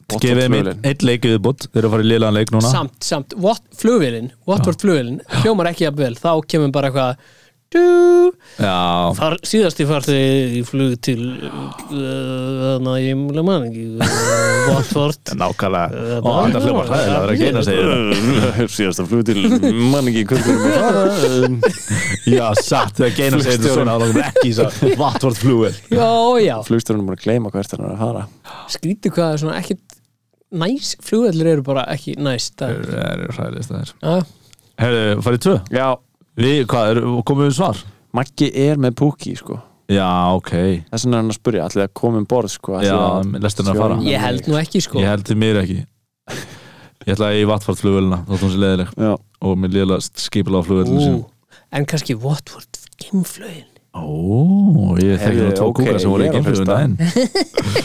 [SPEAKER 7] Watford
[SPEAKER 4] Gefið mér
[SPEAKER 7] flugvélin.
[SPEAKER 4] einn leik yfirbútt Þeir eru að fara í liðlegan leik núna
[SPEAKER 5] samt, samt, what, flugvélin Watford flugvélin, hljómar ekki að vel þá kemur bara eitthvað dú,
[SPEAKER 4] Já,
[SPEAKER 5] far, síðast ég farði í flug til þannig að ég mjög mann ekki uh, Watford
[SPEAKER 4] nákvæmlega Og andan hljómar hræðilega Það er að geina sig
[SPEAKER 3] síðasta flug til mann ekki hvernig við erum að fara
[SPEAKER 4] Já, satt, þegar geina sig þetta svona Það er ekki svo Watford flugurinn
[SPEAKER 5] já, já,
[SPEAKER 3] flugstjórnum búin að gleyma hvert hann er að fara
[SPEAKER 5] skrítið hvað er svona ekkit næs, flugvellir eru bara ekki næs það
[SPEAKER 4] Það eru hræðilegst það er
[SPEAKER 5] Já.
[SPEAKER 4] Herðu, farið tvö
[SPEAKER 3] já,
[SPEAKER 4] Við, hvað, er, komum við svar?
[SPEAKER 3] Maggi er með púki sko
[SPEAKER 4] Já, ok
[SPEAKER 3] þess vegna er hann að spurja, allir að koma um borð sko, ætli
[SPEAKER 4] Já,
[SPEAKER 3] að-
[SPEAKER 4] lestu hann að fara
[SPEAKER 5] ég held nú ekki sko
[SPEAKER 4] Ég held þið mér ekki Ég ætla að ég Watford flugurina Þótt hún sé leðileg
[SPEAKER 3] já,
[SPEAKER 4] Og mér liðlega skipila á flugurinn
[SPEAKER 5] Ú,
[SPEAKER 4] sin
[SPEAKER 5] en kannski Watford geimflögin
[SPEAKER 4] Ó, ég þekki
[SPEAKER 3] Heyrðu,
[SPEAKER 4] nú tvo
[SPEAKER 3] ok,
[SPEAKER 4] kúkara sem voru
[SPEAKER 3] ég er
[SPEAKER 4] ekki
[SPEAKER 3] að
[SPEAKER 4] fyrir
[SPEAKER 3] hlusta.
[SPEAKER 4] daginn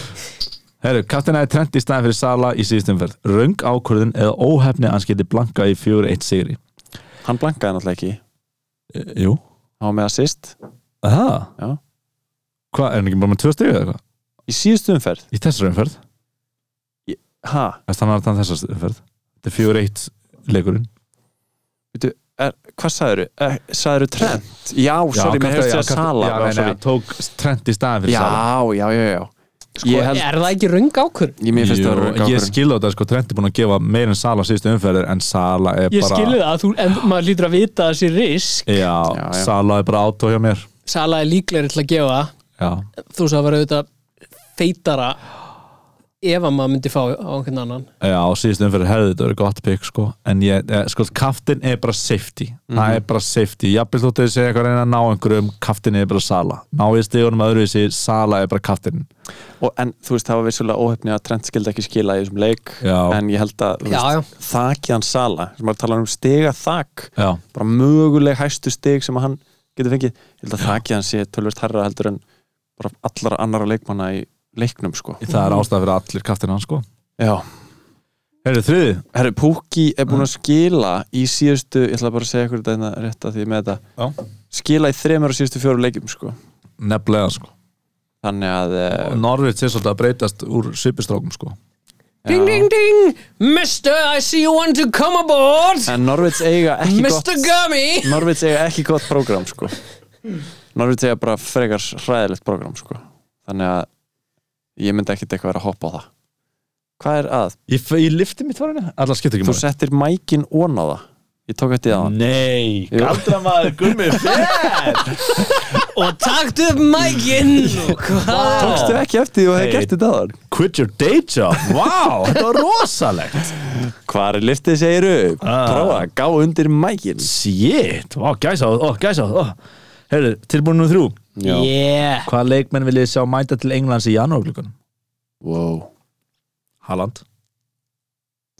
[SPEAKER 4] Herru, Kattina er trend í staðin fyrir Sala í síðustumferð Röng ákvörðin eða óhefni að hann skildi blanka í 4-1 sigri
[SPEAKER 3] hann blankaði náttúrulega ekki
[SPEAKER 4] e, Jú
[SPEAKER 3] hann var með assist
[SPEAKER 4] Það?
[SPEAKER 3] Já.
[SPEAKER 4] Hvað, er hann ekki bara með tvö stiga eða eitthvað?
[SPEAKER 3] í síðustu umferð
[SPEAKER 4] Í þessar umferð?
[SPEAKER 3] ha,
[SPEAKER 4] Eftir hann að hann þessar umferð Þetta er 4-1 leikurinn
[SPEAKER 3] er, hvað sagður er, sagður trend, já, sorry mér hefst
[SPEAKER 4] já,
[SPEAKER 3] þér að sala
[SPEAKER 4] já, nei, nei,
[SPEAKER 3] sorry.
[SPEAKER 4] hann tók trend í staðin fyrir
[SPEAKER 3] já,
[SPEAKER 4] Sala
[SPEAKER 3] já, já, já
[SPEAKER 5] sko,
[SPEAKER 3] ég held,
[SPEAKER 5] er það ekki röng ákvörð?
[SPEAKER 3] ég mér finnst það að vera
[SPEAKER 4] Jú, ég skil á þetta sko, Trent er búin að gefa meir en Sala síðustu umferðir en Sala er
[SPEAKER 5] ég
[SPEAKER 4] bara
[SPEAKER 5] skilu það, þú, en maður lítur að vita að það sé risk
[SPEAKER 4] Já,
[SPEAKER 3] Já, já.
[SPEAKER 4] Sala er bara átó hjá mér
[SPEAKER 5] Sala er líklegri til að gefa
[SPEAKER 4] Já,
[SPEAKER 5] þú svo að vera auðvitað feitara ef að maður myndi fá á einhvern annan
[SPEAKER 4] Já, á síðustu umferð hefði þetta verið gott pick sko. en ég, eh, sko, kaftin er bara safety
[SPEAKER 3] Mhm.
[SPEAKER 4] það er bara safety, jafnvel þótt að ég segja eitthvað að reyna að ná einhverjum, kaftin er bara sala ná ég stegunum öðruvísi, sala er bara kaftin
[SPEAKER 3] og, en þú veist, það var vissulega óhefni að trend skildi ekki skila í þessum leik
[SPEAKER 4] Já.
[SPEAKER 3] en ég held að, þú
[SPEAKER 5] Já, já.
[SPEAKER 3] veist, þakið hann sala sem maður tala um stiga þak
[SPEAKER 4] Já,
[SPEAKER 3] bara möguleg hæstu stig sem að hann getur fengið, ég held að þakið hann sé tölvist herra heldur en bara allara annara leikmanna í leiknum sko
[SPEAKER 4] það er ástæð fyrir allir kaftin hans sko.
[SPEAKER 3] já,
[SPEAKER 4] Herru, þriði
[SPEAKER 3] herru, Pukki er búin að skila í síðustu, ég ætla bara að segja ykkur þetta hérna rétt að því ég er með þetta,
[SPEAKER 4] Já.
[SPEAKER 3] skila í þremur og síðustu fjóru leikjum sko
[SPEAKER 4] nefnilega sko.
[SPEAKER 3] þannig að eh,
[SPEAKER 4] Norvits er svolítið að breytast úr svipistrákum sko.
[SPEAKER 5] ding ding ding, mister I see you want to come aboard
[SPEAKER 3] en Norvits eiga ekki
[SPEAKER 5] Mr.
[SPEAKER 3] gott
[SPEAKER 5] Gummy
[SPEAKER 3] Norvits eiga ekki gott prógram sko Norvits eiga bara frekar hræðilegt prógram sko þannig að ég myndi ekkit eitthvað vera að hoppa á það hvað er að?
[SPEAKER 4] Ég, f- ég lifti mitt varinu, allar skiptir ekki
[SPEAKER 3] Þú settir mækin ón á það ég tók eftir það
[SPEAKER 4] Nei,
[SPEAKER 3] Jú.
[SPEAKER 4] galdramaður gummi
[SPEAKER 5] og takt upp mækinn og hvað
[SPEAKER 3] Tókstu ekki eftir því og hefði
[SPEAKER 4] Hey.
[SPEAKER 3] gert þetta áður
[SPEAKER 4] Quit your day job, wow, þetta var rosalegt
[SPEAKER 3] Hvar er liftið segir upp?
[SPEAKER 4] Ah.
[SPEAKER 3] Prófa, að gá undir mækin
[SPEAKER 4] Shit, vá, gæsáð, ó, gæsáð, ó Herru, tilbúin nú þrjú
[SPEAKER 5] yeah
[SPEAKER 4] Hvaða leikmenn viljið sjá mæta til Englands í janúarglökunum?
[SPEAKER 3] wow.
[SPEAKER 4] Haaland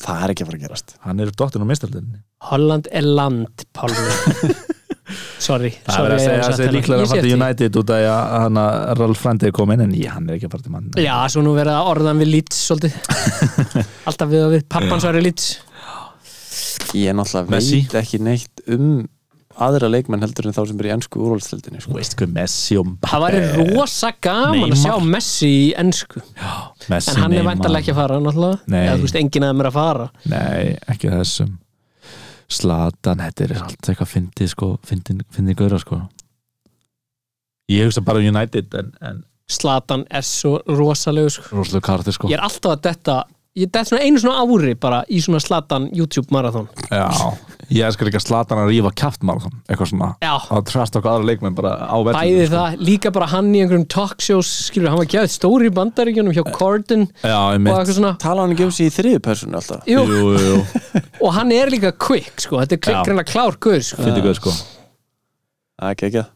[SPEAKER 3] Það er ekki að fara að gerast
[SPEAKER 4] Hann er dottinn á mistaldinni
[SPEAKER 5] Holland er land, Pálmi sorry,
[SPEAKER 4] Það er
[SPEAKER 5] sorry
[SPEAKER 4] að segja að það
[SPEAKER 5] hérna.
[SPEAKER 4] er líklega að fara til
[SPEAKER 5] United
[SPEAKER 4] United út af að hann að Ralf Frandi er komin en ég, hann er ekki að fara til mann
[SPEAKER 5] Já, svo nú verða orðan við lít svolítið Alltaf við og við, pappans var í lít
[SPEAKER 3] Ég er náttúrulega
[SPEAKER 4] Messi.
[SPEAKER 3] veit ekki neitt um aðra leikmenn heldur en þá sem er í ennsku úrvalstildinni
[SPEAKER 4] Þú
[SPEAKER 3] sko.
[SPEAKER 4] veist hvað Messi og Mbappe
[SPEAKER 5] Það væri rosa gaman að sjá
[SPEAKER 4] Eh, Neymar.
[SPEAKER 5] Messi í ennsku
[SPEAKER 4] Messi,
[SPEAKER 5] En hann er
[SPEAKER 4] Neymar.
[SPEAKER 5] vantarlega ekki að fara náttúrulega
[SPEAKER 4] Nei.
[SPEAKER 5] Eða þú veist, enginn að þeim er að fara
[SPEAKER 4] Nei, ekki þessum Slatan, þetta er allt eitthvað fyndið sko, fyndin, fyndin gauðra sko Ég hugsa bara um United en, en
[SPEAKER 5] Slatan er svo rosalegu sko.
[SPEAKER 4] rosalega karti sko
[SPEAKER 5] Ég er alltaf að detta Ég dett svona einu svona ári bara í svona Slatan YouTube marathon
[SPEAKER 4] Já, ég elskar líka Slatan að rífa kæft marathon, eitthvað svona
[SPEAKER 5] Já.
[SPEAKER 4] að trasta okkur aðra leikmenn bara á
[SPEAKER 5] Bæði
[SPEAKER 4] vellinu sko.
[SPEAKER 5] það, líka bara hann í einhverjum talkshows Skilur, hann var gæðið stóri í bandaríkjunum hjá Corden
[SPEAKER 4] Já, ég
[SPEAKER 5] Og
[SPEAKER 4] mitt
[SPEAKER 5] eitthvað svona
[SPEAKER 3] Tala hann ekki um sig í þriðu personu alltaf
[SPEAKER 5] Jú,
[SPEAKER 4] Jú, jú, jú,
[SPEAKER 5] og hann er líka quick sko, þetta er
[SPEAKER 4] Já.
[SPEAKER 5] quick reyna klár guður sko.
[SPEAKER 4] fyndi guð sko
[SPEAKER 3] Það er ekki ekki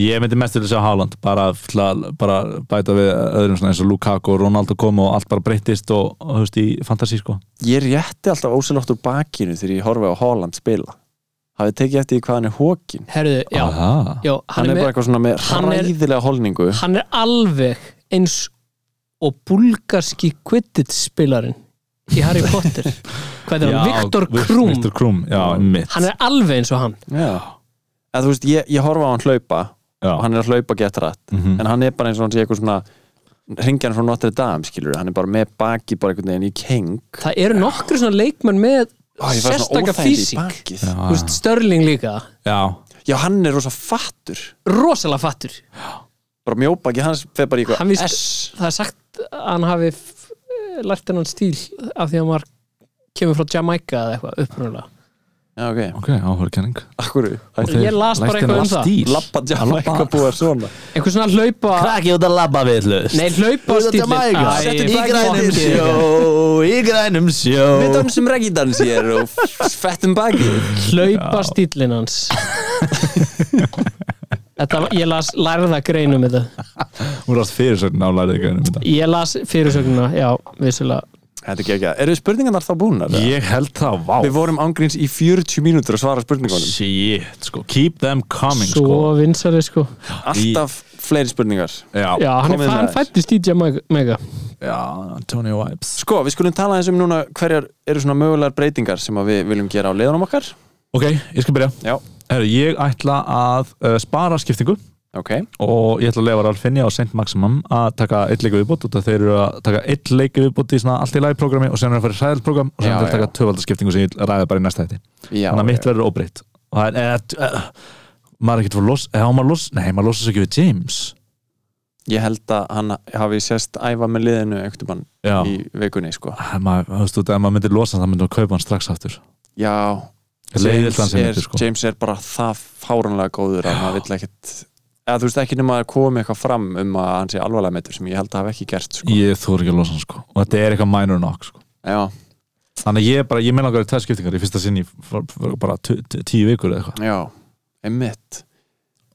[SPEAKER 4] Ég myndi mest til þess að Haaland bara, til að- bara bæta við öðrum svona eins og Lukaku og Ronaldo kom og allt bara breyttist og, og þú veist, í fantasi sko
[SPEAKER 3] Ég rétti alltaf ósilótt úr bakinu þegar ég horfi á Holland spila hafið tekið eftir því hvað hann er hókin
[SPEAKER 5] herðu, já,
[SPEAKER 4] Aha.
[SPEAKER 5] já hann,
[SPEAKER 3] hann er bara
[SPEAKER 5] með,
[SPEAKER 3] eitthvað svona með
[SPEAKER 5] hann er-
[SPEAKER 3] hræðilega holningu
[SPEAKER 5] hann er alveg eins og búlgarski Quidditch spilarinn í Harry Potter hvað er hann,
[SPEAKER 4] Já,
[SPEAKER 5] Viktor
[SPEAKER 4] Vic-
[SPEAKER 5] Krum
[SPEAKER 4] Viktor Krum, já, mitt
[SPEAKER 5] hann er alveg eins og hann
[SPEAKER 3] já. eða þú veist, ég, ég horfa á hann hlaupa
[SPEAKER 4] Já. Mhm.
[SPEAKER 3] og hann er að hlaupa gett rætt en hann er bara eins og hann sé eitthvað svona ringjan frá Notre Dame, skilur hann er bara með baki bara einhvern veginn í keng
[SPEAKER 5] það eru nokkru svona leikmenn með
[SPEAKER 3] Ó, ég fæ svona
[SPEAKER 5] sérstaka
[SPEAKER 3] óþægindi í Ah.
[SPEAKER 5] físík
[SPEAKER 3] bakið.
[SPEAKER 5] Þú veist, Störling líka,
[SPEAKER 4] Já,
[SPEAKER 3] já, hann er rosa fattur
[SPEAKER 5] rosalega fattur
[SPEAKER 3] bara mjóbaki hans fer bara í
[SPEAKER 5] Hann
[SPEAKER 3] eitthvað
[SPEAKER 5] víst-
[SPEAKER 3] Sko, S
[SPEAKER 5] það er sagt að hann hafi f- lært hennan stíl af því að maður kemur frá Jamaica eða eitthvað upprunalega
[SPEAKER 3] já, ok,
[SPEAKER 4] ok, áhverjur kenning
[SPEAKER 3] akkur
[SPEAKER 5] ég las bara eitthvað um það
[SPEAKER 3] Lappa Jamaica búar svona
[SPEAKER 5] einhver svona hlaupa
[SPEAKER 4] Krakki út að labba við hlust
[SPEAKER 5] nei hlaupa
[SPEAKER 4] Út að Jamaica. Í grænum
[SPEAKER 5] stíl
[SPEAKER 4] sjó Í grænum sjó
[SPEAKER 3] Við dansum reggidans ég er og f- fettum baki
[SPEAKER 5] hlaupa stílinn hans Þetta, var- ég las lærða greinum þetta
[SPEAKER 4] Hún rátt fyrir sér nálæri grænum
[SPEAKER 5] ég las fyrirsögnuna, já, vissulega
[SPEAKER 3] Þetta er ekki ekki Eru spurningarnar þá búnar?
[SPEAKER 4] Ég held það, vá
[SPEAKER 3] Við vorum ángríns í 40 mínútur að svara spurningunum
[SPEAKER 4] Shit, sko Keep them coming,
[SPEAKER 5] svo
[SPEAKER 4] sko
[SPEAKER 5] vinsari sko
[SPEAKER 3] Alltaf fleiri spurningar
[SPEAKER 5] já,
[SPEAKER 4] Já,
[SPEAKER 5] hann, er,
[SPEAKER 3] komið með
[SPEAKER 5] hann
[SPEAKER 3] þær.
[SPEAKER 5] fættist í Jamaica
[SPEAKER 4] já, Tony Wipes
[SPEAKER 3] Sko, við skulum tala eins um núna hverjar eru svona mögulegar breytingar sem að við viljum gera á leiðunum okkar
[SPEAKER 4] Ok, ég skal byrja
[SPEAKER 3] Já,
[SPEAKER 4] Herru, ég ætla að uh, spara skiptingu
[SPEAKER 3] ok
[SPEAKER 4] og ég ætla að lefa Ralfinja og Saint Maximum að taka eitt leik viðbútt og þeir eru að taka eitt leik viðbútt í svona allt í lagi programmi og sen er að fara í ræðal program og sen
[SPEAKER 3] Já,
[SPEAKER 4] er að taka
[SPEAKER 3] já.
[SPEAKER 4] töfaldaskiptingu sem ég ræði bara í næsta þetta
[SPEAKER 3] Já,
[SPEAKER 4] þannig að mitt verður óbreytt og það er eða, eða, maður er ekkert fyrir los eða á maður los nei maður losast ekki við James
[SPEAKER 3] Ég held að hann hafi sérst æfa með liðinu einhvern mann
[SPEAKER 4] já
[SPEAKER 3] í vikunni, sko
[SPEAKER 4] Æ, maður þú veist þú ef maður myndir losa hann, þá myndir maður kaupa hann strax aftur
[SPEAKER 3] Já,
[SPEAKER 4] leiðilt hann sem
[SPEAKER 3] er,
[SPEAKER 4] myndir sko
[SPEAKER 3] James er bara það fáranlega góður að maður vill ekkit eða þú veist ekki nema að koma eitthvað fram um að hann sé alvarlega meittur sem ég held að hafa ekki gert sko.
[SPEAKER 4] ég þór ekki að losa hann sko og þetta er eitthvað minor knock sko
[SPEAKER 3] já,
[SPEAKER 4] þannig að ég bara ég meina okkar í tvær skiptingar í fyrsta sinni bara tu- tu- tíu vikur eða eitthvað
[SPEAKER 3] já, einmitt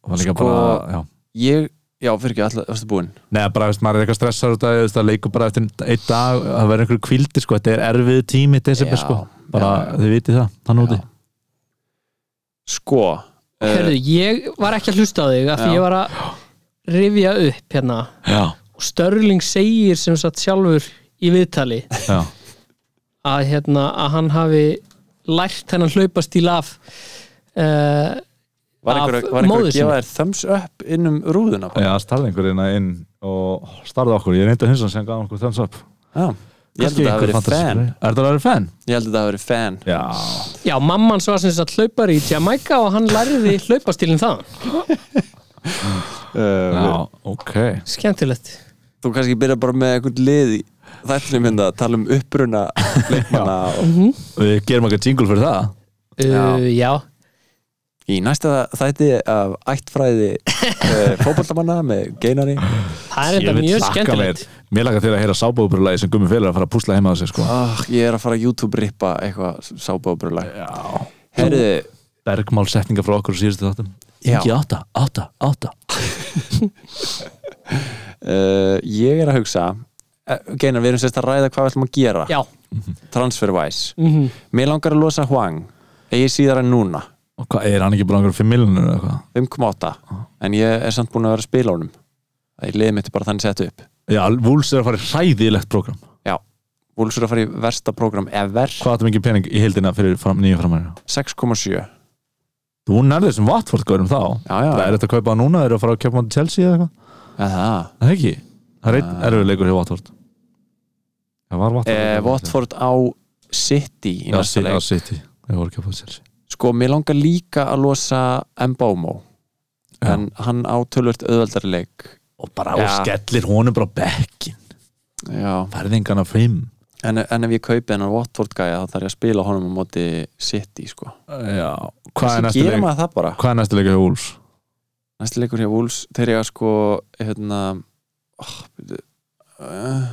[SPEAKER 4] og það er líka
[SPEAKER 3] Sko-
[SPEAKER 4] bara já
[SPEAKER 3] ég, já, fyrir ekki, alltaf, varstu búinn
[SPEAKER 4] Nei, bara, veist, maður er eitthvað stressar út af því, þú veist, það leikur bara eftir einn dag, það verður einhver kvildi, sko, þetta er erfið tími, desember,
[SPEAKER 3] Já,
[SPEAKER 4] sko, bara,
[SPEAKER 3] já, já.
[SPEAKER 4] þið vitið það, hann úti.
[SPEAKER 3] sko, uh,
[SPEAKER 4] Eh,
[SPEAKER 5] Herðu, ég var ekki að hlusta á þig af því
[SPEAKER 3] Já.
[SPEAKER 5] ég var að rifja upp hérna
[SPEAKER 4] Já,
[SPEAKER 5] og Störling segir sem sagt sjálfur í viðtali
[SPEAKER 4] já,
[SPEAKER 5] að, hérna, að hann hafi lært hennan hlaupastíl af uh,
[SPEAKER 3] var
[SPEAKER 5] af
[SPEAKER 3] einhver, var einhver
[SPEAKER 5] móður
[SPEAKER 3] að gefa
[SPEAKER 5] sinni.
[SPEAKER 3] þér thumbs up inn um rúðuna bara?
[SPEAKER 4] já, starði einhverjina inn og starði okkur, ég reyndi að hinsa hann sem gaf okkur thumbs up.
[SPEAKER 3] já, ég held að það hafi verið fan
[SPEAKER 4] Er þetta að vera fan?
[SPEAKER 3] ég held að það hafi verið fan
[SPEAKER 4] Já,
[SPEAKER 5] já, mamman svo sem sagt hlaupari í Jamaica og hann lærði hlaupastílinn það
[SPEAKER 4] já, ok.
[SPEAKER 5] skemmtilegt
[SPEAKER 3] þú kannski byrja bara með einhvern lið í þættinum hérna, tala um uppruna leikmanna og
[SPEAKER 4] Við gerum eitthvað jingle fyrir það.
[SPEAKER 5] uh, já.
[SPEAKER 3] í næsta þætti af ættfræði uh, fótballamanna með geinari
[SPEAKER 5] það er
[SPEAKER 4] Ég
[SPEAKER 5] þetta
[SPEAKER 4] vil
[SPEAKER 5] mjög
[SPEAKER 4] þakka
[SPEAKER 5] skemmtilegt
[SPEAKER 4] Mér, mér lakar til að heyra sábúðubrúlega sem Gummi Félag er að fara að púsla heima á sig, sko.
[SPEAKER 3] oh, ég er að fara að YouTube rippa eitthvað sábábrúla
[SPEAKER 4] Eh,
[SPEAKER 3] herðu,
[SPEAKER 4] Bergmálsetninga frá okkur á síðustu þáttum.
[SPEAKER 3] Já.
[SPEAKER 4] Ingi átta, átta, átta.
[SPEAKER 3] uh, ég er að hugsa eh, geinar, við erum sérst að ræða hvað við ætlum að gera
[SPEAKER 5] já, mhm.
[SPEAKER 3] transferwise mér langar að losa Hwang eigi síðar en núna,
[SPEAKER 4] Og hvað, er hann ekki bara einhverjum 5 miljonur eða eitthvað?
[SPEAKER 3] 5.8 en ég er samt búin að vera að spila honum það er liðið mitt er bara þannig sett upp
[SPEAKER 4] Já, Wolves er að fara í hræðilegt program
[SPEAKER 3] já, Wolves er að fara í versta program ever,
[SPEAKER 4] Hvað áttu mikið pening í heildina fyrir fram, nýju framæri
[SPEAKER 3] 6.7 já,
[SPEAKER 4] Þú nærðir sem Watford gaurum þá
[SPEAKER 3] já,
[SPEAKER 4] Það er
[SPEAKER 3] já,
[SPEAKER 4] þetta að kaupa það núna, eru að fara að kaupa hann til Chelsea eða eitthvað
[SPEAKER 3] það
[SPEAKER 4] Það er ekki, það er einn
[SPEAKER 3] Ah.
[SPEAKER 4] erfið leikur hjá Watford Það var Watford
[SPEAKER 3] eh, Watford á City í
[SPEAKER 4] Já,
[SPEAKER 3] næsta
[SPEAKER 4] City, já,
[SPEAKER 3] leik
[SPEAKER 4] City Ég voru að kaupa Chelsea
[SPEAKER 3] sko, mér langar líka að losa Mbómo
[SPEAKER 4] Já.
[SPEAKER 3] en hann á tölvöld auðveldari leik
[SPEAKER 4] Og bara
[SPEAKER 3] Já.
[SPEAKER 4] og skellir honum bara á bekkin
[SPEAKER 3] já,
[SPEAKER 4] Verðingana fimm
[SPEAKER 3] en, en ef ég kaupi hennar Watford gæja þá þarf ég að spila honum á móti City, sko
[SPEAKER 4] Já, hvað er
[SPEAKER 3] Þessi
[SPEAKER 4] næstu
[SPEAKER 3] gera
[SPEAKER 4] leik?
[SPEAKER 3] maður það bara
[SPEAKER 4] Hvað er næstu leik hjá Wolves?
[SPEAKER 3] næsti leikur hjá Wolves, þeir eiga sko hérna oh, byrju, uh,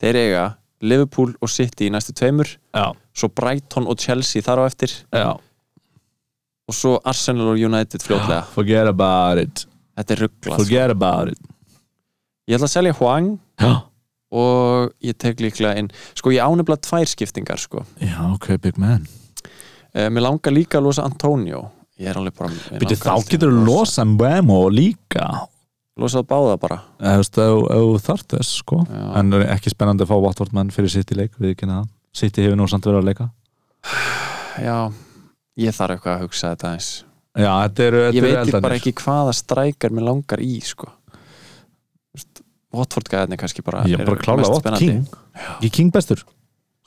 [SPEAKER 3] þeir eiga Liverpool og City í næstu tveimur
[SPEAKER 4] Já,
[SPEAKER 3] svo Brighton og Chelsea þar á eftir
[SPEAKER 4] já
[SPEAKER 3] og svo Arsenal og United fljótlega
[SPEAKER 4] Forget about it
[SPEAKER 3] þetta er rugglað sko.
[SPEAKER 4] Forget about it
[SPEAKER 3] ég ætla að selja Hwang
[SPEAKER 4] Já,
[SPEAKER 3] og ég tek líklega inn sko ég ánefla tvær skiptingar sko
[SPEAKER 4] já ok, big man
[SPEAKER 3] Eh, mér langar líka að losa Antonio Ég er alveg bara mér
[SPEAKER 4] Býtu, þá
[SPEAKER 3] langar allt í
[SPEAKER 4] getur
[SPEAKER 3] einu
[SPEAKER 4] þú
[SPEAKER 3] að
[SPEAKER 4] losa Mbemo líka
[SPEAKER 3] Losa báða bara
[SPEAKER 4] Eða, Þú veist, ef- ef þú þarft þess sko.
[SPEAKER 3] Já.
[SPEAKER 4] en er ekki spennandi að fá Watford menn fyrir sitt í leik, við ekki neða Sitt hefur nú samt verið að leika
[SPEAKER 3] Já, ég þarf eitthvað að hugsa þetta eins
[SPEAKER 4] Já, þetta eru,
[SPEAKER 3] Ég
[SPEAKER 4] þetta eru
[SPEAKER 3] veit líka bara
[SPEAKER 4] eldarnir
[SPEAKER 3] ekki hvaða strækar mér langar í sko Þú veist, Watford gæðinni kannski bara
[SPEAKER 4] Ég er
[SPEAKER 3] eru
[SPEAKER 4] bara klála
[SPEAKER 3] mest
[SPEAKER 4] Watt,
[SPEAKER 3] spennandi.
[SPEAKER 4] King Ég King bestur,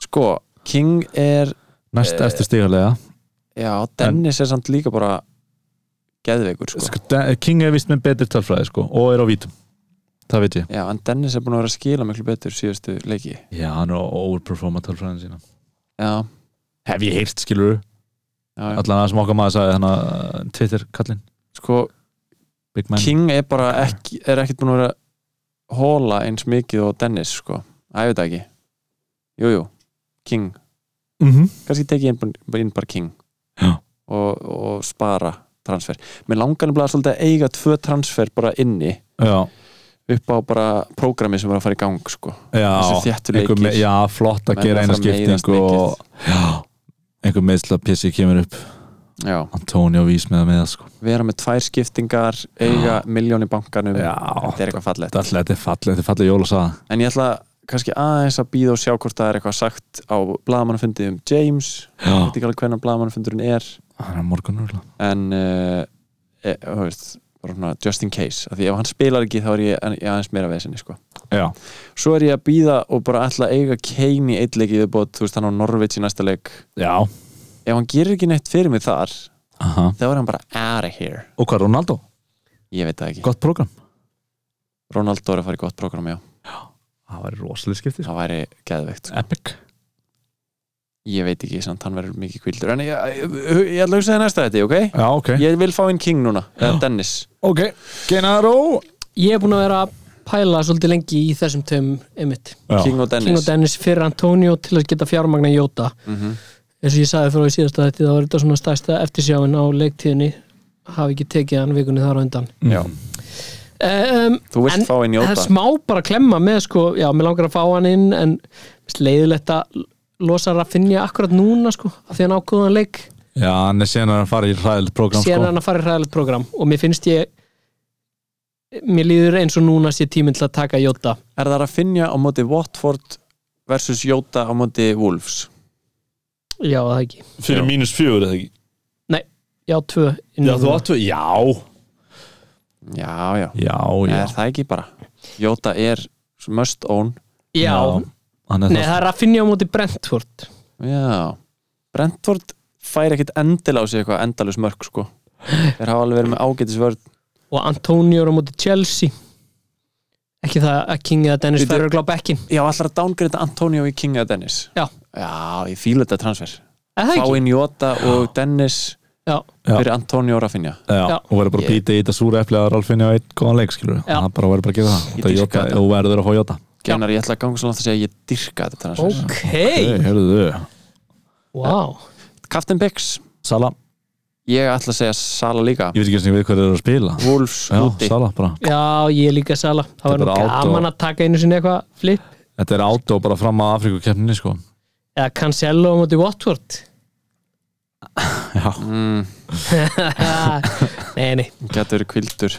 [SPEAKER 3] Sko, King er
[SPEAKER 4] næst
[SPEAKER 3] Eh,
[SPEAKER 4] eftir stigalega
[SPEAKER 3] Já, Dennis er samt líka bara geðveikur sko.
[SPEAKER 4] sko. De- King er vist með betri tölfræði sko, og er á vítum Það veit ég
[SPEAKER 3] Já, en Dennis er búin að vera að skila miklu betur síðustu leiki
[SPEAKER 4] Já, hann er að overperforma tölfræðin sína
[SPEAKER 3] Já,
[SPEAKER 4] Hef ég heyrt, skilur
[SPEAKER 3] já, já.
[SPEAKER 4] Allan að sem okkar maður sagði hérna, eh, hann að Twitter kallinn,
[SPEAKER 3] Sko,
[SPEAKER 4] Big Man
[SPEAKER 3] King er bara
[SPEAKER 4] Ah.
[SPEAKER 3] ekki, er ekkert búin að vera að hóla eins mikið og Dennis sko. Æ, ég veit það ekki Jú, jú, King
[SPEAKER 4] mm -hmm.
[SPEAKER 3] kannski tekið inn, bara- inn bara King
[SPEAKER 4] Já.
[SPEAKER 3] og, og spara transfer Mér langar nefnilega svolítið að eiga tvö transfer bara inni
[SPEAKER 4] Já,
[SPEAKER 3] upp á bara prógrami sem var að fara í gang sko.
[SPEAKER 4] já
[SPEAKER 3] þessi þjættu
[SPEAKER 4] einhver
[SPEAKER 3] leikir
[SPEAKER 4] með, já, flott að
[SPEAKER 3] Menn
[SPEAKER 4] gera
[SPEAKER 3] að
[SPEAKER 4] eina
[SPEAKER 3] fara að meiðast
[SPEAKER 4] skiptingu og já, einhver meðsla PC kemur upp
[SPEAKER 3] já.
[SPEAKER 4] Antonio Vís með að með það sko
[SPEAKER 3] vera með tvær skiptingar eiga miljón í bankanum
[SPEAKER 4] já,
[SPEAKER 3] þetta er eitthvað fallegt
[SPEAKER 4] þetta er þetta er fallið, þetta er fallið jól að saða
[SPEAKER 3] en ég ætla kannski aðeins að býða og sjá hvort það er eitthvað sagt á blagamannfundið um James ég veit
[SPEAKER 4] já,
[SPEAKER 3] ekki alveg hvernig blagamannfundurinn er
[SPEAKER 4] það er morgun úrla
[SPEAKER 3] en uh, e, þú veist, bara svona just in case af því ef hann spilar ekki þá er ég, en- ég aðeins meira vesinni sko.
[SPEAKER 4] já,
[SPEAKER 3] svo er ég að býða og bara ætla að eiga Kane í eitt leik í viðbót, þú veist hann á Norvits í næsta leik
[SPEAKER 4] já,
[SPEAKER 3] ef hann gerir ekki neitt fyrir mig þar
[SPEAKER 4] aha
[SPEAKER 3] þá er hann bara out of here
[SPEAKER 4] og hvað Ronaldo,
[SPEAKER 3] ég veit það ekki,
[SPEAKER 4] gott program
[SPEAKER 3] Ronaldo er að fara í gott program já,
[SPEAKER 4] það var rosalega skipti, sko.
[SPEAKER 3] það væri geðveikt sko.
[SPEAKER 4] epic
[SPEAKER 3] ég veit ekki samt, hann verður mikið kvildur en ég, ég, ég, ég ætla að hugsa það næsta þetta, ok?
[SPEAKER 4] já, ok,
[SPEAKER 3] ég vil fá inn King núna, eða Dennis
[SPEAKER 4] ok, Genaro
[SPEAKER 5] Ég er búin að vera að pæla svolítið lengi í þessum töm emitt.
[SPEAKER 4] já,
[SPEAKER 3] King og Dennis,
[SPEAKER 5] King og Dennis fyrir Antonio til að geta fjármagna Jóta.
[SPEAKER 3] Mhm.
[SPEAKER 5] Eins og ég sagði fyrir á í síðasta þetta, þá var þetta svona stærsta eftirsjáin á leiktíðinni. Hafi ekki tekið hann vikunni þar á undan.
[SPEAKER 4] já,
[SPEAKER 5] Eh, Um,
[SPEAKER 3] þú vilt
[SPEAKER 5] en-
[SPEAKER 3] fá inn
[SPEAKER 5] það er
[SPEAKER 3] Jóta
[SPEAKER 5] smá bara að klemma með sko, já, mér langar að fá hann inn en mér finnst leiðilegt að losa Raffinja akkurat núna sko, af því hann ákvöðan leik
[SPEAKER 4] já, hann er síðan að fara í ræðilegt program
[SPEAKER 5] sér
[SPEAKER 4] sko,
[SPEAKER 5] hann að fara í hræðilegt program og mér finnst ég mér líður eins og núna sé tíminn til að taka Jóta
[SPEAKER 3] er það að finja á móti Watford versus Jóta á móti Wolves
[SPEAKER 5] já, það ekki,
[SPEAKER 3] Já.
[SPEAKER 9] Fyrir mínus fjögur eða ekki
[SPEAKER 5] já, tvö inn í
[SPEAKER 9] Já, þú
[SPEAKER 5] núna.
[SPEAKER 9] áttu, já
[SPEAKER 3] já, já,
[SPEAKER 4] já, já,
[SPEAKER 3] er það ekki bara Jóta er must own
[SPEAKER 5] já,
[SPEAKER 4] hann er
[SPEAKER 5] nei, það er Raffinja á móti Brentford
[SPEAKER 3] já, Brentford fær ekkit endil á sig eitthvað endalus mörg sko þeir hafa alveg verið með ágætisvörð
[SPEAKER 5] og Antonio á móti Chelsea ekki það að King eða Dennis
[SPEAKER 3] Bíddu.
[SPEAKER 5] Ferrer glá bekkin,
[SPEAKER 3] já, allar að dángrita Antonio í King eða Dennis
[SPEAKER 5] Já.
[SPEAKER 3] já, ég fíla þetta transfer
[SPEAKER 5] eða það
[SPEAKER 3] fá
[SPEAKER 5] ekki
[SPEAKER 3] inn Jota og Dennis
[SPEAKER 5] já,
[SPEAKER 4] Já.
[SPEAKER 3] fyrir Antonio Rafinha
[SPEAKER 4] Já,
[SPEAKER 5] Já.
[SPEAKER 4] og verður bara að
[SPEAKER 3] Ég-
[SPEAKER 4] býta í þetta súra eflið að Ralfinni á einn góðan leik, skilur
[SPEAKER 5] Já.
[SPEAKER 4] það bara verður bara að gefa það,
[SPEAKER 3] Ég
[SPEAKER 4] þetta er
[SPEAKER 3] dýrka
[SPEAKER 4] Jota
[SPEAKER 3] þetta.
[SPEAKER 4] og verður að fá Jota
[SPEAKER 3] Geinar, ég ætla að ganga svo langt að segja að ég dyrka þetta transfer
[SPEAKER 5] ok,
[SPEAKER 4] Hey, heyrðu,
[SPEAKER 5] wow
[SPEAKER 3] Captain Bix,
[SPEAKER 4] Sala,
[SPEAKER 3] ég ætla að segja Sala líka
[SPEAKER 4] ég veit ekki eins og við hvað þeir eru að spila
[SPEAKER 3] Wolves
[SPEAKER 4] Já,
[SPEAKER 3] úti
[SPEAKER 4] Sala bara
[SPEAKER 5] Já, ég er líka sala Það var
[SPEAKER 4] Þetta er
[SPEAKER 5] nú
[SPEAKER 4] bara átó.
[SPEAKER 5] gaman að taka einu sinni eitthvað flip
[SPEAKER 4] Þetta er átó bara fram að Afrikukeppninni sko
[SPEAKER 5] eða Cancelo á móti Watford
[SPEAKER 3] mm,
[SPEAKER 5] Nei, nei,
[SPEAKER 3] Getur kvildur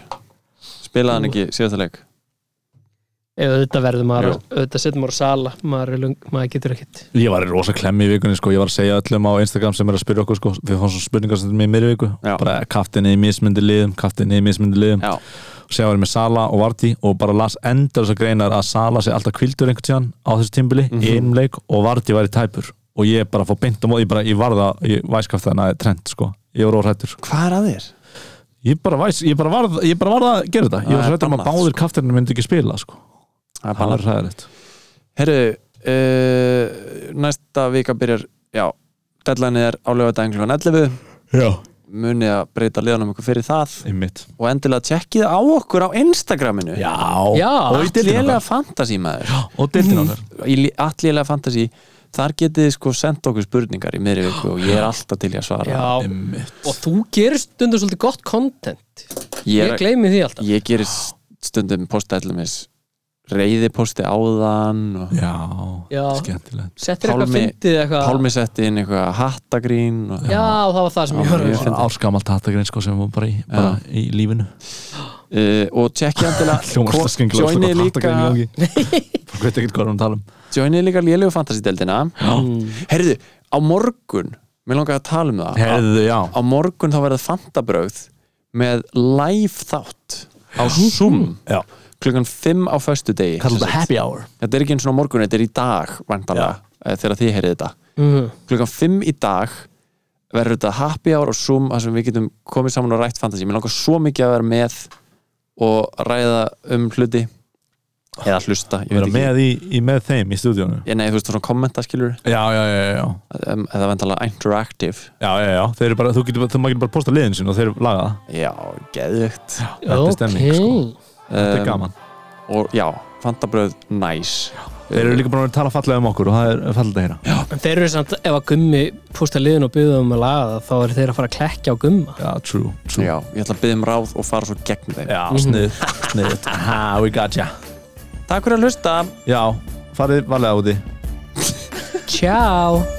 [SPEAKER 3] Spilaði hann ekki síðasta leik
[SPEAKER 5] ef þetta verður maður
[SPEAKER 3] Jú.
[SPEAKER 5] auðvitað setjum maður á sala maður, er lung, maður getur ekkit
[SPEAKER 4] Ég var í rosa klemmi í vikunni sko, ég var að segja öllum á Instagram sem er að spyrja okkur sko Við fáum svona spurningar sem í miðri viku
[SPEAKER 3] Já.
[SPEAKER 4] Bara kaftinni í mismyndi liðum, kaftinni í mismyndi liðum
[SPEAKER 3] Já,
[SPEAKER 4] Sér var ég með Sala og Vardí og bara las endur þessar greinar að Sala sé alltaf kvildur einhvern tíðan á þessu tímbili í einum leik og Vardí væri tæpur Og ég bara fór beint á móð, ég bara, ég varða, ég væskaft þannig að trend sko Ég var órættur sko
[SPEAKER 3] hvað er að þér?
[SPEAKER 4] Ég bara, væs, ég bara, varð, ég bara varð að gera þetta
[SPEAKER 3] Það
[SPEAKER 4] Ég var
[SPEAKER 3] er
[SPEAKER 4] hrættur um að
[SPEAKER 3] bannað,
[SPEAKER 4] báðir kaftirinu myndi ekki spila sko.
[SPEAKER 3] Það er
[SPEAKER 4] Það
[SPEAKER 3] bara
[SPEAKER 4] er hræðilegt
[SPEAKER 3] Herru, uh, næsta vika byrjar Já, deadline er á lögadaginn klukkan 11
[SPEAKER 4] Já,
[SPEAKER 3] Munið að breyta liðanum ykkur fyrir það
[SPEAKER 4] einmitt
[SPEAKER 3] Og endilega tjekkið á okkur á Instagraminu
[SPEAKER 4] Já,
[SPEAKER 5] Já,
[SPEAKER 4] og í deildinu
[SPEAKER 3] Allélega fantasy maður
[SPEAKER 4] Og deildinu okkar
[SPEAKER 3] í allilega fantasy þar getið þið sko sendt okkur spurningar í miðri viku og ég er alltaf til í að svara
[SPEAKER 5] Já, og þú gerir stundum svolítið gott content
[SPEAKER 3] ég,
[SPEAKER 5] Ég
[SPEAKER 3] er,
[SPEAKER 5] gleymi því alltaf
[SPEAKER 3] ég gerir stundum postællumis reyðiposti áðan og
[SPEAKER 4] Já,
[SPEAKER 5] Já.
[SPEAKER 4] skemmtilegt
[SPEAKER 5] Settir eitthvað
[SPEAKER 3] Pálmi-
[SPEAKER 5] fyndið eitthvað
[SPEAKER 3] Pálmi setti inn eitthvað hattagrín og
[SPEAKER 5] Já, það var það sem ég var
[SPEAKER 3] Já,
[SPEAKER 5] að
[SPEAKER 3] ég-
[SPEAKER 4] Svona áskamalt hattagrein sko sem var bara í, bara í lífinu
[SPEAKER 3] uh, og tjekkja
[SPEAKER 4] Hljómar alltaf
[SPEAKER 3] endilega
[SPEAKER 4] skringilega
[SPEAKER 3] joinið líka
[SPEAKER 4] Fólk veit ekkert hvað við erum að tala um
[SPEAKER 3] joinið líka lélegu fantasy-deldina
[SPEAKER 5] Mm.
[SPEAKER 3] heyrðu, á morgun mér langar að tala um það
[SPEAKER 4] Herðu, já
[SPEAKER 3] á morgun þá verða fantabröð með live þátt á Zoom
[SPEAKER 4] Já.
[SPEAKER 3] klukkan 5 á föstu degi
[SPEAKER 4] Kallar þetta happy hour
[SPEAKER 3] þetta er ekki eins og á morgun, þetta er í dag vantarlega, þegar þið heyrið þetta
[SPEAKER 5] Mhm.
[SPEAKER 3] klukkan 5 í dag verður þetta happy hour og Zoom þar sem við getum komið saman og rætt fantasy mér langar svo mikið að vera með og ræða um hluti eða hlusta, ég veit
[SPEAKER 4] Verða
[SPEAKER 3] ekki
[SPEAKER 4] með, í, í, með þeim í stúdíónu
[SPEAKER 3] ég, nei, þú veist, svona kommentaskilur
[SPEAKER 4] Já, já, já, já, já,
[SPEAKER 3] um, eða vantarlega interactive
[SPEAKER 4] já, já, já. Þeir eru bara, þú getur bara, þú maður getur bara posta liðin sín og þeir laga það
[SPEAKER 3] já, geðvögt
[SPEAKER 4] Þetta er stemning, sko. Þetta er
[SPEAKER 3] Um,
[SPEAKER 4] gaman
[SPEAKER 3] og já, fantabröð næs
[SPEAKER 4] Þeir eru líka búin að tala fallega um okkur og það er fallega að heyra
[SPEAKER 5] En þeir eru samt, ef að gummi pústa liðin og byggðu um að laga það, þá eru þeir að fara að klekja á gumma.
[SPEAKER 4] Já, true, true Mhm.
[SPEAKER 3] já, ég ætla að byggja um ráð og fara svo gegn þeim
[SPEAKER 4] Já, snið, snið Ha, we got ya
[SPEAKER 3] takk fyrir að hlusta
[SPEAKER 4] Já, farið varlega úti
[SPEAKER 5] Tjá!